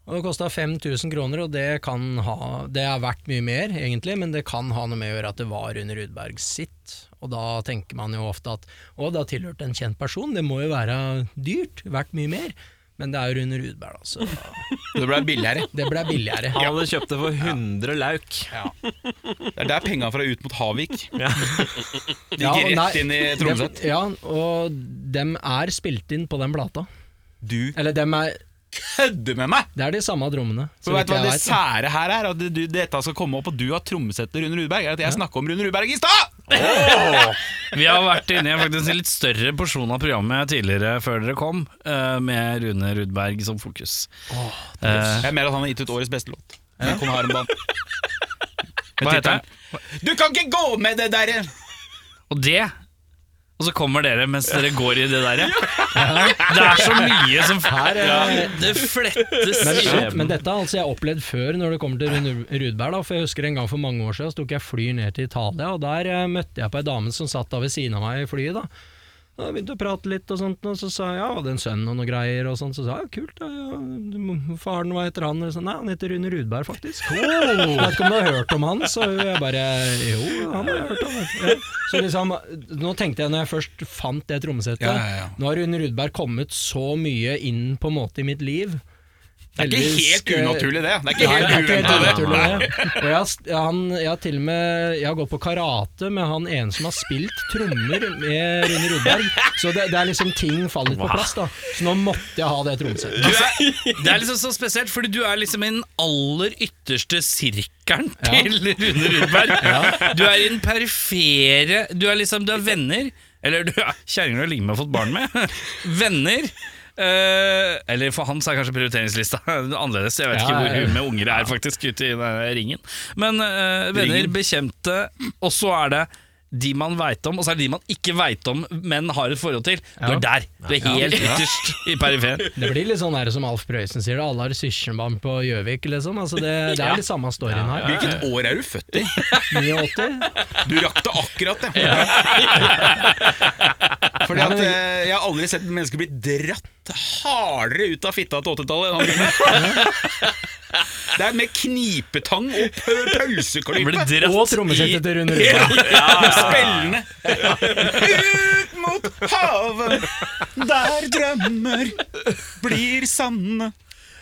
[SPEAKER 6] Og det kosta 5000 kroner, og det kan ha Det er verdt mye mer, egentlig, men det kan ha noe med å gjøre at det var under Rudberg sitt. Og da tenker man jo ofte at å, det har tilhørt en kjent person, det må jo være dyrt, verdt mye mer. Men det er jo Rune Rudberg, altså.
[SPEAKER 4] Det ble billigere.
[SPEAKER 6] Det ble billigere.
[SPEAKER 7] Han hadde kjøpt det for 100 lauk.
[SPEAKER 4] Det er der penga fra ut mot Havik. De
[SPEAKER 6] Ja,
[SPEAKER 4] gikk
[SPEAKER 6] nei,
[SPEAKER 4] rett inn i trommesett.
[SPEAKER 6] dem- Ja, og dem er spilt inn på den plata.
[SPEAKER 4] Du
[SPEAKER 6] Eller dem er
[SPEAKER 4] kødder med meg!
[SPEAKER 6] Det er de samme trommene.
[SPEAKER 4] For
[SPEAKER 6] så
[SPEAKER 4] vet du
[SPEAKER 6] vidt
[SPEAKER 4] hva
[SPEAKER 6] jeg
[SPEAKER 4] det
[SPEAKER 6] vet.
[SPEAKER 4] sære her er? At du, dette skal komme opp, og du har trommesetter Rune Rudberg. Er at jeg snakka om Rune Rudberg i stad!
[SPEAKER 1] Vi har vært inne i faktisk en litt større porsjon av programmet tidligere, før dere kom, eh, med Rune Rudberg som fokus. Eh,
[SPEAKER 4] Jeg er mer at han har gitt ut årets beste låt. Men Kom her om dagen.
[SPEAKER 1] hva heter den?
[SPEAKER 4] Du kan ikke gå med det derre!
[SPEAKER 1] Og det Og så kommer dere mens dere går i det der. Det er så mye som
[SPEAKER 6] Her, eh,
[SPEAKER 1] Det flettes
[SPEAKER 6] Men,
[SPEAKER 1] i.
[SPEAKER 6] men dette har altså jeg opplevd før når det kommer til Rune Rudberg. Da, for jeg husker En gang for mange år siden så tok jeg fly ned til Italia, og der eh, møtte jeg på ei dame som satt da ved siden av meg i flyet. da og jeg begynte å prate litt, og sånt, og så sa jeg ja, hadde en sønn og noe greier. og sånt, Så sa jeg ja, kult, da, ja, du må- faren hva heter han? Og så, Nei, han heter Rune Rudberg, faktisk. Jeg vet ikke om du har hørt om han? Så jeg bare jo, han har jeg hørt om. Ja. Så liksom, nå tenkte jeg når jeg først fant det trommesettet,
[SPEAKER 4] Ja, ja, ja.
[SPEAKER 6] nå har Rune Rudberg kommet så mye inn på en måte i mitt liv
[SPEAKER 9] Det er ikke
[SPEAKER 6] Heldigvis,
[SPEAKER 9] helt
[SPEAKER 6] eh,
[SPEAKER 9] unaturlig, det. Det er
[SPEAKER 6] Nei,
[SPEAKER 9] ikke
[SPEAKER 6] det er
[SPEAKER 9] helt
[SPEAKER 6] ikke helt
[SPEAKER 9] uventet, det.
[SPEAKER 6] unaturlig, det. Og jeg, har s- han, jeg har til og med Jeg har gått på karate med han ene som har spilt trommer med Rune Rudberg. Så det, det er liksom ting faller litt på plass, da. Så nå måtte jeg ha det trommesettet.
[SPEAKER 1] Du er, det er liksom så spesielt, fordi du er liksom i den aller ytterste sirkelen til Rune Rudberg. Du er i den perifere Du er liksom, du er venner Eller du er kjerringer du har ligget med og fått barn med. Venner. eh, eller for hans er kanskje prioriteringslista annerledes. Jeg vet
[SPEAKER 6] Ja,
[SPEAKER 1] ikke
[SPEAKER 6] ja,
[SPEAKER 1] hvor
[SPEAKER 6] ja.
[SPEAKER 1] hun med unger er faktisk ute i den der ringen. Men eh, venner, bekjente, og så er det de man veit om, og så er det de man ikke veit om, men har et forhold til. Du er der! Du er helt ytterst i periferien.
[SPEAKER 6] Det blir litt sånn der som Alf Prøysen sier, det, alle har søskenbarn på Gjøvik, liksom. Altså det, det er litt samme storyen her.
[SPEAKER 3] Hvilket år er du født i?
[SPEAKER 6] 89.
[SPEAKER 3] Du rakk det akkurat, det. Fordi
[SPEAKER 6] Nei,
[SPEAKER 3] at
[SPEAKER 6] men-
[SPEAKER 3] eh, Jeg har aldri sett mennesker bli dratt hardere ut av fitta til 80-tallet. enn han gjorde. Det er med knipetang og pø-
[SPEAKER 1] Ble
[SPEAKER 3] pølseklype.
[SPEAKER 1] dratt
[SPEAKER 6] Og trommesettet til Rune Rudberg.
[SPEAKER 3] Ja, Spillende. Ut mot havet, der drømmer blir sanne.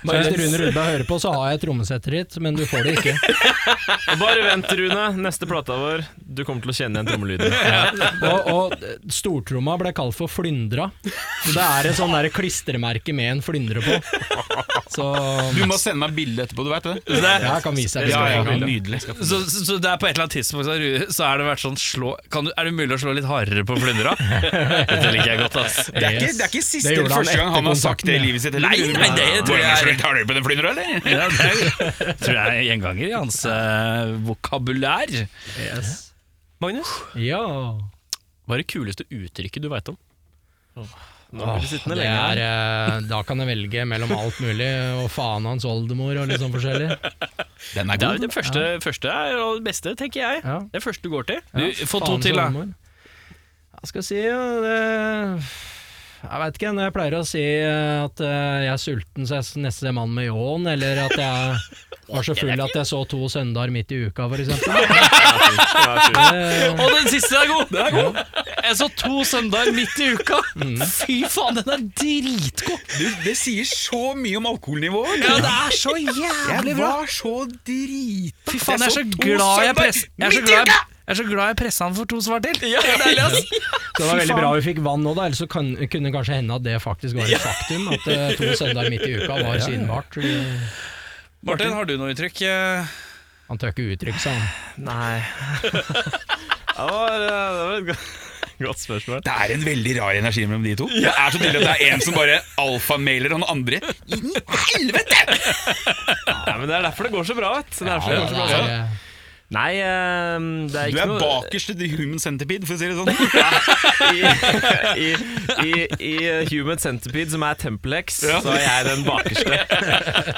[SPEAKER 6] Bare hvis Rune Rudberg hører på, så har jeg trommesettet ditt, men du får det ikke.
[SPEAKER 7] Og bare vent, Rune. Neste plata vår. Du kommer til å kjenne igjen trommelyden.
[SPEAKER 6] Og, og eh, stortromma ble kalt for flyndra. Så det er et sånn der klistremerke med en flyndre på. Så
[SPEAKER 3] Du må sende meg bilde etterpå, du veit det?
[SPEAKER 1] Så det er,
[SPEAKER 6] jeg kan vise deg.
[SPEAKER 7] Ja, ja, ja.
[SPEAKER 3] Nydelig.
[SPEAKER 1] så, så så det er på et eller annet tidspunkt så har du- så er det vært sånn slå, kan du, Er det mulig å slå litt hardere på flyndra? Dette liker jeg godt, ass.
[SPEAKER 3] Det er ikke, det er ikke siste
[SPEAKER 6] Det
[SPEAKER 3] eller
[SPEAKER 6] gjorde han
[SPEAKER 3] første gang han har
[SPEAKER 6] etter
[SPEAKER 3] sagt det i livet sitt. eller?
[SPEAKER 1] Nei, nei, det tror jeg er-
[SPEAKER 3] Tar dere på den flyndra, eller?
[SPEAKER 1] Ja, det er, tror jeg er gjenganger i hans eh, vokabulær.
[SPEAKER 2] Magnus,
[SPEAKER 6] Ja.
[SPEAKER 2] hva er det kuleste uttrykket du veit om? Nå blir du sittende
[SPEAKER 6] Det
[SPEAKER 2] lenge
[SPEAKER 6] er,
[SPEAKER 2] her.
[SPEAKER 6] eh, da kan jeg velge mellom alt mulig, og faen hans oldemor og litt sånn forskjellig.
[SPEAKER 3] Den er
[SPEAKER 2] Det er
[SPEAKER 3] god.
[SPEAKER 2] det første, første er og det beste, tenker jeg.
[SPEAKER 6] Ja.
[SPEAKER 2] Det første du går til.
[SPEAKER 1] Du, få to
[SPEAKER 6] Faen
[SPEAKER 1] til, da.
[SPEAKER 2] sånn-
[SPEAKER 6] som oldemor. Hva skal jeg si? ja, Det, jeg veit ikke. Jeg pleier å si eh, at eh, jeg er sulten så jeg er nesten en mann med ljåen, eller at jeg var så full at jeg så to søndager midt i uka, for eksempel.
[SPEAKER 1] Og den siste er god! Den er god. Jeg så to søndager midt i uka. Fy faen, den er dritgod!
[SPEAKER 3] Du, det sier så mye om alkoholnivået.
[SPEAKER 1] Ja, det er så jævlig
[SPEAKER 3] Jeg
[SPEAKER 1] bra!
[SPEAKER 3] var så drita.
[SPEAKER 1] Fy faen, jeg er så
[SPEAKER 3] to
[SPEAKER 1] glad jeg
[SPEAKER 3] søndager
[SPEAKER 1] press- jeg er så
[SPEAKER 3] midt i
[SPEAKER 1] glad jeg-
[SPEAKER 3] uka!
[SPEAKER 1] jeg er så glad jeg pressa han for to svar til. Ja, det er deilig, ass.
[SPEAKER 6] Så det var veldig bra vi fikk vann nå, da. Ellers så kan, kunne det kanskje hende at det faktisk var et faktum. At eh, to søndager midt i uka var synbart.
[SPEAKER 1] Martin, har du noe uttrykk? eh?
[SPEAKER 6] Han tør ikke uttrykke seg, han.
[SPEAKER 7] Nei. Det var, det var et godt- godt spørsmål.
[SPEAKER 3] Det er en veldig rar energi mellom de to. Det er så tydelig at det er en som bare alfamailer han andre. Inn i helvete!
[SPEAKER 7] Nei, men Det er derfor det går så bra. vet du. Det er derfor det går så bra.
[SPEAKER 6] Det er, eh,
[SPEAKER 7] Nei, ehm, det
[SPEAKER 3] Du
[SPEAKER 7] er ikke
[SPEAKER 3] er
[SPEAKER 7] noe
[SPEAKER 3] bakerst i The Human Centipede, for å si det sånn.
[SPEAKER 7] I, i, I Human Centipede, som er Templex, så er jeg den bakerste.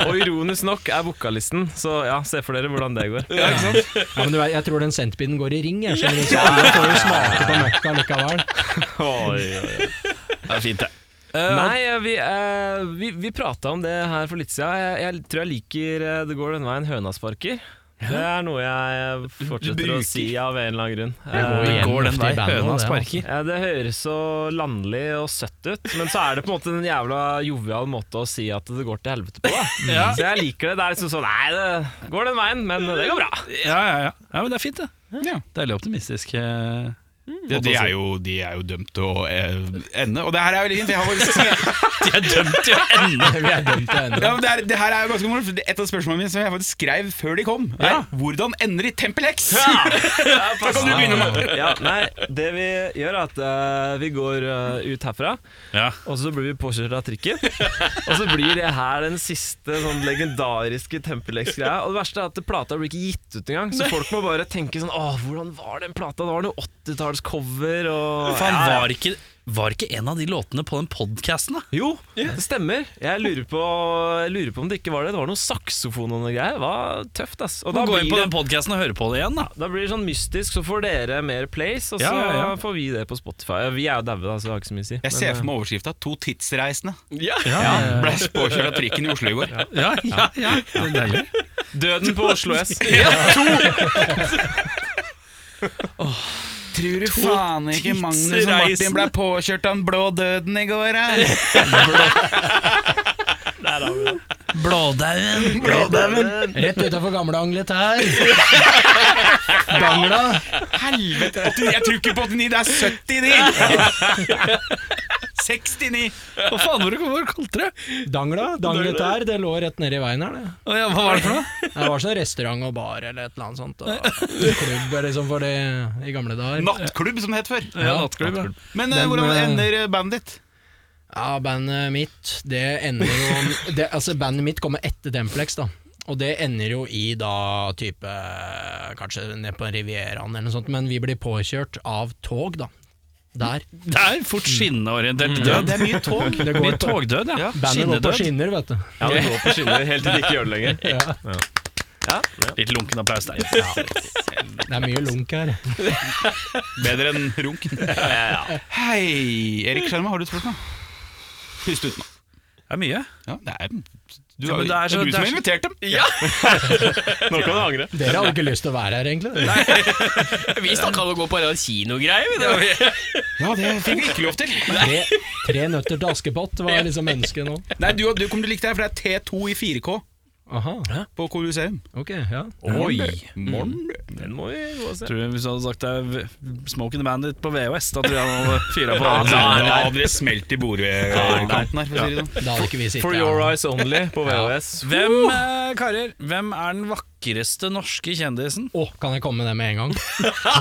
[SPEAKER 7] Og ironisk nok er vokalisten, så ja, se for dere hvordan det går.
[SPEAKER 6] Ja, men du vet, jeg tror den centipeden går i ring, jeg. skjønner du, Så alle får jo smake på møkka likevel.
[SPEAKER 1] Det er fint, det.
[SPEAKER 7] Nei, eh, vi, eh, vi, vi prata om det her for litt siden. Jeg, jeg tror jeg liker eh, det går denne veien, hønasparker. Det er noe jeg eh, fortsetter å si av en eller annen grunn. Eh,
[SPEAKER 1] Det går den
[SPEAKER 6] ofte i
[SPEAKER 1] vei
[SPEAKER 6] bandet,
[SPEAKER 1] høna
[SPEAKER 6] det, altså.
[SPEAKER 1] sparker.
[SPEAKER 7] Ja, det høres så landlig og søtt ut, men så er det på en måte en jævla jovial måte å si at det går til helvete på. Da. Så jeg liker det. Det er liksom sånn Nei, det går den veien, men det går bra.
[SPEAKER 1] Ja, ja, ja. ja men det er fint, det.
[SPEAKER 3] Ja.
[SPEAKER 1] Deilig optimistisk. eh.
[SPEAKER 3] De, de, er jo, de er jo dømt til å eh, ende. Og det her er veldig fint. for Jeg har faktisk
[SPEAKER 1] De er dømt til å ende!
[SPEAKER 6] Vi er dømt til å ende.
[SPEAKER 3] Ja, men det, her, det her er jo ganske morsomt. for Et av spørsmålene mine som jeg faktisk skrev før de kom, er hvordan ender i Tempel X? Da kan du begynne med
[SPEAKER 7] Ja, nei, det vi gjør er at eh, vi går eh, ut herfra,
[SPEAKER 1] Ja.
[SPEAKER 7] og så blir vi påkjørt av trikken. Og så blir det her den siste sånn legendariske Tempelex-greia. Og det verste er at plata blir ikke gitt ut engang, så folk må bare tenke sånn Åh, hvordan var den plata? Det var noe 80-tallscover og
[SPEAKER 1] Faen,
[SPEAKER 7] Ja, ja.
[SPEAKER 1] var ikke, var ikke en av de låtene på den podkasten, da?
[SPEAKER 7] Jo, det stemmer. Jeg lurer, på, jeg lurer på om det ikke var det. Det var noe saksofon og noe greier. Det var tøft, ass. Og da
[SPEAKER 1] Gå inn på
[SPEAKER 7] blir,
[SPEAKER 1] den
[SPEAKER 7] det,
[SPEAKER 1] podkasten og høre på det igjen, da.
[SPEAKER 7] da blir det sånn mystisk, så får dere mer plays, og så
[SPEAKER 1] Ja, ja, ja.
[SPEAKER 7] får vi det på Spotify. Vi er jo daue, da, så det har ikke så mye å si.
[SPEAKER 3] Jeg ser for meg overskrifta 'To tidsreisende'.
[SPEAKER 1] Ja,
[SPEAKER 3] Ble påkjørt av trikken i Oslo i går.
[SPEAKER 1] ja, ja, ja. Det er deilig.
[SPEAKER 7] Døden på Oslo S.
[SPEAKER 3] Tror du faen ikke Magnus og Martin ble påkjørt av den blå døden i går, da?
[SPEAKER 1] Blådauen.
[SPEAKER 6] Rett utafor gamle Angleterre. Bangla.
[SPEAKER 3] Helvete! Jeg tror ikke på 89, det er 79! 69!
[SPEAKER 1] Hva faen var det hvor kalte det?
[SPEAKER 6] Dangla. Dangleterre. Det lå rett nedi veien her, det.
[SPEAKER 1] Å, ja, Hva var det for noe?
[SPEAKER 6] Det var sånn restaurant og bar eller et eller annet sånt. Og klubb liksom for det i gamle dager.
[SPEAKER 3] Nattklubb, som det het før.
[SPEAKER 1] Ja, nattklubb. Ja.
[SPEAKER 3] Men eh,
[SPEAKER 6] Den,
[SPEAKER 3] hvordan
[SPEAKER 6] eh,
[SPEAKER 3] ender bandet ditt?
[SPEAKER 6] Ja, bandet mitt, det ender jo det, Altså, bandet mitt kommer etter Templex, da. Og det ender jo i da type Kanskje ned på Rivieraen eller noe sånt, men vi blir påkjørt av tog, da. Der.
[SPEAKER 1] Det er fort
[SPEAKER 7] Mm.
[SPEAKER 1] skinneorientert død.
[SPEAKER 3] Det er mye tog.
[SPEAKER 6] Det
[SPEAKER 1] Mye togdød, ja.
[SPEAKER 6] Bandet går på
[SPEAKER 1] Skinnedød.
[SPEAKER 6] skinner, vet du.
[SPEAKER 7] Ja, det går på skinner helt til de ikke gjør det lenger.
[SPEAKER 6] Ja,
[SPEAKER 7] Ja, ja.
[SPEAKER 1] Litt lunken applaus der. Ja.
[SPEAKER 6] det er mye lunk her.
[SPEAKER 3] Bedre enn runk. Hei, Erik Skjerma, har du et spørsmål? Pust ut nå.
[SPEAKER 1] Det er mye.
[SPEAKER 3] Ja, det er, du,
[SPEAKER 1] Ja,
[SPEAKER 3] har-
[SPEAKER 1] men
[SPEAKER 3] det
[SPEAKER 1] det er
[SPEAKER 3] er
[SPEAKER 1] så-
[SPEAKER 3] du
[SPEAKER 1] det er
[SPEAKER 3] som har
[SPEAKER 1] så-
[SPEAKER 3] invitert dem.
[SPEAKER 7] Nå kan du angre.
[SPEAKER 6] Dere hadde ikke lyst til å være her, egentlig.
[SPEAKER 2] Vi snakka om å gå på en kinogreie. vi, da.
[SPEAKER 6] Ja, det
[SPEAKER 3] Fikk vi ikke lov til.
[SPEAKER 6] tre, tre nøtter til Askepott var liksom ønsket nå.
[SPEAKER 4] Nei, du, du kommer til å like det her, for det er T2 i 4K
[SPEAKER 6] Aha,
[SPEAKER 4] på Colosseum.
[SPEAKER 6] ok, ja.
[SPEAKER 4] Oi, morgen
[SPEAKER 7] Den må vi gå og se.
[SPEAKER 1] Tror du Hvis du hadde sagt det er v- Smoke in the Bandit på VHS, da tror jeg han hadde fyra på.
[SPEAKER 4] Da
[SPEAKER 1] alle.
[SPEAKER 4] hadde det smelt i bordkanten her, for å si det sånn.
[SPEAKER 6] Da hadde ikke vi sittet
[SPEAKER 7] For Your
[SPEAKER 6] her.
[SPEAKER 7] Eyes Only på VHS.
[SPEAKER 1] Hvem, eh, karer, hvem er den vakreste norske kjendisen?
[SPEAKER 6] Å, kan jeg komme med det med en gang?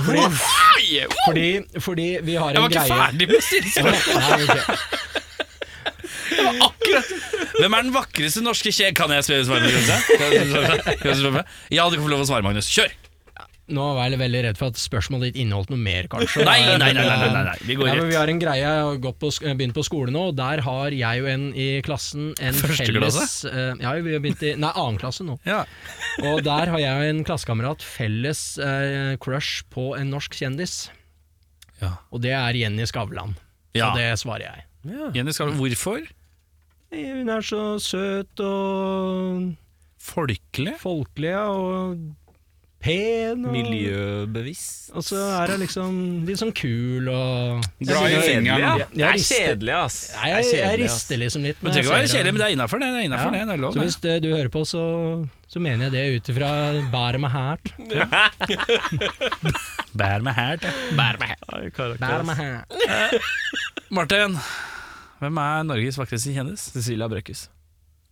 [SPEAKER 6] Fordi, fordi, fordi vi har en greie
[SPEAKER 1] med stillespørsmålet!
[SPEAKER 6] Nei, ok.
[SPEAKER 1] Hvem er den vakreste norske kje... Kan jeg spørre svare, Magnus? Kan jeg svare? Kan jeg svare? Ja, du kan få lov å svare, Magnus. Kjør!
[SPEAKER 6] Nå var jeg veldig redd for at spørsmålet ditt inneholdt noe mer, kanskje.
[SPEAKER 1] Nei, nei, nei, nei, nei, nei, nei. vi går
[SPEAKER 6] Ja, men vi
[SPEAKER 1] rett.
[SPEAKER 6] har en greie, jeg har gått på, sk- eh, begynt på skole nå, og der har jeg og en i klassen en
[SPEAKER 1] Første
[SPEAKER 6] felles
[SPEAKER 1] klasse?
[SPEAKER 6] eh, Ja, vi har begynt i Nei, annen klasse nå.
[SPEAKER 1] Ja.
[SPEAKER 6] Og der har jeg og en klassekamerat felles eh, crush på en norsk kjendis.
[SPEAKER 1] Ja.
[SPEAKER 6] Og det er Jenny Skavlan.
[SPEAKER 1] Ja.
[SPEAKER 6] Og det svarer jeg.
[SPEAKER 1] Jenny Skavlan, hvorfor?
[SPEAKER 6] Hun er så søt og
[SPEAKER 1] Folkelig?
[SPEAKER 6] folkelig og pen. Og,
[SPEAKER 7] Miljøbevisst.
[SPEAKER 6] Og så er hun liksom litt sånn kul og
[SPEAKER 4] Dra i fingeren.
[SPEAKER 7] Ja, det er kjedelig, ass.
[SPEAKER 6] Nei, jeg, jeg rister liksom litt.
[SPEAKER 1] Det
[SPEAKER 6] når
[SPEAKER 1] trenger ikke å
[SPEAKER 6] jeg
[SPEAKER 1] være
[SPEAKER 6] ser
[SPEAKER 1] kjedelig,
[SPEAKER 6] henne.
[SPEAKER 1] men det er innafor, det. Det er innenfor, det. Det er lov.
[SPEAKER 6] Så
[SPEAKER 1] det.
[SPEAKER 6] hvis det, du hører på, så, så mener jeg det ut ifra bæret med hært.
[SPEAKER 1] Bær meg her til.
[SPEAKER 6] Bæret med hært.
[SPEAKER 1] Martin, hvem er Norges vakreste kjendis?
[SPEAKER 7] Cecilia Brøkhus.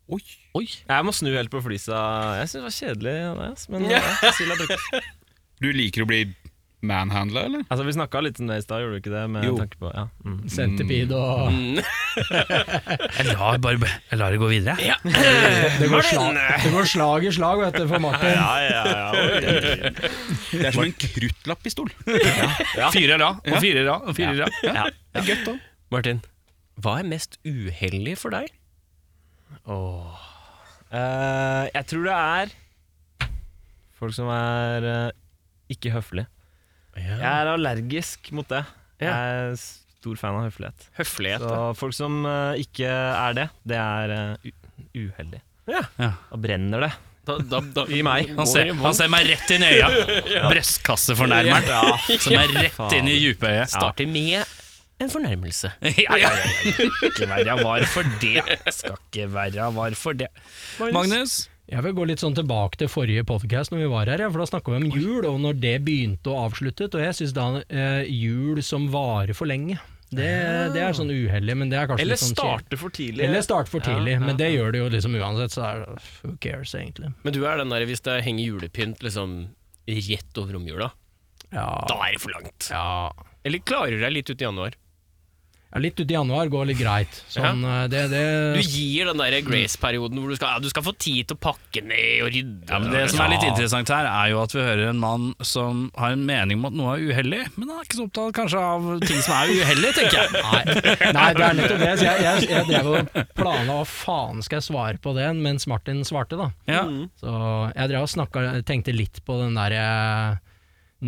[SPEAKER 4] Oi.
[SPEAKER 1] Oi.
[SPEAKER 7] Jeg må snu helt på flisa. Jeg syns det var kjedelig, det, ass, men eh, ja, Cecilia Brøkhus.
[SPEAKER 4] Du liker å bli manhandla, eller?
[SPEAKER 7] Altså, vi snakka litt om det i stad, gjorde vi ikke det? Med
[SPEAKER 4] Jo.
[SPEAKER 7] tanke på, ja. mm.
[SPEAKER 6] Centipede og
[SPEAKER 1] Jeg lar, bare, jeg lar det gå videre. Ja.
[SPEAKER 6] det går, slag, det går slag i slag, vet du, for Martin.
[SPEAKER 7] Ja, ja, ja, oi.
[SPEAKER 4] Det er som en kruttlappistol.
[SPEAKER 1] Fire da, og fire da, og fire da.
[SPEAKER 7] ja. Det er gøtt, da. Martin, hva er mest uheldig for deg? Åh Eh, Jeg tror det er folk som er eh, ikke høflige. Jeg er allergisk mot det. Jeg er stor fan av høflighet.
[SPEAKER 2] Høflighet.
[SPEAKER 7] Så folk som eh, ikke er det, det er eh, u- uheldig.
[SPEAKER 1] Ja.
[SPEAKER 7] Da brenner det
[SPEAKER 2] Da, da, da,
[SPEAKER 7] i meg.
[SPEAKER 1] Han ser, han ser meg rett inn i øya. Brystkassefornærmeren som er rett inn i dype øyet.
[SPEAKER 2] Starter med en fornærmelse.
[SPEAKER 1] Ja, ja, ja, ja. Ikke verre var for det. Skal ikke verre var for det. Magnus?
[SPEAKER 6] Jeg vil gå litt sånn tilbake til forrige podcast når vi var her, ja, for da snakka vi om jul, og når det begynte og avsluttet, og jeg syns da eh, jul som varer for lenge, det, det er sånn uheldig, men det er kanskje
[SPEAKER 7] Eller
[SPEAKER 6] litt sånn
[SPEAKER 7] starter for tidlig.
[SPEAKER 6] Eller start for tidlig, men det gjør det jo liksom uansett, så er det who cares, egentlig.
[SPEAKER 2] Men du er den der hvis det henger julepynt liksom rett over romjula.
[SPEAKER 6] Ja,
[SPEAKER 2] Da er det for langt.
[SPEAKER 6] ja.
[SPEAKER 2] Eller klarer du deg litt ut i januar.
[SPEAKER 6] ja Litt ut i januar går litt greit. Sånn, eh, det, det
[SPEAKER 2] Du gir den der grace-perioden hvor du skal, ja, du skal få tid til å pakke ned og rydde.
[SPEAKER 1] Ja, men det som er litt interessant her, er jo at vi hører en mann som har en mening om at noe er uheldig, men han er ikke så opptatt kanskje av ting som er uheldig, tenker jeg.
[SPEAKER 6] Nei, nei, det er nettopp det. Så jeg, jeg, jeg drev og planla hva faen skal jeg svare på den, mens Martin svarte, da.
[SPEAKER 1] Ja.
[SPEAKER 6] Så jeg drev og snakka, tenkte litt på den der eh,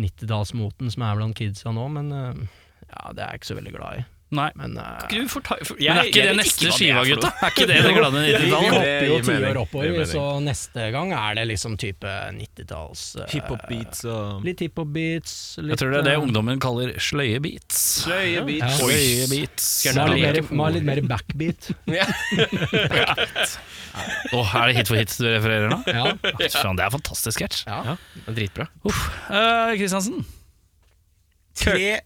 [SPEAKER 6] 90-tallsmoten som er blant kidsa nå, men eh, ja, det er jeg ikke så veldig glad i.
[SPEAKER 1] Nei.
[SPEAKER 6] Men eh,
[SPEAKER 2] Du får ta, for,
[SPEAKER 1] Men
[SPEAKER 2] jeg,
[SPEAKER 1] er ikke
[SPEAKER 2] jeg
[SPEAKER 1] det
[SPEAKER 2] vet
[SPEAKER 1] neste
[SPEAKER 2] hva det er
[SPEAKER 1] skiva,
[SPEAKER 2] for noe.
[SPEAKER 1] gutta? Er ikke det det glade
[SPEAKER 6] vi
[SPEAKER 1] 90-tallet?
[SPEAKER 6] hopper
[SPEAKER 7] Det
[SPEAKER 6] jo
[SPEAKER 7] gir mening.
[SPEAKER 6] tiår
[SPEAKER 7] Det
[SPEAKER 6] oppover,
[SPEAKER 7] gir mening.
[SPEAKER 6] så neste gang er det liksom type 90-talls eh,
[SPEAKER 7] Hiphop-beats og
[SPEAKER 6] Litt hiphop-beats. eh,
[SPEAKER 1] Jeg tror det er det ungdommen kaller sløyebeats.
[SPEAKER 7] Sløyebeats.
[SPEAKER 6] Ja.
[SPEAKER 1] Sløyebeats.
[SPEAKER 6] Må
[SPEAKER 1] Ja.
[SPEAKER 6] ha litt
[SPEAKER 1] Å,
[SPEAKER 6] mer- må ha litt mer backbeat.
[SPEAKER 1] er det hit for hit du refererer nå?
[SPEAKER 6] Ja.
[SPEAKER 1] Faen, det er fantastisk sketsj.
[SPEAKER 6] Ja.
[SPEAKER 2] Dritbra.
[SPEAKER 1] Uff. Eh, Kristiansen.
[SPEAKER 4] Tre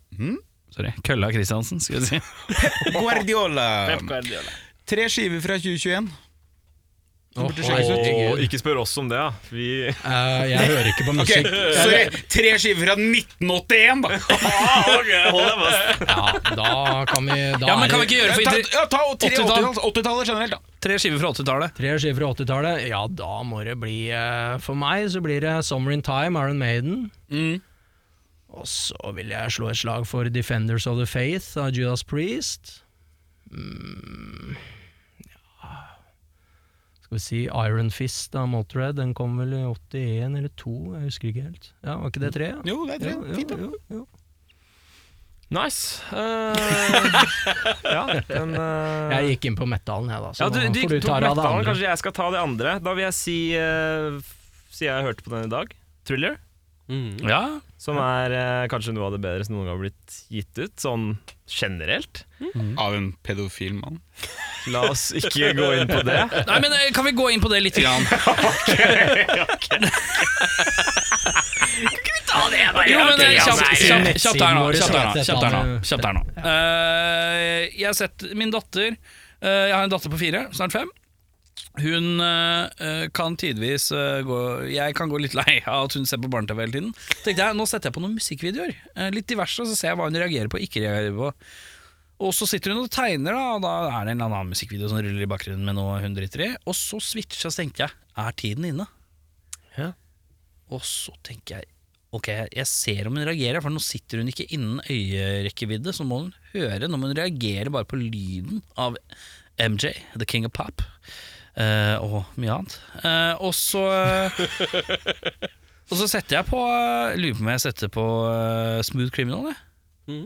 [SPEAKER 1] Sorry. Kølla Kristiansen, skulle jeg si.
[SPEAKER 4] Guardiola! Tre skiver fra 2021.
[SPEAKER 7] Åh, ikke spør oss om det, da. Vi
[SPEAKER 6] Eh, jeg hører ikke på
[SPEAKER 4] Ok,
[SPEAKER 6] musikk.
[SPEAKER 4] sorry, Tre skiver fra 1981, da!
[SPEAKER 6] Ja, da kan vi da
[SPEAKER 1] Ja, men
[SPEAKER 6] er
[SPEAKER 1] kan vi
[SPEAKER 6] det-
[SPEAKER 1] ikke gjøre
[SPEAKER 4] Ta,
[SPEAKER 1] for
[SPEAKER 4] ja, ta tre
[SPEAKER 1] 80-tall.
[SPEAKER 4] 80-talls- 80-tallet generelt, da.
[SPEAKER 1] tre skiver fra 80-tallet?
[SPEAKER 6] Tre skiver fra 80-tallet, ja da må det bli eh, For meg så blir det 'Summer in Time', Iron Maiden. Og så vil jeg slå et slag for 'Defenders of the Faith' av Judas Priest. Mm, ja Skal vi si Iron Fist av Motorhead, den kom vel i 81 eller 2, jeg husker ikke helt. Ja, Var ikke det tre?
[SPEAKER 4] Jo, det er tre. Fint, da.
[SPEAKER 6] jo, jo.
[SPEAKER 7] Nice. Eh, ja, den eh,
[SPEAKER 6] Jeg gikk inn på metalen, jeg da. Så
[SPEAKER 7] ja, du,
[SPEAKER 6] nå
[SPEAKER 7] du
[SPEAKER 6] får du ta
[SPEAKER 7] tok
[SPEAKER 6] deg av det
[SPEAKER 7] Metallen,
[SPEAKER 6] andre.
[SPEAKER 7] kanskje jeg skal ta det andre. Da vil jeg si eh, f- Siden jeg hørte på den i dag, Thriller.
[SPEAKER 6] Mm.
[SPEAKER 1] Ja.
[SPEAKER 7] Som er eh, kanskje noe av det bedre som noen gang har blitt gitt ut, sånn generelt.
[SPEAKER 4] Av en pedofil mann.
[SPEAKER 7] La oss ikke gå inn på det.
[SPEAKER 1] Nei, men eh, Kan vi gå inn på det litt? Grann? Jo, men eh, kjapt, kjapt, kjapt her nå. Kjapt her nå. Kjapt her nå. Kjapt her nå. Eh, jeg har sett min datter eh, Jeg har en datter på fire, snart fem. Hun eh, eh, kan tidvis eh, gå Jeg kan gå litt lei av at hun ser på barne-TV hele tiden. Tenkte jeg, Nå setter jeg på noen musikkvideoer. eh, litt diverse, og så ser jeg hva hun reagerer på og ikke reagerer på. Og så sitter hun og tegner, da, og da er det en eller annen musikkvideo som ruller i bakgrunnen med noe hun driter i. Og så switcher jeg, så tenker jeg, er tiden inne? Og så tenker jeg Ok, jeg ser om hun reagerer, for nå sitter hun ikke innen øyerekkevidde, så må hun høre når hun reagerer bare på lyden av MJ, The King of Pop, eh, og mye annet. Eh, og så Og så setter jeg på Lurer på om jeg setter på eh, Smooth Criminal, jeg.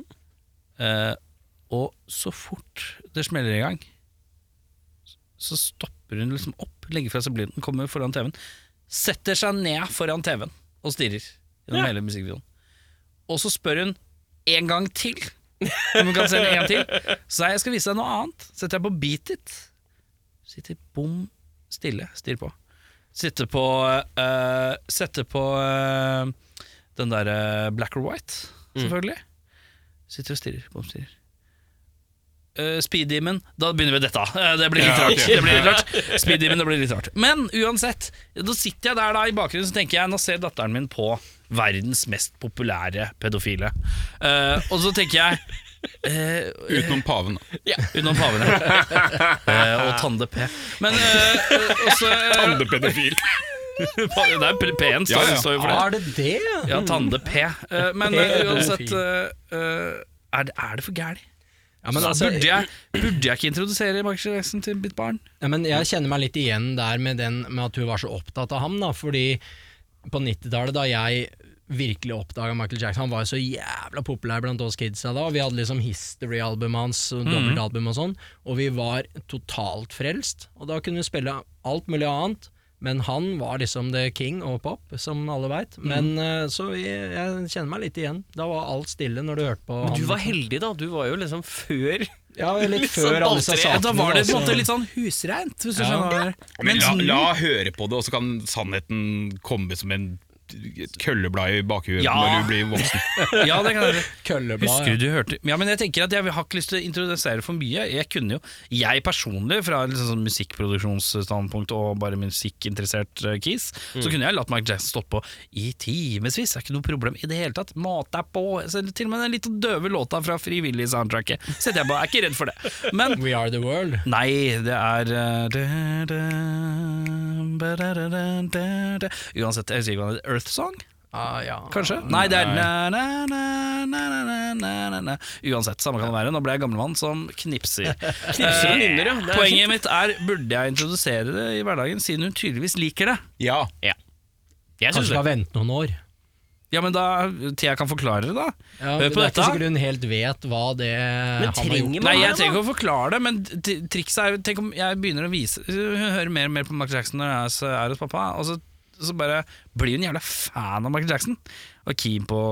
[SPEAKER 1] Eh, og så fort det smeller i gang, så stopper hun liksom opp, legger fra seg blinden, kommer foran TV-en, setter seg ned foran TV-en og stirrer gjennom hele musikkvideoen. Og så spør hun en gang til, om hun kan se den en gang til. Så jeg skal vise deg noe annet. Setter jeg på Beat It. Sitter bom stille, stirrer på. Sitter på eh, Setter på eh, den derre Black or White, selvfølgelig. Sitter og stirrer, bom stirrer. Eh, Speed Demon Da begynner vi dette. Eh, det blir litt rart. Det blir litt rart. Speed Demon, det blir litt rart. Men uansett, da sitter jeg der da i bakgrunnen Så tenker jeg nå ser datteren min på verdens mest populære pedofile. Eh, og så tenker jeg eh,
[SPEAKER 4] Utenom paven. da.
[SPEAKER 1] Utenom paven, ja. Eh, og Tande P. Men eh, eh, også Tande
[SPEAKER 4] Pedofil.
[SPEAKER 1] Det er p- P-en, står,
[SPEAKER 4] Ja, ja.
[SPEAKER 1] står jo for det.
[SPEAKER 6] Er det det?
[SPEAKER 1] Ja, Tande P. Eh, men
[SPEAKER 6] P,
[SPEAKER 1] eh,
[SPEAKER 6] pedofil.
[SPEAKER 1] uansett eh, eh, er, det, er det for gæli?
[SPEAKER 6] Ja, men altså,
[SPEAKER 1] Burde, jeg- burde jeg ikke introdusere Michael Jackson til mitt barn?
[SPEAKER 6] Ja, men jeg kjenner meg litt igjen der med, den, med at hun var så opptatt av ham, da, fordi på 90-tallet, da jeg virkelig oppdaga Michael Jackson, han var jo så jævla populær blant oss kidsa da, og vi hadde liksom history-albumet hans, og dobbeltalbum og sånn, og vi var totalt frelst, og da kunne vi spille alt mulig annet, men han var liksom the king og pop, som alle veit, men eh, så jeg, jeg kjenner meg litt igjen. Da var alt stille når du hørte på
[SPEAKER 2] Men
[SPEAKER 6] ham.
[SPEAKER 2] du var heldig, da. Du var jo liksom før
[SPEAKER 6] ja, litt
[SPEAKER 2] liksom
[SPEAKER 6] før alle disse
[SPEAKER 2] balltre.
[SPEAKER 1] sånn
[SPEAKER 6] sakene.
[SPEAKER 1] Da var det på en
[SPEAKER 6] altså.
[SPEAKER 1] måte litt sånn husreint, hvis du
[SPEAKER 6] Ja.
[SPEAKER 1] skjønner hva jeg mener.
[SPEAKER 4] Men la, la høre på det, og så kan sannheten komme som en et kølleblad i bakhuet
[SPEAKER 1] Ja.
[SPEAKER 4] når du blir voksen.
[SPEAKER 1] Ja, det kan jeg
[SPEAKER 6] Kølleblad,
[SPEAKER 1] Husker du du hørte Ja, men jeg tenker at jeg har ikke lyst til å introdusere for mye. Jeg kunne jo Jeg personlig, fra et liksom sånn musikkproduksjonsstandpunkt og bare musikkinteressert eh, kis, så kunne jeg latt Mark Jackson stått på i timevis. Det er ikke noe problem i det hele tatt. Mat er på. Så til og med den litt døve låta fra frivillig soundtracket setter jeg på. Jeg er ikke redd for det. Men
[SPEAKER 6] We are the world.
[SPEAKER 1] Nei, det er eh, da, da, ba-da-da-da, da, da. Uansett, jeg husker ikke hva det heter. Earth Song?
[SPEAKER 6] Ah, ja.
[SPEAKER 1] Kanskje? Nei, det er na, na, na, na, na, na, na, na. Uansett, samme kan det være. Nå ble jeg gamlemann som knipser. knipser
[SPEAKER 2] og nynner, ja. Det er
[SPEAKER 1] Poenget mitt er, burde jeg introdusere det i hverdagen, siden hun tydeligvis liker det?
[SPEAKER 4] Ja.
[SPEAKER 2] Jeg syns
[SPEAKER 6] Kanskje
[SPEAKER 2] det.
[SPEAKER 6] skal vente noen år.
[SPEAKER 1] Ja, men da, Til jeg kan forklare det, da.
[SPEAKER 6] Ja,
[SPEAKER 1] Hør
[SPEAKER 6] det
[SPEAKER 1] på
[SPEAKER 6] er
[SPEAKER 1] dette.
[SPEAKER 6] ikke sikkert hun helt vet hva det han har gjort.
[SPEAKER 2] trenger
[SPEAKER 1] Nei,
[SPEAKER 2] man
[SPEAKER 1] jeg
[SPEAKER 2] det,
[SPEAKER 1] trenger
[SPEAKER 2] da?
[SPEAKER 1] ikke å forklare det, men t- trikset er jo- Tenk om jeg begynner å vise Hun hører mer og mer på Michael Jackson når jeg er s- er hos pappa, og så, så bare blir hun jævla fan av Michael Jackson. Og keen på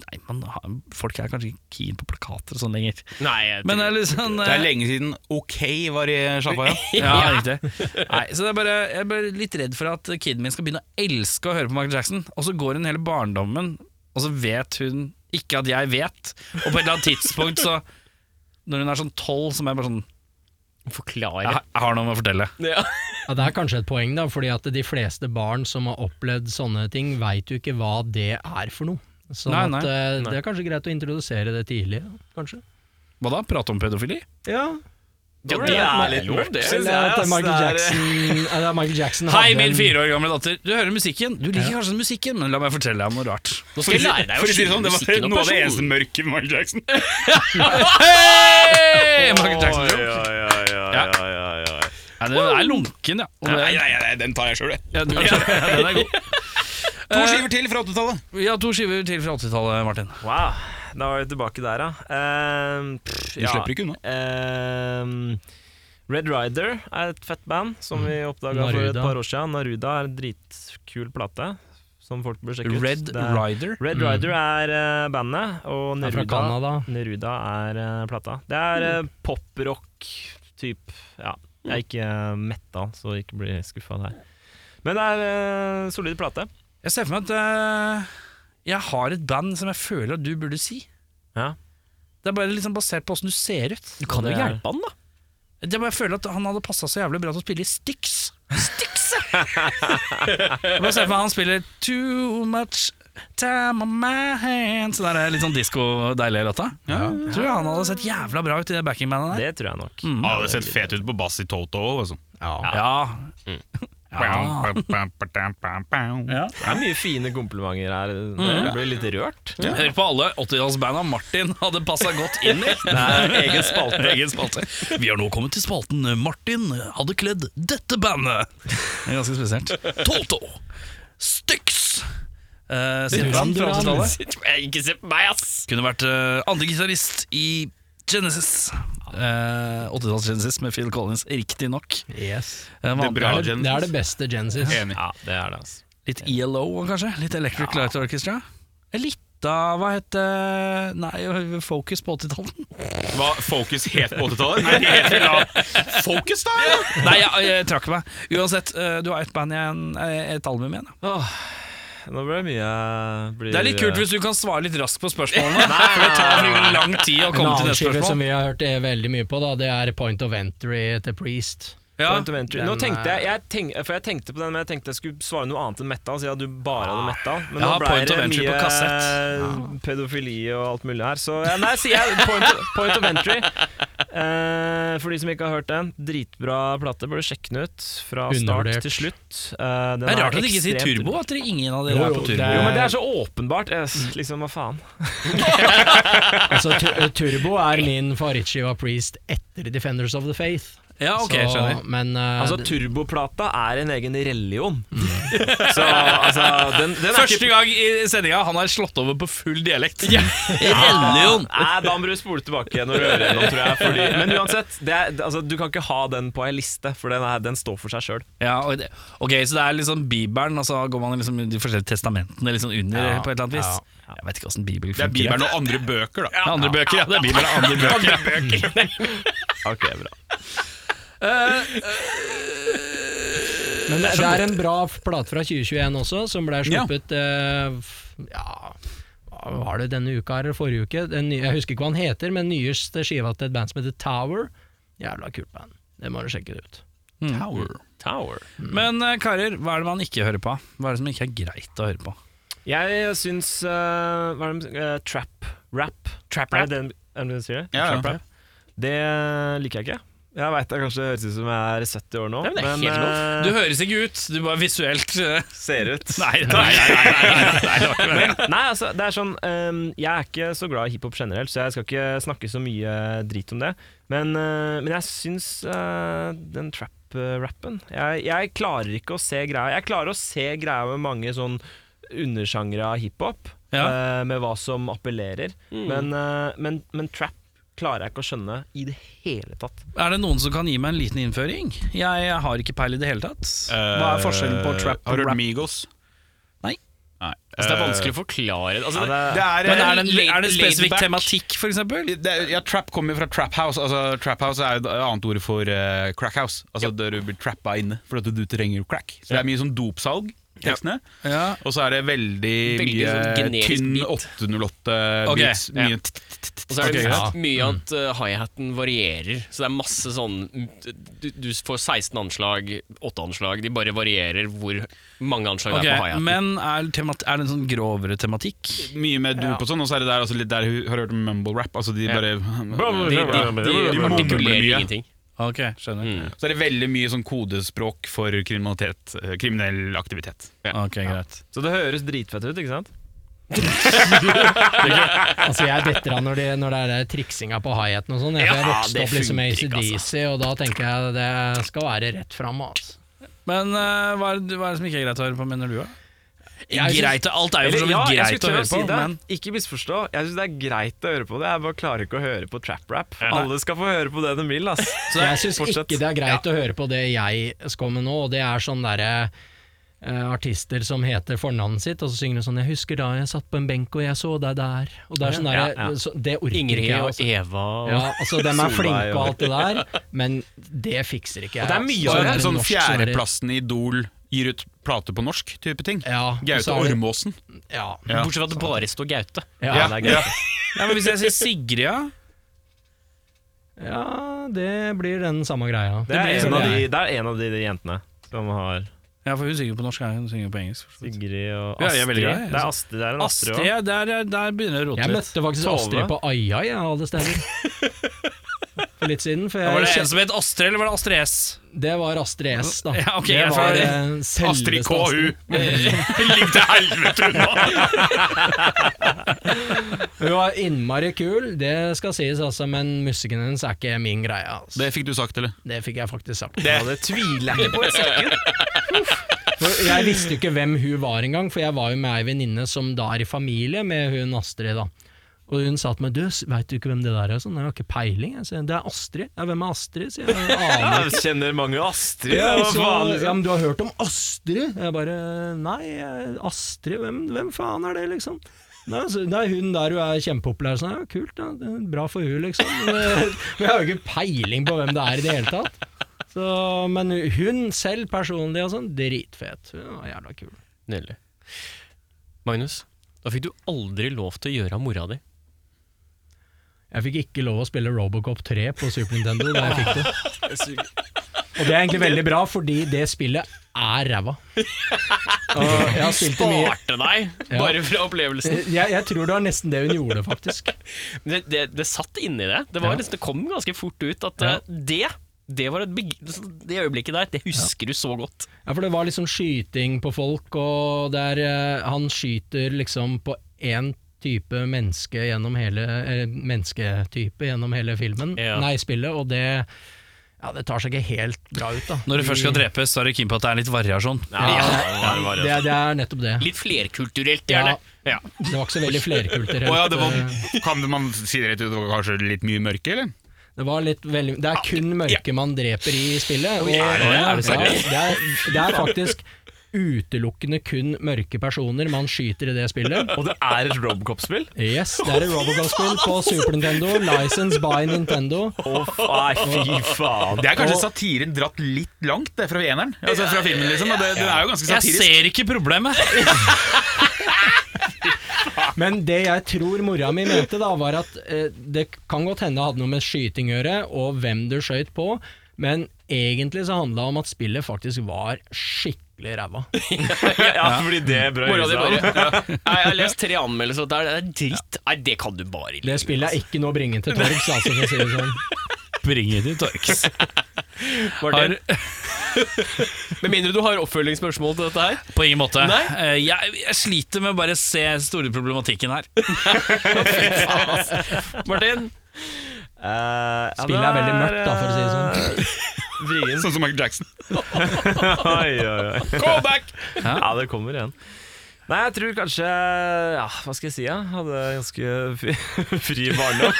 [SPEAKER 1] Nei, man, har- folk er kanskje ikke keen på plakater og sånn lenger.
[SPEAKER 2] Nei, jeg
[SPEAKER 1] Men det
[SPEAKER 2] trenger-
[SPEAKER 1] er litt sånn
[SPEAKER 4] Det
[SPEAKER 1] eh,
[SPEAKER 4] er lenge siden OK var i sjappa, ja.
[SPEAKER 1] Ja, riktig. Nei, så det er bare, jeg er bare litt redd for at kiden min skal begynne å elske å høre på Michael Jackson, og så går hun hele barndommen, og så vet hun ikke at jeg vet. Og på et eller annet tidspunkt, så Når hun er sånn tolv, så må jeg bare sånn
[SPEAKER 3] eh,
[SPEAKER 2] forklare.
[SPEAKER 1] Jeg, har- jeg har noe å fortelle.
[SPEAKER 2] Ja.
[SPEAKER 6] Ja, Det er kanskje et poeng, da, fordi at de fleste barn som har opplevd sånne ting, veit jo ikke hva det er for noe. Så
[SPEAKER 1] Nei, nei.
[SPEAKER 6] det er kanskje greit å introdusere det tidlig, da, kanskje.
[SPEAKER 1] Hva da? Prate om pedofili?
[SPEAKER 6] Ja,
[SPEAKER 2] Ja, det er litt mørkt, det.
[SPEAKER 6] Eller
[SPEAKER 3] eh,
[SPEAKER 6] at Michael Jackson, eller Michael Jackson
[SPEAKER 1] Hei,
[SPEAKER 6] hadde
[SPEAKER 1] min
[SPEAKER 6] en-
[SPEAKER 1] fire år gamle datter. Du hører musikken. Du liker kanskje den musikken, men la meg fortelle deg om noe rart.
[SPEAKER 2] Nå skal jeg lære deg å
[SPEAKER 3] For å si det
[SPEAKER 2] skille
[SPEAKER 3] sånn, det var
[SPEAKER 2] musikken og
[SPEAKER 3] noe av det eneste
[SPEAKER 2] personen.
[SPEAKER 3] mørke med Michael Jackson.
[SPEAKER 1] Hey! Michael Jackson
[SPEAKER 3] Oi,
[SPEAKER 1] joke.
[SPEAKER 3] oi, oi, oi,
[SPEAKER 1] Ja.
[SPEAKER 3] oi, oi, oi.
[SPEAKER 1] Ja, den er lunken, ja. Og det-
[SPEAKER 3] Nei, nei, nei, den tar jeg sjøl, jeg.
[SPEAKER 1] ja, den er- den er god.
[SPEAKER 4] To skiver til fra 80-tallet.
[SPEAKER 1] Vi har to skiver til fra 80-tallet, Martin.
[SPEAKER 7] Wow, da var vi tilbake der, ja. Ehm, pff,
[SPEAKER 4] Du slipper ikke unna.
[SPEAKER 7] Ehm, Red Rider er et fett band som vi oppdaga for et
[SPEAKER 6] Naruda.
[SPEAKER 7] par år siden. Naruda er en dritkul plate som folk bør sjekke
[SPEAKER 1] Red
[SPEAKER 7] ut. Det er-
[SPEAKER 1] Rider.
[SPEAKER 7] Red Rider er eh, bandet, og
[SPEAKER 6] er fra
[SPEAKER 7] Neruda,
[SPEAKER 6] Canada.
[SPEAKER 7] Neruda er eh, plata. Det er eh, poprock-type. Ja. Jeg er ikke uh, metta, så ikke bli skuffa der. Men det er uh, solid plate.
[SPEAKER 1] Jeg ser for meg at eh, jeg har et band som jeg føler at du burde si.
[SPEAKER 7] Ja.
[SPEAKER 1] Det er bare liksom basert på åssen du ser ut.
[SPEAKER 2] Du kan jo
[SPEAKER 7] Det er-
[SPEAKER 2] hjelpe han, da.
[SPEAKER 1] Det er bare Jeg føler at han hadde passa så jævlig bra til å spille i Styx. Styx! ja. jeg bare ser for meg han spiller Too much time on my hands. Så der er litt sånn disko-deilig låta. Tror jeg han hadde sett jævla bra ut i det backingbandet der.
[SPEAKER 7] Det tror jeg nok.
[SPEAKER 1] Mm.
[SPEAKER 3] Han hadde sett fet ut på bass i Toto òg, altså.
[SPEAKER 1] Ja. Ja.
[SPEAKER 3] Ja.
[SPEAKER 7] Det er mye fine komplimenter her.
[SPEAKER 1] Mm.
[SPEAKER 7] Jeg blir litt rørt.
[SPEAKER 1] Hør på alle 80-tallsbanda Martin hadde passa godt inn i.
[SPEAKER 7] Det er egen spalte.
[SPEAKER 1] Egen spalte. Vi har nå kommet til spalten eh, Martin hadde kledd dette bandet. Det er ganske spesielt. Toto. Styx. Eh, sitt band fra 80-tallet.
[SPEAKER 2] Ikke se på meg, ass!
[SPEAKER 1] Kunne vært eh, andre gitarist i Genesis. Eh, 80-talls-Genesis med Phil Collins, riktignok.
[SPEAKER 6] Yes.
[SPEAKER 1] Uh,
[SPEAKER 3] bra.
[SPEAKER 6] Det, det er det beste Genesis.
[SPEAKER 3] Enig.
[SPEAKER 7] Ja, det er det, altså.
[SPEAKER 1] litt ELO, kanskje? Litt Electric Light Orchestra? Litt av hva het eh, Nei, Focus på 80-tallet?
[SPEAKER 3] Hva Focus het på 80-tallet? Nei, det heter da Focus, da? Ja.
[SPEAKER 1] Nei, jeg, jeg trakk meg. Uansett, eh, du har ett band igjen, eh, et album igjen. da.
[SPEAKER 7] Nå ble det mye eh, blir,
[SPEAKER 1] Det er litt kult hvis du kan svare litt raskt på spørsmålene. for det tar jo lang tid å
[SPEAKER 6] En
[SPEAKER 1] komme til
[SPEAKER 6] annen
[SPEAKER 1] neste
[SPEAKER 6] skive som
[SPEAKER 1] spørsmål.
[SPEAKER 6] vi har hørt eh, veldig mye på, da, det er Point of Entry til Priest.
[SPEAKER 1] Ja.
[SPEAKER 7] Point of entry. Nå
[SPEAKER 6] Den
[SPEAKER 7] tenkte jeg,
[SPEAKER 6] er-
[SPEAKER 7] jeg tenk, For jeg tenkte på den, men jeg tenkte jeg skulle svare noe annet enn metal, siden du bare hadde metal. Men
[SPEAKER 1] Jeg
[SPEAKER 7] nå
[SPEAKER 1] har
[SPEAKER 7] ble
[SPEAKER 1] point
[SPEAKER 7] det
[SPEAKER 1] of entry på
[SPEAKER 7] mye
[SPEAKER 1] kassett.
[SPEAKER 7] pedofili og alt mulig her, så ja, Nei, sier jeg point, of- point of entry. Eh, for de som ikke har hørt den, dritbra plate. Burde sjekke den ut fra start
[SPEAKER 6] Undervurdert.
[SPEAKER 7] til slutt. Eh, den
[SPEAKER 1] Det er rart at dere ikke sier
[SPEAKER 7] ekstremt-
[SPEAKER 1] Turbo, at dere ingen av dere er Mm. på Turbo.
[SPEAKER 7] Jo, men det er så åpenbart. Eh, s- liksom, hva faen.
[SPEAKER 6] Altså, tu- Turbo er min favorittskive av Priest etter Defenders of the Faith.
[SPEAKER 1] Ja, ok,
[SPEAKER 6] Så-
[SPEAKER 1] skjønner.
[SPEAKER 6] Men eh,
[SPEAKER 7] Altså, turboplata er en egen religion.
[SPEAKER 1] Mm.
[SPEAKER 7] så altså, den, den er
[SPEAKER 1] Første
[SPEAKER 7] ikke
[SPEAKER 1] gang i sendinga han er slått over på full dialekt. Religion!
[SPEAKER 7] Nei, da må du spole tilbake når du hører gjennom, tror jeg. Fordi, men uansett, det er, altså, du kan ikke ha den på ei liste, for den, er, den står for seg sjøl.
[SPEAKER 1] Ja, og det- ok, så det er liksom Bibelen, og så går man liksom i de forskjellige testamentene liksom under på et eller annet vis. Jeg vet ikke åssen Bibel
[SPEAKER 3] Det
[SPEAKER 1] funker.
[SPEAKER 3] er Bibelen og andre bøker, da.
[SPEAKER 1] Ja, andre bøker, ja. Det er Bibelen og andre bøker.
[SPEAKER 7] Ok, bra.
[SPEAKER 6] Men det, det er en bra f- plate fra 2021 også, som ble sluppet eh, f- ja. hva Var det denne uka eller forrige uke? Den nye, jeg husker ikke hva han heter, men nyeste skiva til et band som heter Tower. Jævla kult band. Det må du sjekke ut.
[SPEAKER 7] Tower.
[SPEAKER 1] Mm. Men eh, karer, hva er det man ikke hører på? Hva er det som ikke er greit å høre på?
[SPEAKER 7] Jeg syns eh, Hva er det eh, Trap rap. Trap
[SPEAKER 1] rap?
[SPEAKER 7] Er det den, er det den du sier?
[SPEAKER 3] Ja, ja.
[SPEAKER 7] Trap rap. Det liker jeg ikke. Jeg veit det kanskje høres ut som jeg er 70 år nå,
[SPEAKER 2] Ja, men det er helt
[SPEAKER 7] eh,
[SPEAKER 1] Du høres ikke ut, du bare visuelt eh,
[SPEAKER 7] ser ut
[SPEAKER 1] Nei, nei, nei, nei, nei, nei, nei, nei, nei.
[SPEAKER 7] Nei, altså, det er sånn ehm, Jeg er ikke så glad i hiphop generelt, så jeg skal ikke snakke så mye eh, drit om det. Men, eh, men jeg syns eh, den trap-rappen jeg, jeg klarer ikke å se greia. Jeg klarer å se greia med mange sånn undersjangre av hiphop,
[SPEAKER 1] Ja.
[SPEAKER 7] eh, med hva som appellerer. Men, eh, men, men trap klarer jeg ikke å skjønne i det hele tatt.
[SPEAKER 1] Er det noen som kan gi meg en liten innføring? Jeg har ikke peil i det hele tatt. Hva er forskjellen på trap
[SPEAKER 3] Eh, Har
[SPEAKER 1] og
[SPEAKER 3] du hørt
[SPEAKER 1] rap?
[SPEAKER 3] Migos?
[SPEAKER 1] Nei.
[SPEAKER 3] Nei.
[SPEAKER 2] Altså, det er vanskelig å forklare. Altså, det,
[SPEAKER 3] Det er,
[SPEAKER 1] Men er det, en, er det en spesifikk
[SPEAKER 3] laidback.
[SPEAKER 1] tematikk, for eksempel?
[SPEAKER 3] det er, ja, Trap kommer jo fra trap house. Altså, trap house er jo et annet ord for eh, crack house. Altså Der du blir trappa inne fordi at du trenger crack. Så Det er mye sånn dopsalg. i Tekstene.
[SPEAKER 1] Ja.
[SPEAKER 3] Og så er det veldig,
[SPEAKER 2] Veldig
[SPEAKER 3] mye
[SPEAKER 2] sånn generisk
[SPEAKER 3] tynn
[SPEAKER 2] beat.
[SPEAKER 3] 808
[SPEAKER 1] Ok,
[SPEAKER 3] beats.
[SPEAKER 2] ja.
[SPEAKER 3] Mye t- t- t-
[SPEAKER 2] og så er det
[SPEAKER 3] Ok, ja. Mm.
[SPEAKER 2] mye at uh, hi-haten varierer. Så det er masse sånn Du, du får 16 anslag, 8 anslag. De bare varierer hvor mange anslag
[SPEAKER 1] Ok,
[SPEAKER 2] det er på hi-haten.
[SPEAKER 1] men er, temat, er det en sånn grovere tematikk?
[SPEAKER 3] mye med dop og sånn. Og så er det der, altså, litt der hun har hørt om mumble rap. Altså de
[SPEAKER 2] Ja.
[SPEAKER 3] bare
[SPEAKER 2] De, de, de,
[SPEAKER 3] mumler
[SPEAKER 2] partikulerer
[SPEAKER 3] mye.
[SPEAKER 2] ingenting.
[SPEAKER 1] Ok, skjønner.
[SPEAKER 2] Mm.
[SPEAKER 3] Så er det veldig mye sånn kodespråk for kriminalitet, eh, kriminell aktivitet.
[SPEAKER 1] Ok, greit.
[SPEAKER 7] Så det høres dritfett ut, ikke sant?
[SPEAKER 6] Altså Jeg detter av når, de, når det er der triksinga på hi-haten og sånn. Jeg, jeg
[SPEAKER 2] Ja,
[SPEAKER 6] vokste
[SPEAKER 2] det
[SPEAKER 6] opp liksom med
[SPEAKER 2] funker ikke, altså.
[SPEAKER 6] ACDC, og da tenker jeg det skal være rett fram. Altså.
[SPEAKER 1] Men eh, hva, er, det- hva er det som ikke er greit å høre på, mener du? da?
[SPEAKER 6] Jeg synes-
[SPEAKER 1] Greit, alt er jo for så vidt
[SPEAKER 7] jeg
[SPEAKER 1] greit
[SPEAKER 7] skulle
[SPEAKER 1] å
[SPEAKER 7] til
[SPEAKER 1] høre på,
[SPEAKER 7] si det.
[SPEAKER 1] men
[SPEAKER 7] Ikke misforstå. Jeg syns det er greit å høre på det. Jeg bare klarer ikke å høre på trap-rap. Alle skal få høre på det de vil, ass.
[SPEAKER 6] Så jeg syns
[SPEAKER 7] fortsett.
[SPEAKER 6] ikke det er greit å høre på det jeg skal med nå, og det er sånn derre eh, artister som heter fornavnet sitt, og så synger de sånn 'Jeg husker da jeg satt på en benk og jeg så deg der'. Og Det er sånn derre
[SPEAKER 2] ja, ja.
[SPEAKER 6] så, Det orker ikke
[SPEAKER 2] Ingrid
[SPEAKER 6] jeg.
[SPEAKER 2] og
[SPEAKER 6] Altså.
[SPEAKER 2] Eva og
[SPEAKER 6] Ja, altså, de er
[SPEAKER 7] Solveig
[SPEAKER 6] flinke og
[SPEAKER 7] og-
[SPEAKER 6] alt det der, men det fikser ikke jeg.
[SPEAKER 7] det er mye
[SPEAKER 6] altså.
[SPEAKER 7] av
[SPEAKER 6] Så
[SPEAKER 7] det,
[SPEAKER 6] er
[SPEAKER 3] Sånn
[SPEAKER 6] norsk som er-
[SPEAKER 3] fjerdeplassen i Idol gir ut plate på norsk type ting.
[SPEAKER 6] Ja, og
[SPEAKER 3] Gaute
[SPEAKER 6] så er det-
[SPEAKER 3] Ormåsen.
[SPEAKER 6] Ja.
[SPEAKER 3] Ja.
[SPEAKER 2] Bortsett fra at det bare står Gaute.
[SPEAKER 6] Ja,
[SPEAKER 3] Ja,
[SPEAKER 6] det er greit.
[SPEAKER 3] ja.
[SPEAKER 1] Ja, men Hvis jeg sier Sigrid, ja?
[SPEAKER 6] ja, det blir den samme greia.
[SPEAKER 7] Det er,
[SPEAKER 6] blir
[SPEAKER 7] en av
[SPEAKER 6] sånn
[SPEAKER 7] de,
[SPEAKER 6] det
[SPEAKER 7] det er en av de, de jentene som har
[SPEAKER 1] Ja, for hun synger på norsk, ja, hun synger på engelsk. for så vidt.
[SPEAKER 7] Sigrid
[SPEAKER 1] Ja,
[SPEAKER 7] og Astrid.
[SPEAKER 1] jeg er veldig glad, jeg.
[SPEAKER 7] det, er Astrid, det er en Astrid
[SPEAKER 1] Astrid,
[SPEAKER 7] òg.
[SPEAKER 1] ja, der, der begynner det å rote
[SPEAKER 6] Jeg
[SPEAKER 1] litt.
[SPEAKER 6] møtte faktisk
[SPEAKER 7] Tove.
[SPEAKER 6] Astrid på Aia, jeg, av alle steder. For litt siden. For jeg
[SPEAKER 1] Var det
[SPEAKER 6] kjen-
[SPEAKER 1] en som het Astrid, eller var det Astrid S?
[SPEAKER 6] Det var Astrid S, da.
[SPEAKER 1] Ja, ok,
[SPEAKER 6] det
[SPEAKER 1] jeg
[SPEAKER 6] var
[SPEAKER 1] får-
[SPEAKER 6] eh, selveste
[SPEAKER 3] Astrid KU.
[SPEAKER 2] Ligg til helvete unna!
[SPEAKER 6] Hun var innmari kul, det skal sies, altså, men musikken hennes er ikke min greie. Altså. Det.
[SPEAKER 3] Det fikk du sagt, eller?
[SPEAKER 6] fikk jeg faktisk sagt.
[SPEAKER 7] Ja, det tviler jeg ikke på. Jeg ser ikke
[SPEAKER 6] For jeg visste jo ikke hvem hun var engang, for jeg var jo med ei venninne som da er i familie med hun Astrid. da. Og hun sa til meg 'du, veit du ikke hvem det der er?' Sånn, jeg har ikke peiling. Jeg sier, 'Det er Astrid'. Ja, 'Hvem er Astrid?' sier jeg. jeg. aner ikke.
[SPEAKER 7] Jeg kjenner mange Astrid.
[SPEAKER 6] Ja,
[SPEAKER 7] hva
[SPEAKER 6] så,
[SPEAKER 7] faen, liksom?
[SPEAKER 6] ja, men du har hørt om Astrid? Jeg bare Nei, eh, Astrid, hvem, hvem faen er det, liksom? Nei, så, det er hun der hun er kjempepopulær. Sånn, ja, kult, ja, det er bra for hun, liksom. Eh, Men jeg har jo ikke peiling på hvem det er i det hele tatt. Så, men hun selv personlig og sånn, dritfet. Hun var jævla kul.
[SPEAKER 2] Nydelig. Magnus, da fikk du aldri lov til å gjøre av mora di.
[SPEAKER 6] Jeg fikk ikke lov å spille Robocop 3 på Super Nintendo da jeg fikk det. Og det er egentlig veldig bra, fordi det spillet er ræva. Og jeg har spilt det mye
[SPEAKER 2] Sparte deg
[SPEAKER 6] Ja.
[SPEAKER 2] bare fra opplevelsen.
[SPEAKER 6] Eh, jeg, jeg tror det var nesten det hun gjorde, faktisk.
[SPEAKER 2] Men Det, det, det satt inni det. Det, var
[SPEAKER 6] Ja.
[SPEAKER 2] nesten, det kom ganske fort ut at
[SPEAKER 6] Ja.
[SPEAKER 2] eh, det det, var et beg det øyeblikket der, det husker du så godt.
[SPEAKER 6] Ja, For det var liksom skyting på folk, og der eh, han skyter liksom på én type menneske gjennom hele eh, mennesketype gjennom hele filmen,
[SPEAKER 2] Ja.
[SPEAKER 6] nei, spillet, og det Ja, det tar seg ikke helt bra ut, da.
[SPEAKER 1] Når du først
[SPEAKER 7] Mm.
[SPEAKER 1] skal drepes, så er du keen på at det er litt variasjon.
[SPEAKER 6] Ja, det, det er nettopp det.
[SPEAKER 2] Litt flerkulturelt,
[SPEAKER 6] Ja.
[SPEAKER 2] gjerne. altså. Ja.
[SPEAKER 6] Det var ikke så veldig flerkulturelt. eh,
[SPEAKER 3] Å ja, det var, kan man si det rett ut? Det var kanskje litt mye mørke, eller?
[SPEAKER 6] Det var litt veldig Det er kun mørke man dreper i spillet. Og,
[SPEAKER 2] er det det? Er du
[SPEAKER 6] ja, det, er, det er faktisk utelukkende kun mørke personer man skyter i det spillet.
[SPEAKER 7] Og det er et Robocop-spill?
[SPEAKER 6] Yes, det er et Robocop-spill på Super Nintendo, license by Nintendo.
[SPEAKER 7] Å, nei, fy faen.
[SPEAKER 3] Det er kanskje satiren dratt litt langt, det, fra eneren. Altså fra filmen, liksom. Og det, den er jo ganske
[SPEAKER 1] Jeg
[SPEAKER 3] satirisk.
[SPEAKER 1] ser ikke problemet!
[SPEAKER 6] Men det jeg tror mora mi mente, da var at eh, det kan godt hende det hadde noe med skyting å gjøre, og hvem du skøyt på, men egentlig så handla det om at spillet faktisk var skikkelig ræva.
[SPEAKER 7] Ja, fordi det brød
[SPEAKER 2] Mora di bare Nei, Jeg har lest tre anmeldelser, og det er det er dritt. Nei, det kan du bare ikke.
[SPEAKER 6] Det spillet er ikke noe å bringe til torgs, altså, for å si det sånn.
[SPEAKER 1] Bringe til torgs.
[SPEAKER 2] Har... Med mindre du har oppfølgingsspørsmål til dette her.
[SPEAKER 1] På ingen måte.
[SPEAKER 2] Nei?
[SPEAKER 1] Eh, Jeg, jeg sliter med å bare se store problematikken her.
[SPEAKER 2] Martin?
[SPEAKER 7] Eh,
[SPEAKER 6] Spillet er veldig mørkt, da, for å si det sånn.
[SPEAKER 7] Vrien.
[SPEAKER 3] Sånn som Michael Jackson.
[SPEAKER 7] Oi, oi, oi.
[SPEAKER 3] Callback!
[SPEAKER 7] Ja, det kommer igjen. Nei, jeg tror kanskje Ja, hva skal jeg si? Jeg hadde ganske fri, fri barndom.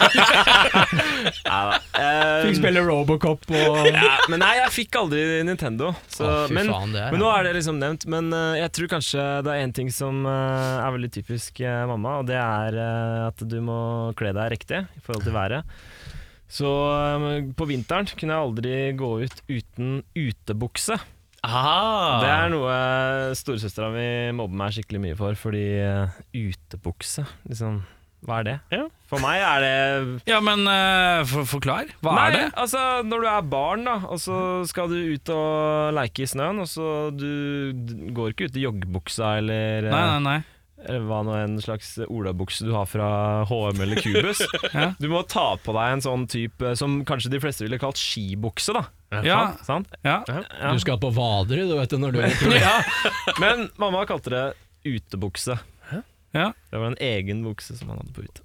[SPEAKER 7] Nei da. Eh,
[SPEAKER 6] Fikk spille Robocop og
[SPEAKER 7] ja, men nei, jeg fikk aldri Nintendo. Så,
[SPEAKER 6] Å, fy
[SPEAKER 7] Eh, men,
[SPEAKER 6] faen, det er-
[SPEAKER 7] men nå er det liksom nevnt. Men eh, jeg tror kanskje det er én ting som eh, er veldig typisk eh, mamma, og det er eh, at du må kle deg riktig i forhold til været. Så eh, på vinteren kunne jeg aldri gå ut uten utebukse.
[SPEAKER 2] Ah,
[SPEAKER 7] Det er noe eh, storesøstera mi mobber meg skikkelig mye for, fordi eh, utebukse, liksom Hva er det? For meg er det
[SPEAKER 1] Ja, men eh, for, forklar. Hva
[SPEAKER 7] Nei,
[SPEAKER 1] er det?
[SPEAKER 7] altså når du er barn da Og så skal du ut og leke i snøen Og så du du går ikke ut i joggebuksa Eller, eh,
[SPEAKER 1] Nei, nei, nei.
[SPEAKER 7] eller hva nå en slags olabukse du har fra H&M eller Cubus
[SPEAKER 1] Ja.
[SPEAKER 7] Du må ta på deg en sånn type Som kanskje de fleste ville kalt skibukse da
[SPEAKER 1] Ja.
[SPEAKER 7] Sant?
[SPEAKER 1] Ja.
[SPEAKER 7] Ja.
[SPEAKER 6] Du skal på Vadere, du vet det, når du er
[SPEAKER 7] ja. Men mamma kalte det utebukse
[SPEAKER 1] Ja.
[SPEAKER 7] Det var en egen bukse som han hadde på ute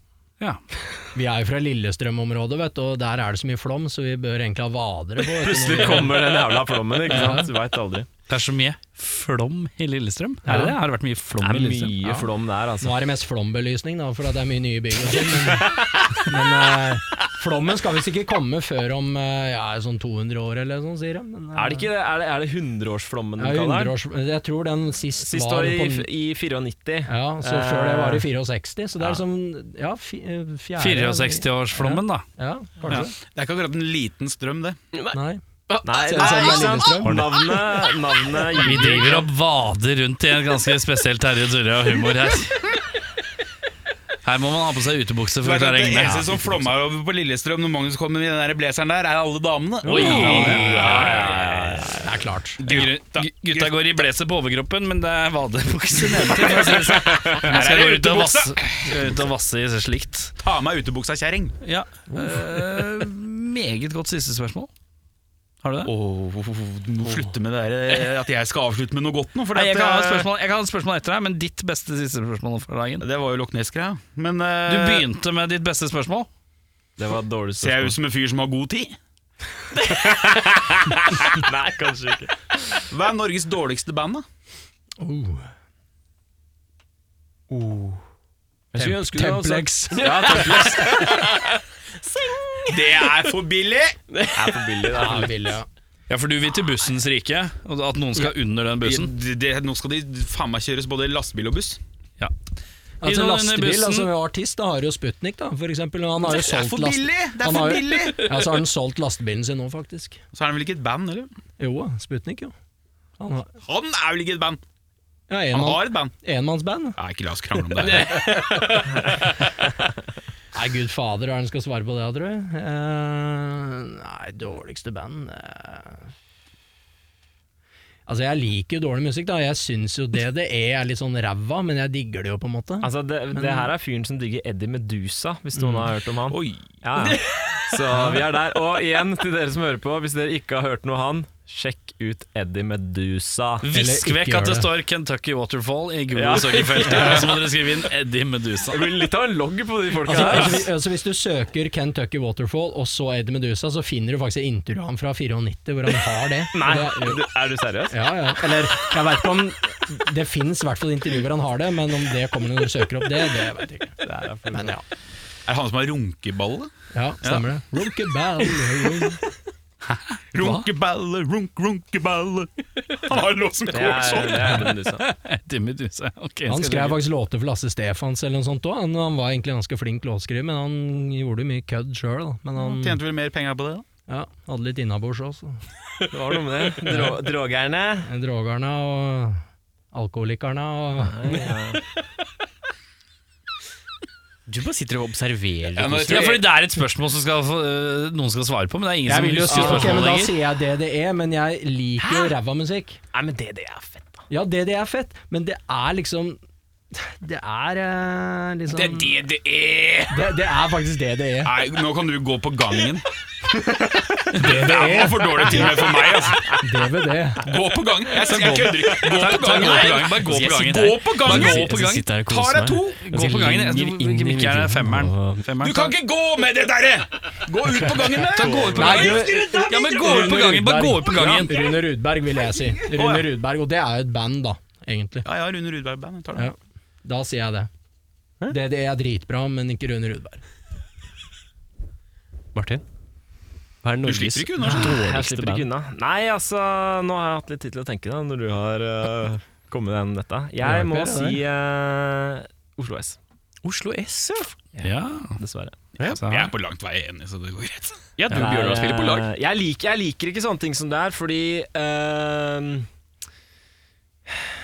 [SPEAKER 6] Vi er jo fra Lillestrøm-området, vet du, og der er det så mye flom, så vi bør egentlig ha vadere på. vet du, når vi-
[SPEAKER 7] Plutselig kommer den jævla flommen, ikke sant? Du vet aldri
[SPEAKER 1] Det er så mye flom i Lillestrøm. Er det det? Har det vært mye
[SPEAKER 7] Det
[SPEAKER 1] flom
[SPEAKER 7] er
[SPEAKER 1] i Lillestrøm?
[SPEAKER 7] mye flom der altså
[SPEAKER 6] Nå er det mest flombelysning, da, for at det er mye nye bygg og sånn. Men, men eh, flommen skal visst ikke komme før om eh, ja, sånn 200 år eller sånn, sier de. Men, eh,
[SPEAKER 7] Er det ikke det? Er det, er det 100-årsflommen
[SPEAKER 6] ja,
[SPEAKER 7] den kaller den?
[SPEAKER 6] 100 års, jeg tror den sist,
[SPEAKER 7] Sist
[SPEAKER 6] var
[SPEAKER 7] var i, Eh,
[SPEAKER 6] på,
[SPEAKER 7] i 94.
[SPEAKER 6] Ja, så før det var i 64, så det er liksom Ja, fi, eh, fjerde
[SPEAKER 1] 64-årsflommen, da.
[SPEAKER 6] Ja, kanskje.
[SPEAKER 4] Det er ikke akkurat en liten strøm, det.
[SPEAKER 6] Nei.
[SPEAKER 7] Nei,
[SPEAKER 6] Selv om det er Lillestrøm.
[SPEAKER 7] Navnet, navnet
[SPEAKER 1] Vi driver og vader rundt i en ganske spesiell Terje Durre og humor her. Her må man ha på seg utebukse for å klare
[SPEAKER 4] det
[SPEAKER 1] regnene.
[SPEAKER 4] eneste som flomma over på Lillestrøm når Magnus kom i den der blazeren der, er alle damene.
[SPEAKER 1] Oi.
[SPEAKER 6] Det er klart.
[SPEAKER 1] Gutta, gutta går i blazer på overkroppen, men det er vadebukse nedentil. for å si det sånn. Nå skal jeg gå ut og vasse, skal jeg ut og vasse i slikt.
[SPEAKER 4] Ta av meg utebuksa, kjerring.
[SPEAKER 1] Ja. eh, meget godt siste spørsmål. Har du det?
[SPEAKER 4] Nå slutter med det der, at jeg skal avslutte med noe godt nå. For
[SPEAKER 1] Nei, jeg,
[SPEAKER 4] at,
[SPEAKER 1] kan ha et
[SPEAKER 4] eh,
[SPEAKER 1] spørsmål, jeg kan ha et spørsmål etter deg, men ditt beste siste spørsmål for dagen.
[SPEAKER 4] Det var jo Loch Ness-greia. Men eh,
[SPEAKER 1] Du begynte med ditt beste spørsmål.
[SPEAKER 7] Det var et dårlig
[SPEAKER 4] ser jeg
[SPEAKER 7] spørsmål.
[SPEAKER 4] ut som en fyr som har god tid?
[SPEAKER 7] Nei, kanskje ikke.
[SPEAKER 4] Hva er Norges dårligste band, da?
[SPEAKER 6] Oh.
[SPEAKER 7] Oh. Jeg skulle ønske du hadde sagt
[SPEAKER 6] Templex.
[SPEAKER 4] Det er for billig!
[SPEAKER 7] Det er for billig. Det er for
[SPEAKER 6] Ja,
[SPEAKER 7] billig.
[SPEAKER 6] vil, ja.
[SPEAKER 1] Ja, for du vil til bussens rike, og at noen skal under den bussen.
[SPEAKER 4] Det, det, nå skal de faen meg kjøres både lastebil og buss.
[SPEAKER 1] Inn
[SPEAKER 6] Altså
[SPEAKER 1] og under
[SPEAKER 6] lastebil,
[SPEAKER 1] bussen.
[SPEAKER 6] altså artist, da har jo Sputnik da, for eksempel. og Han har jo
[SPEAKER 4] Det er
[SPEAKER 6] solgt
[SPEAKER 4] for
[SPEAKER 6] last-
[SPEAKER 4] billig! Det er
[SPEAKER 6] han
[SPEAKER 4] for
[SPEAKER 6] har jo-
[SPEAKER 4] billig!
[SPEAKER 6] Ja, så har han solgt lastebilen sin nå, faktisk.
[SPEAKER 4] Så er han vel ikke et band, eller?
[SPEAKER 6] Jo, Sputnik, jo. Han har,
[SPEAKER 4] Han er vel ikke et band?
[SPEAKER 6] ja, en
[SPEAKER 4] Han
[SPEAKER 6] mann-
[SPEAKER 4] har et band.
[SPEAKER 6] enmannsband.
[SPEAKER 4] Nei, ikke la oss krangle om det.
[SPEAKER 6] Nei, gud fader, hva er det han skal svare på det, tror jeg? Eh, nei, dårligste band eh. Altså, jeg liker jo dårlig musikk, da. Jeg syns jo det det er, er litt sånn ræva, men jeg digger det jo, på en måte.
[SPEAKER 7] Altså, det, det her er fyren som digger Eddie Medusa, hvis
[SPEAKER 6] Mm.
[SPEAKER 7] noen har hørt om han.
[SPEAKER 4] Oi.
[SPEAKER 7] Ja, ja. Så vi er der. Og igjen, til dere som hører på, hvis dere ikke har hørt noe han, sjekk ut Eddie Medusa.
[SPEAKER 1] Visk
[SPEAKER 6] Eller ikke
[SPEAKER 1] vekk at det
[SPEAKER 6] gjør det.
[SPEAKER 1] står Kentucky Waterfall i Google
[SPEAKER 7] Ja.
[SPEAKER 1] søkefeltet, og så må dere skrive inn Eddie Medusa.
[SPEAKER 7] Det blir litt av en logg på de folka
[SPEAKER 6] Altså,
[SPEAKER 7] her.
[SPEAKER 6] altså, hvis- altså Hvis du søker Kentucky Waterfall og så Eddie Medusa, så finner du faktisk et intervju av ham fra 94 hvor han har det.
[SPEAKER 7] Nei,
[SPEAKER 6] Og det er-
[SPEAKER 7] du- er du seriøs?
[SPEAKER 6] ja, ja. Eller jeg veit ikke om Det fins i hvert fall intervju hvor han har det, men om det kommer når du søker opp det, det veit jeg ikke. Men ja,
[SPEAKER 4] Er det han som har runkeballe?
[SPEAKER 6] ja stemmer det. Runkeball, runk.
[SPEAKER 4] Runkeballe, runk, runkeballe. Han har en låt som
[SPEAKER 7] Det
[SPEAKER 4] går
[SPEAKER 7] er,
[SPEAKER 4] sånn.
[SPEAKER 7] det er Eddie Medusa.
[SPEAKER 1] Eddie Medusa. ok,
[SPEAKER 6] Han
[SPEAKER 1] skal
[SPEAKER 6] skrev
[SPEAKER 1] jeg legge-
[SPEAKER 6] faktisk låter for Lasse Stefans eller noe sånt òg. Han, han var egentlig ganske flink låtskriver, men han gjorde mye kødd sjøl. Men han
[SPEAKER 4] Tjente vel mer penger på det, da?
[SPEAKER 6] ja, hadde litt innabords òg, så.
[SPEAKER 7] Det var noe med det. Drå, drogerne.
[SPEAKER 6] Drogerne og alkoholikerne og
[SPEAKER 2] Du bare sitter og observerer.
[SPEAKER 4] Ja, nå-
[SPEAKER 2] Kosten.
[SPEAKER 1] Ja, fordi det er et spørsmål som skal, få- øh, noen skal svare på, men det er ingen
[SPEAKER 6] Jeg
[SPEAKER 1] som
[SPEAKER 6] vil jo si
[SPEAKER 1] husker
[SPEAKER 6] ok, men
[SPEAKER 1] spørsmålet
[SPEAKER 6] Da
[SPEAKER 1] lenger.
[SPEAKER 6] sier jeg DDE, men jeg liker jo ræva musikk.
[SPEAKER 7] Nei, men det, det er fett, da.
[SPEAKER 6] Ja, DDE er fett, men det er liksom Det er eh, liksom Det,
[SPEAKER 4] det er!
[SPEAKER 6] det er faktisk E. DDE.
[SPEAKER 4] Nei, nå kan du gå på gangen. Det
[SPEAKER 6] DDE,
[SPEAKER 4] var for dårlig til og med for meg, altså.
[SPEAKER 6] DVD.
[SPEAKER 4] Gå på gangen. Jeg, jeg kødder ikke. Gå på
[SPEAKER 1] Ta-
[SPEAKER 4] gangen.
[SPEAKER 1] gå på gangen, Bare gå på gangen.
[SPEAKER 4] Gå på
[SPEAKER 1] Bare
[SPEAKER 4] gangen!
[SPEAKER 1] gå på gangen.
[SPEAKER 2] sitter her og
[SPEAKER 4] Ta deg
[SPEAKER 2] koser meg. Altså,
[SPEAKER 4] to!
[SPEAKER 1] Gå på gangen. Jeg
[SPEAKER 2] Lenger inn i
[SPEAKER 1] tror ikke er femmeren.
[SPEAKER 4] Du
[SPEAKER 1] femmeren.
[SPEAKER 4] kan ikke gå med det derre! Gå ut på gangen! da.
[SPEAKER 1] Ta- gå ut på
[SPEAKER 6] Nei,
[SPEAKER 1] gangen.
[SPEAKER 6] du-
[SPEAKER 1] Ja, men gå ut på gangen. Bare gå ut på gangen.
[SPEAKER 6] Ja, Rune Rudberg, vil jeg si. Rune Rudberg, Og det er jo et band, da. egentlig.
[SPEAKER 3] Ja, ja, Rune Rudberg-band. Jeg tar det.
[SPEAKER 6] Ja. Da sier jeg det. Det, det er dritbra, men ikke Rune Rudberg.
[SPEAKER 2] Martin? Hva er Norges
[SPEAKER 3] slipper ikke unna,
[SPEAKER 7] Jeg
[SPEAKER 2] dårligste
[SPEAKER 7] slipper ikke
[SPEAKER 2] band?
[SPEAKER 7] unna. Nei, altså, nå har jeg hatt litt tid til å tenke da, når du har eh, kommet gjennom dette.
[SPEAKER 6] Ja,
[SPEAKER 7] Jeg må
[SPEAKER 6] Per,
[SPEAKER 7] si eh, Oslo S,
[SPEAKER 2] Oslo S, ja.
[SPEAKER 1] Ja,
[SPEAKER 7] dessverre.
[SPEAKER 1] så
[SPEAKER 3] Jeg
[SPEAKER 1] her.
[SPEAKER 3] er på langt vei enig, så det går greit.
[SPEAKER 2] Ja, du
[SPEAKER 7] Det er,
[SPEAKER 2] Bjørnar spiller på lag.
[SPEAKER 7] eh, Jeg liker, jeg liker ikke sånne ting som det er, fordi eh,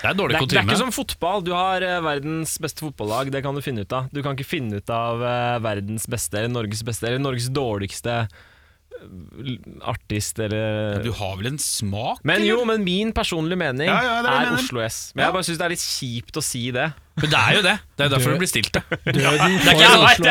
[SPEAKER 1] Det er dårlig
[SPEAKER 7] det, er, det er
[SPEAKER 1] kutyme.
[SPEAKER 7] ikke som fotball. Du har eh, verdens beste fotballag, det kan du finne ut av. Du kan ikke finne ut av eh, verdens beste eller Norges beste eller Norges dårligste eh, artist eller
[SPEAKER 3] Du har vel en smak?
[SPEAKER 7] Men jo,
[SPEAKER 3] eller?
[SPEAKER 7] men min personlige mening
[SPEAKER 3] Ja, ja, det er det jeg
[SPEAKER 7] er
[SPEAKER 3] mener.
[SPEAKER 7] Oslo S. Men jeg bare syns det er litt kjipt å si det.
[SPEAKER 1] Men det er jo det. Det er jo derfor
[SPEAKER 6] Død.
[SPEAKER 1] det blir stilt, det. er
[SPEAKER 6] Døden
[SPEAKER 1] ikke jeg
[SPEAKER 6] for
[SPEAKER 1] vet,
[SPEAKER 6] Oslo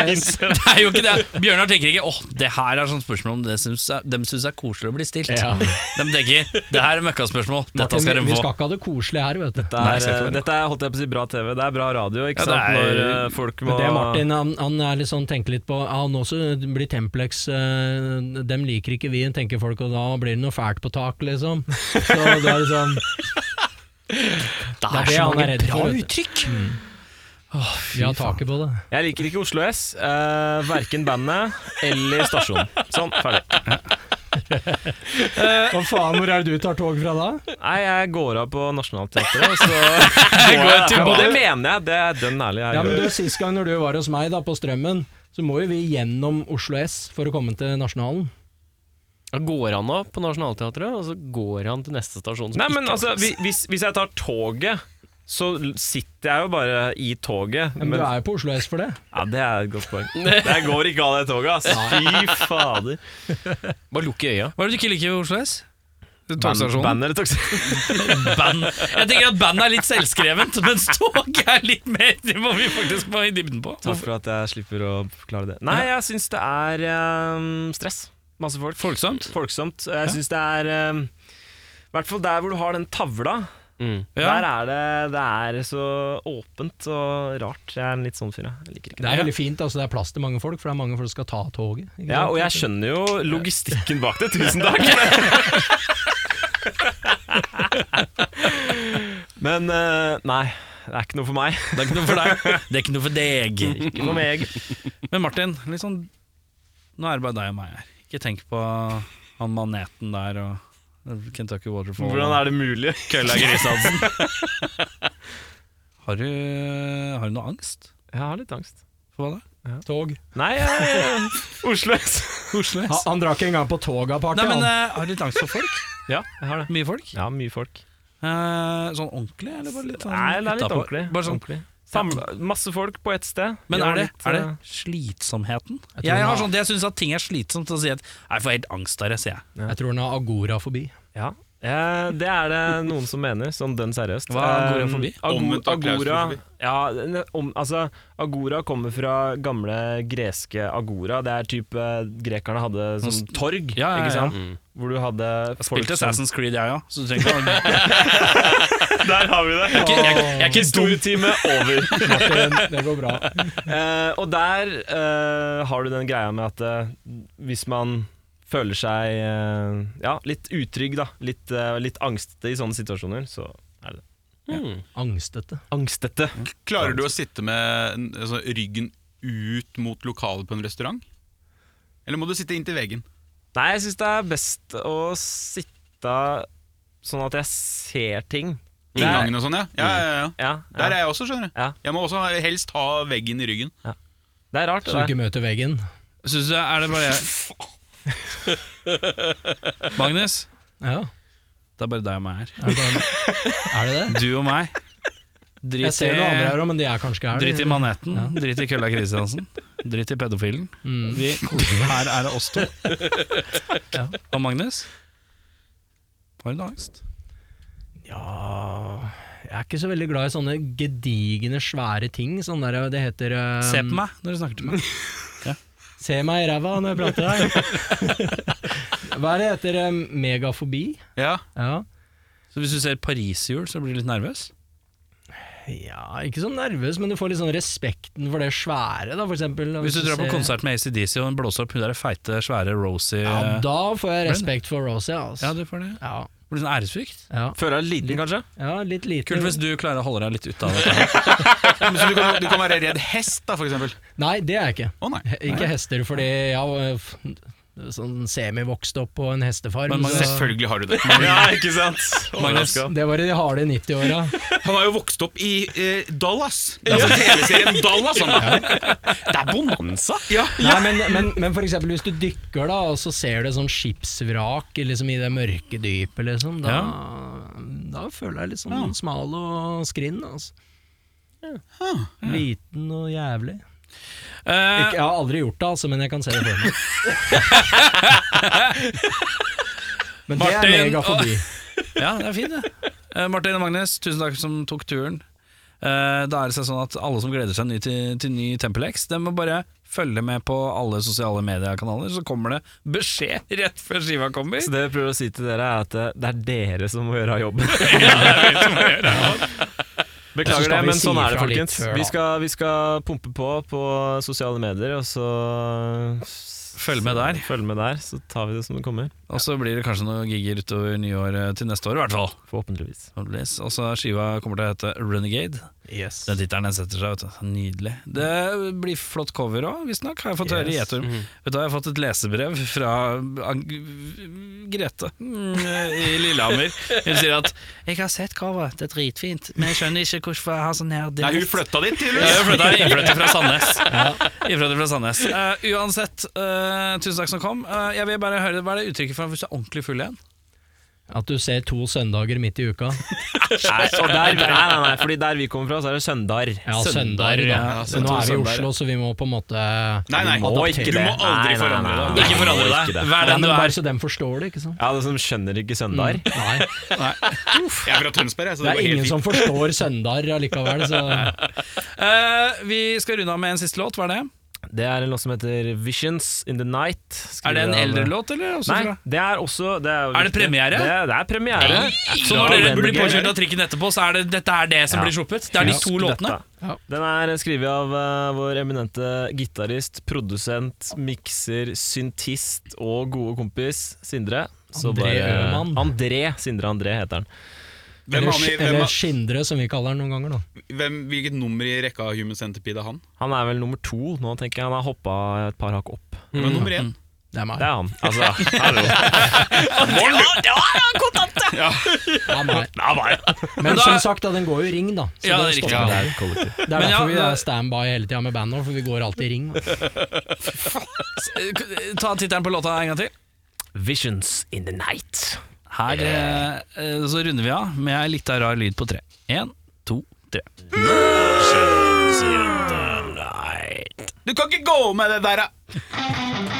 [SPEAKER 6] S.
[SPEAKER 1] Det er jo ikke det. Bjørnar tenker ikke 'Å, det her er sånn spørsmål om det syns er, dem syns er koselig å bli stilt'.
[SPEAKER 6] Ja.
[SPEAKER 1] De tenker 'det her er møkkaspørsmål, dette
[SPEAKER 6] Martin,
[SPEAKER 1] skal
[SPEAKER 6] vi,
[SPEAKER 1] de
[SPEAKER 6] vi
[SPEAKER 1] få'.
[SPEAKER 6] skal ikke ha det koselig her, vet du.
[SPEAKER 7] Det
[SPEAKER 1] Nei,
[SPEAKER 7] er, eh,
[SPEAKER 1] jeg ser ikke hva det er.
[SPEAKER 7] dette er holdt jeg på å si bra TV. Det er bra radio, ikke
[SPEAKER 1] Ja, det er-
[SPEAKER 7] sant? Når eh, folk må
[SPEAKER 6] Men det er Martin, han, han er litt sånn, tenker litt på Ja, nå så blir Templex eh, Dem liker ikke vi, tenker folk, og da blir det noe fælt på tak, liksom. Så det er liksom
[SPEAKER 2] Det
[SPEAKER 6] er
[SPEAKER 2] er
[SPEAKER 6] det
[SPEAKER 2] så
[SPEAKER 6] han er
[SPEAKER 2] mange
[SPEAKER 6] redd
[SPEAKER 2] bra
[SPEAKER 6] for, vet du. Mm.
[SPEAKER 2] uttrykk!
[SPEAKER 6] Vi har taket på det.
[SPEAKER 7] Jeg liker ikke Oslo S. Uh, verken bandet eller stasjonen. Sånn, ferdig.
[SPEAKER 6] Hva faen, hvor er det du tar tog fra da?
[SPEAKER 7] Nei, jeg går av på Nationaltheatret, og så går jeg derfra. Og det mener jeg. Det er dønn ærlig. Jeg
[SPEAKER 6] Ja, men
[SPEAKER 7] gjør.
[SPEAKER 6] du, Sist gang når du var hos meg da på Strømmen, så må jo vi gjennom Oslo S for å komme til Nasjonalen.
[SPEAKER 2] Da går han av på Nationaltheatret, og så går han til neste stasjon. som
[SPEAKER 7] Nei, men
[SPEAKER 2] ikke er
[SPEAKER 7] altså,
[SPEAKER 2] Oslo S.
[SPEAKER 7] vi- hvis, hvis jeg tar toget, så l- sitter jeg jo bare i toget.
[SPEAKER 6] Men,
[SPEAKER 7] Men,
[SPEAKER 6] du er jo på Oslo S for det.
[SPEAKER 7] ja, det er et godt poeng. Jeg går ikke av det toget, ass. Fy fader.
[SPEAKER 2] Bare lukk øya.
[SPEAKER 1] Hva er det du ikke liker ved Oslo S?
[SPEAKER 7] Band,
[SPEAKER 1] Togstasjonen?
[SPEAKER 7] band eller togstasjon?
[SPEAKER 1] Band. Jeg tenker at band er litt selvskrevent, mens tog er litt mer Det må vi faktisk må i dybden på.
[SPEAKER 7] Takk for at jeg slipper å forklare det. Nei, jeg syns det er ehm, stress. Masse folk.
[SPEAKER 1] Folksomt.
[SPEAKER 7] Folksomt. Jeg syns det er ehm, I hvert fall der hvor du har den tavla.
[SPEAKER 2] Mm.
[SPEAKER 7] Der er det, det er så åpent og rart. Jeg er en litt sånn fyr, jeg. jeg liker ikke det.
[SPEAKER 6] Det er veldig fint, altså det er plass til mange folk, for det er mange folk som skal ta toget. ikke
[SPEAKER 7] Ja,
[SPEAKER 6] sant?
[SPEAKER 7] og jeg skjønner jo logistikken bak det. Tusen takk! Men eh, nei, det er ikke noe for meg.
[SPEAKER 1] Det er ikke noe for deg. Det er ikke noe for deg.
[SPEAKER 7] Ikke noe med egg.
[SPEAKER 1] Men Martin, litt sånn Nå er det bare deg og meg her. Ikke tenk på han maneten der og Kentucky Waterfall.
[SPEAKER 7] Hvordan er det mulig?
[SPEAKER 1] kølla grisadsen? har, du, har du noe angst
[SPEAKER 7] Jeg har litt angst.
[SPEAKER 1] for hva da?
[SPEAKER 6] Tog.
[SPEAKER 7] Nei, jeg, eh, Oslo S.
[SPEAKER 1] Oslo
[SPEAKER 6] Ah, Han, han drar ikke engang på toga,
[SPEAKER 1] Nei,
[SPEAKER 6] party.
[SPEAKER 1] men
[SPEAKER 6] han.
[SPEAKER 1] eh, har du litt angst for folk?
[SPEAKER 7] Ja, jeg har det.
[SPEAKER 1] Mye folk?
[SPEAKER 7] Ja, mye folk.
[SPEAKER 1] Eh, sånn ordentlig, eller bare litt sånn
[SPEAKER 7] Nei, det er litt
[SPEAKER 1] utenpå?
[SPEAKER 7] ordentlig.
[SPEAKER 1] Bare sånn,
[SPEAKER 7] ordentlig. Samla- masse folk på ett sted.
[SPEAKER 1] men
[SPEAKER 7] Gjør
[SPEAKER 1] er det,
[SPEAKER 7] litt,
[SPEAKER 1] er det
[SPEAKER 7] eh,
[SPEAKER 1] slitsomheten? Jeg,
[SPEAKER 6] tror den
[SPEAKER 1] har
[SPEAKER 6] har-
[SPEAKER 1] sånn, jeg syns at ting er slitsomt, så sier jeg at jeg får helt angst av det, sier jeg.
[SPEAKER 6] Jeg tror han har agorafobi.
[SPEAKER 7] Ja, eh, det er det noen som mener, sånn dønn seriøst.
[SPEAKER 1] Hva er agora forbi?
[SPEAKER 7] Eh, ago-
[SPEAKER 3] Omvendt
[SPEAKER 7] agora,
[SPEAKER 3] klaustrofobi.
[SPEAKER 7] ja, ne- om, altså, agora kommer fra gamle greske agora. Det er type eh, grekerne hadde
[SPEAKER 1] s-
[SPEAKER 7] som Sånn torg,
[SPEAKER 1] Sånn Ja, ja,
[SPEAKER 7] ikke sant?
[SPEAKER 1] ja.
[SPEAKER 7] Hvor du hadde
[SPEAKER 1] Jeg
[SPEAKER 7] folk
[SPEAKER 1] spilte
[SPEAKER 7] som-
[SPEAKER 1] Assassin's Creed, jeg òg, så du trenger ikke å
[SPEAKER 7] Der har vi det!
[SPEAKER 1] Jeg er ikke- jeg er ikke stor.
[SPEAKER 7] Stortime over.
[SPEAKER 6] Martin, det går bra.
[SPEAKER 7] Eh, og der eh, har du den greia med at eh, hvis man føler seg eh, ja, litt utrygg, da, litt, eh, litt angstete i sånne situasjoner, så er det det.
[SPEAKER 2] Mm.
[SPEAKER 6] Angstete.
[SPEAKER 7] Angstete.
[SPEAKER 4] Klarer du å sitte med en- altså, ryggen ut mot lokalet på en restaurant? Eller må du sitte inntil veggen?
[SPEAKER 7] Nei, jeg syns det er best å sitte sånn at jeg ser ting. Det er-
[SPEAKER 4] Inngangen og sånn, ja. Ja, ja, ja.
[SPEAKER 7] Ja, ja.
[SPEAKER 4] Der er jeg også, skjønner du.
[SPEAKER 7] Ja.
[SPEAKER 4] Jeg må også ha- helst ha veggen i ryggen.
[SPEAKER 7] Det er rart.
[SPEAKER 6] Så du
[SPEAKER 7] Det
[SPEAKER 6] ikke møter veggen.
[SPEAKER 1] Synes du er det bare jeg Magnus,
[SPEAKER 6] Ja,
[SPEAKER 1] det er bare deg og meg her.
[SPEAKER 6] er det er det? det?
[SPEAKER 1] Du og meg.
[SPEAKER 6] Jeg
[SPEAKER 1] Drit i,
[SPEAKER 6] ser noen andre her òg, men de er kanskje ikke her.
[SPEAKER 1] drit i maneten, drit i kølla Kristiansen, drit i pedofilen.
[SPEAKER 6] Mm.
[SPEAKER 1] Vi, her er det oss to. Og Magnus? Har du noe angst?
[SPEAKER 6] Ja Jeg er ikke så veldig glad i sånne gedigne, svære ting. Sånn der, det heter eh,
[SPEAKER 1] Se på meg når du snakker til meg.
[SPEAKER 6] Se meg i ræva når jeg prater her. Hva er det heter? eh, megafobi?
[SPEAKER 4] Ja.
[SPEAKER 6] Ja.
[SPEAKER 1] Så Hvis du ser pariserhjul, så blir du litt nervøs?
[SPEAKER 6] Ja, ikke så nervøs, men du får litt sånn respekten for det svære, da, for eksempel.
[SPEAKER 1] Hvis du drar på
[SPEAKER 6] ser-
[SPEAKER 1] konsert med ACDC og hun blåser opp hun der feite, svære Rosie
[SPEAKER 6] Ja,
[SPEAKER 1] Ja,
[SPEAKER 6] da får jeg respekt for Rosie, altså.
[SPEAKER 1] du får det.
[SPEAKER 6] Ja,
[SPEAKER 1] Blir det sånn æresfrykt?
[SPEAKER 6] ja,
[SPEAKER 7] Føler deg liten, kanskje?
[SPEAKER 6] ja litt liten.
[SPEAKER 1] Kult hvis du klarer å holde deg litt ute av det.
[SPEAKER 3] Men så du, kan, du kan være redd hest, da, for eksempel.
[SPEAKER 6] Nei, det er jeg ikke.
[SPEAKER 3] Å nei.
[SPEAKER 6] He- Ikke hester, fordi jeg var f- sånn semivokst opp på en hestefarm.
[SPEAKER 1] Men man-
[SPEAKER 6] så-
[SPEAKER 3] Selvfølgelig har du det.
[SPEAKER 7] Ja, ikke sant?
[SPEAKER 1] Magnus.
[SPEAKER 7] Overraska.
[SPEAKER 6] det var i de harde 90-åra.
[SPEAKER 3] Han har jo vokst opp i eh, Dallas. Altså TV-serien Dallas. Han.
[SPEAKER 2] Det er bonanza!
[SPEAKER 6] Nei, Men, men, men for eksempel hvis du dykker, da, og så ser du sånn skipsvrak liksom, i det mørke dypet, liksom, da, da føler jeg litt sånn smal og skrinn. Altså. Liten og jævlig. Ikke, jeg har aldri gjort det, altså, men jeg kan se det for meg. men det er
[SPEAKER 1] Martin,
[SPEAKER 6] megafobi.
[SPEAKER 1] Ja, det er fint, det. Eh, Martin og Magnus, tusen takk som tok turen. Eh, da er det sånn at Alle som gleder seg ny til, til ny Tempelhex, de må bare følge med på alle sosiale mediekanaler, så kommer det beskjed rett før skiva kommer.
[SPEAKER 7] Så det jeg prøver å si til dere, er at eh, det er dere som må gjøre jobben.
[SPEAKER 6] Og så
[SPEAKER 7] Beklager
[SPEAKER 6] skal
[SPEAKER 7] det,
[SPEAKER 6] vi
[SPEAKER 7] men
[SPEAKER 6] si
[SPEAKER 7] sånn er det,
[SPEAKER 6] ifra litt
[SPEAKER 7] folkens.
[SPEAKER 6] før, da.
[SPEAKER 7] Vi skal, vi skal pumpe på på sosiale medier, og så Følg
[SPEAKER 1] med der.
[SPEAKER 7] Følg med der, så tar vi det som det kommer.
[SPEAKER 1] Og så blir det kanskje noen gigger utover nyåret til neste år, i hvert fall.
[SPEAKER 7] Forhåpentligvis.
[SPEAKER 1] Forhåpentligvis. Og så skiva kommer til å hete Renegade.
[SPEAKER 6] Yes.
[SPEAKER 1] Den tittelen den setter seg, vet du. Nydelig. Det blir flott cover òg, visstnok, har jeg fått høre i Gjetorm. Vet du, jeg har fått et lesebrev fra Ang Grete mm, i Lillehammer. Hun sier at 'Jeg har sett coveret, det er dritfint, men jeg skjønner ikke hvorfor jeg har sånn her
[SPEAKER 3] Nei, hun
[SPEAKER 1] dialekt».
[SPEAKER 3] flytta dit,
[SPEAKER 1] Ja,
[SPEAKER 3] tydeligvis.
[SPEAKER 1] hun flytta innflytter fra Sandnes. Innflytter fra Sandnes. Eh, uansett, eh, tusen takk som kom. Eh, jeg vil bare høre, Hva er det uttrykket for hvis du er ordentlig full igjen?
[SPEAKER 6] At du ser to søndager midt i uka.
[SPEAKER 7] Nei, og der, nei, nei, nei, fordi der vi kommer fra, så er det søndager.
[SPEAKER 6] Ja,
[SPEAKER 7] Søndager,
[SPEAKER 6] søndager, da.
[SPEAKER 7] ja.
[SPEAKER 6] Men nå er vi i
[SPEAKER 7] Søndager.
[SPEAKER 6] Oslo, så vi må på en måte
[SPEAKER 3] Nei, nei.
[SPEAKER 7] Vi må ikke det.
[SPEAKER 3] Du må aldri
[SPEAKER 7] Nei, nei,
[SPEAKER 3] forandre
[SPEAKER 7] nei,
[SPEAKER 3] deg.
[SPEAKER 7] nei.
[SPEAKER 1] Ikke forandre
[SPEAKER 7] Ikke
[SPEAKER 1] deg.
[SPEAKER 7] det.
[SPEAKER 1] Vær
[SPEAKER 6] Ja,
[SPEAKER 1] den
[SPEAKER 6] men
[SPEAKER 1] du
[SPEAKER 6] bare
[SPEAKER 1] er.
[SPEAKER 6] så dem forstår det, ikke sant?
[SPEAKER 7] Ja, det som skjønner ikke søndager.
[SPEAKER 6] Nei.
[SPEAKER 3] Jeg er fra Tønsberg, jeg, så
[SPEAKER 6] Det
[SPEAKER 3] det
[SPEAKER 6] er
[SPEAKER 3] går
[SPEAKER 6] ingen
[SPEAKER 3] helt fint.
[SPEAKER 6] som forstår søndager allikevel, så
[SPEAKER 1] Eh, vi skal runde av med en siste låt, hva er det?
[SPEAKER 7] Mm. Det er en låt som heter Visions In The Night.
[SPEAKER 1] Er det en
[SPEAKER 7] skrevet av-
[SPEAKER 1] eldre låt, eller? Også
[SPEAKER 7] Nei,
[SPEAKER 1] fra-
[SPEAKER 7] det er også det er, jo
[SPEAKER 1] Er det
[SPEAKER 7] viktig.
[SPEAKER 1] premiere?
[SPEAKER 7] Det, det er premiere.
[SPEAKER 1] Så når dere blir
[SPEAKER 7] Renegade.
[SPEAKER 1] påkjørt av trikken etterpå, så er det dette er det som
[SPEAKER 7] Ja.
[SPEAKER 1] blir sluppet? Det er de to låtene?
[SPEAKER 6] Ja.
[SPEAKER 7] Dette. Den er skrevet av eh, vår eminente gitarist, produsent, mikser, syntist og gode kompis Sindre. Så
[SPEAKER 6] André Øhman.
[SPEAKER 7] André, Sindre André heter han.
[SPEAKER 3] Hvem
[SPEAKER 6] Eller,
[SPEAKER 3] er han i- hvem
[SPEAKER 6] eller
[SPEAKER 3] er-
[SPEAKER 6] Skindre, som vi kaller den noen ganger. Da.
[SPEAKER 3] hvem, hvilket nummer i rekka av Human Centipede er han?
[SPEAKER 7] Han er vel nummer to nå, tenker jeg. Han har hoppa et par hakk opp.
[SPEAKER 3] Hvem er nummer én?
[SPEAKER 6] Det er meg.
[SPEAKER 7] Det er han. Altså, hallo.
[SPEAKER 6] Det er meg.
[SPEAKER 7] Ja, bare.
[SPEAKER 6] Men
[SPEAKER 1] da-
[SPEAKER 6] som sagt, da, den går jo i ring, da. Så
[SPEAKER 1] Ja,
[SPEAKER 6] den
[SPEAKER 1] det er
[SPEAKER 6] stopper
[SPEAKER 1] riktig.
[SPEAKER 6] der.
[SPEAKER 7] kollektiv.
[SPEAKER 6] Det er
[SPEAKER 1] Men ja,
[SPEAKER 6] derfor vi
[SPEAKER 1] da-
[SPEAKER 6] er standby hele tida med bandet, for vi går alltid i ring. da.
[SPEAKER 1] Eh, Ta tittelen på låta en gang til.
[SPEAKER 7] Visions in the night.
[SPEAKER 1] Her eh, eh, så runder vi av med ei lita rar lyd på tre. Én, to, tre.
[SPEAKER 3] Du kan ikke gå med det der, da!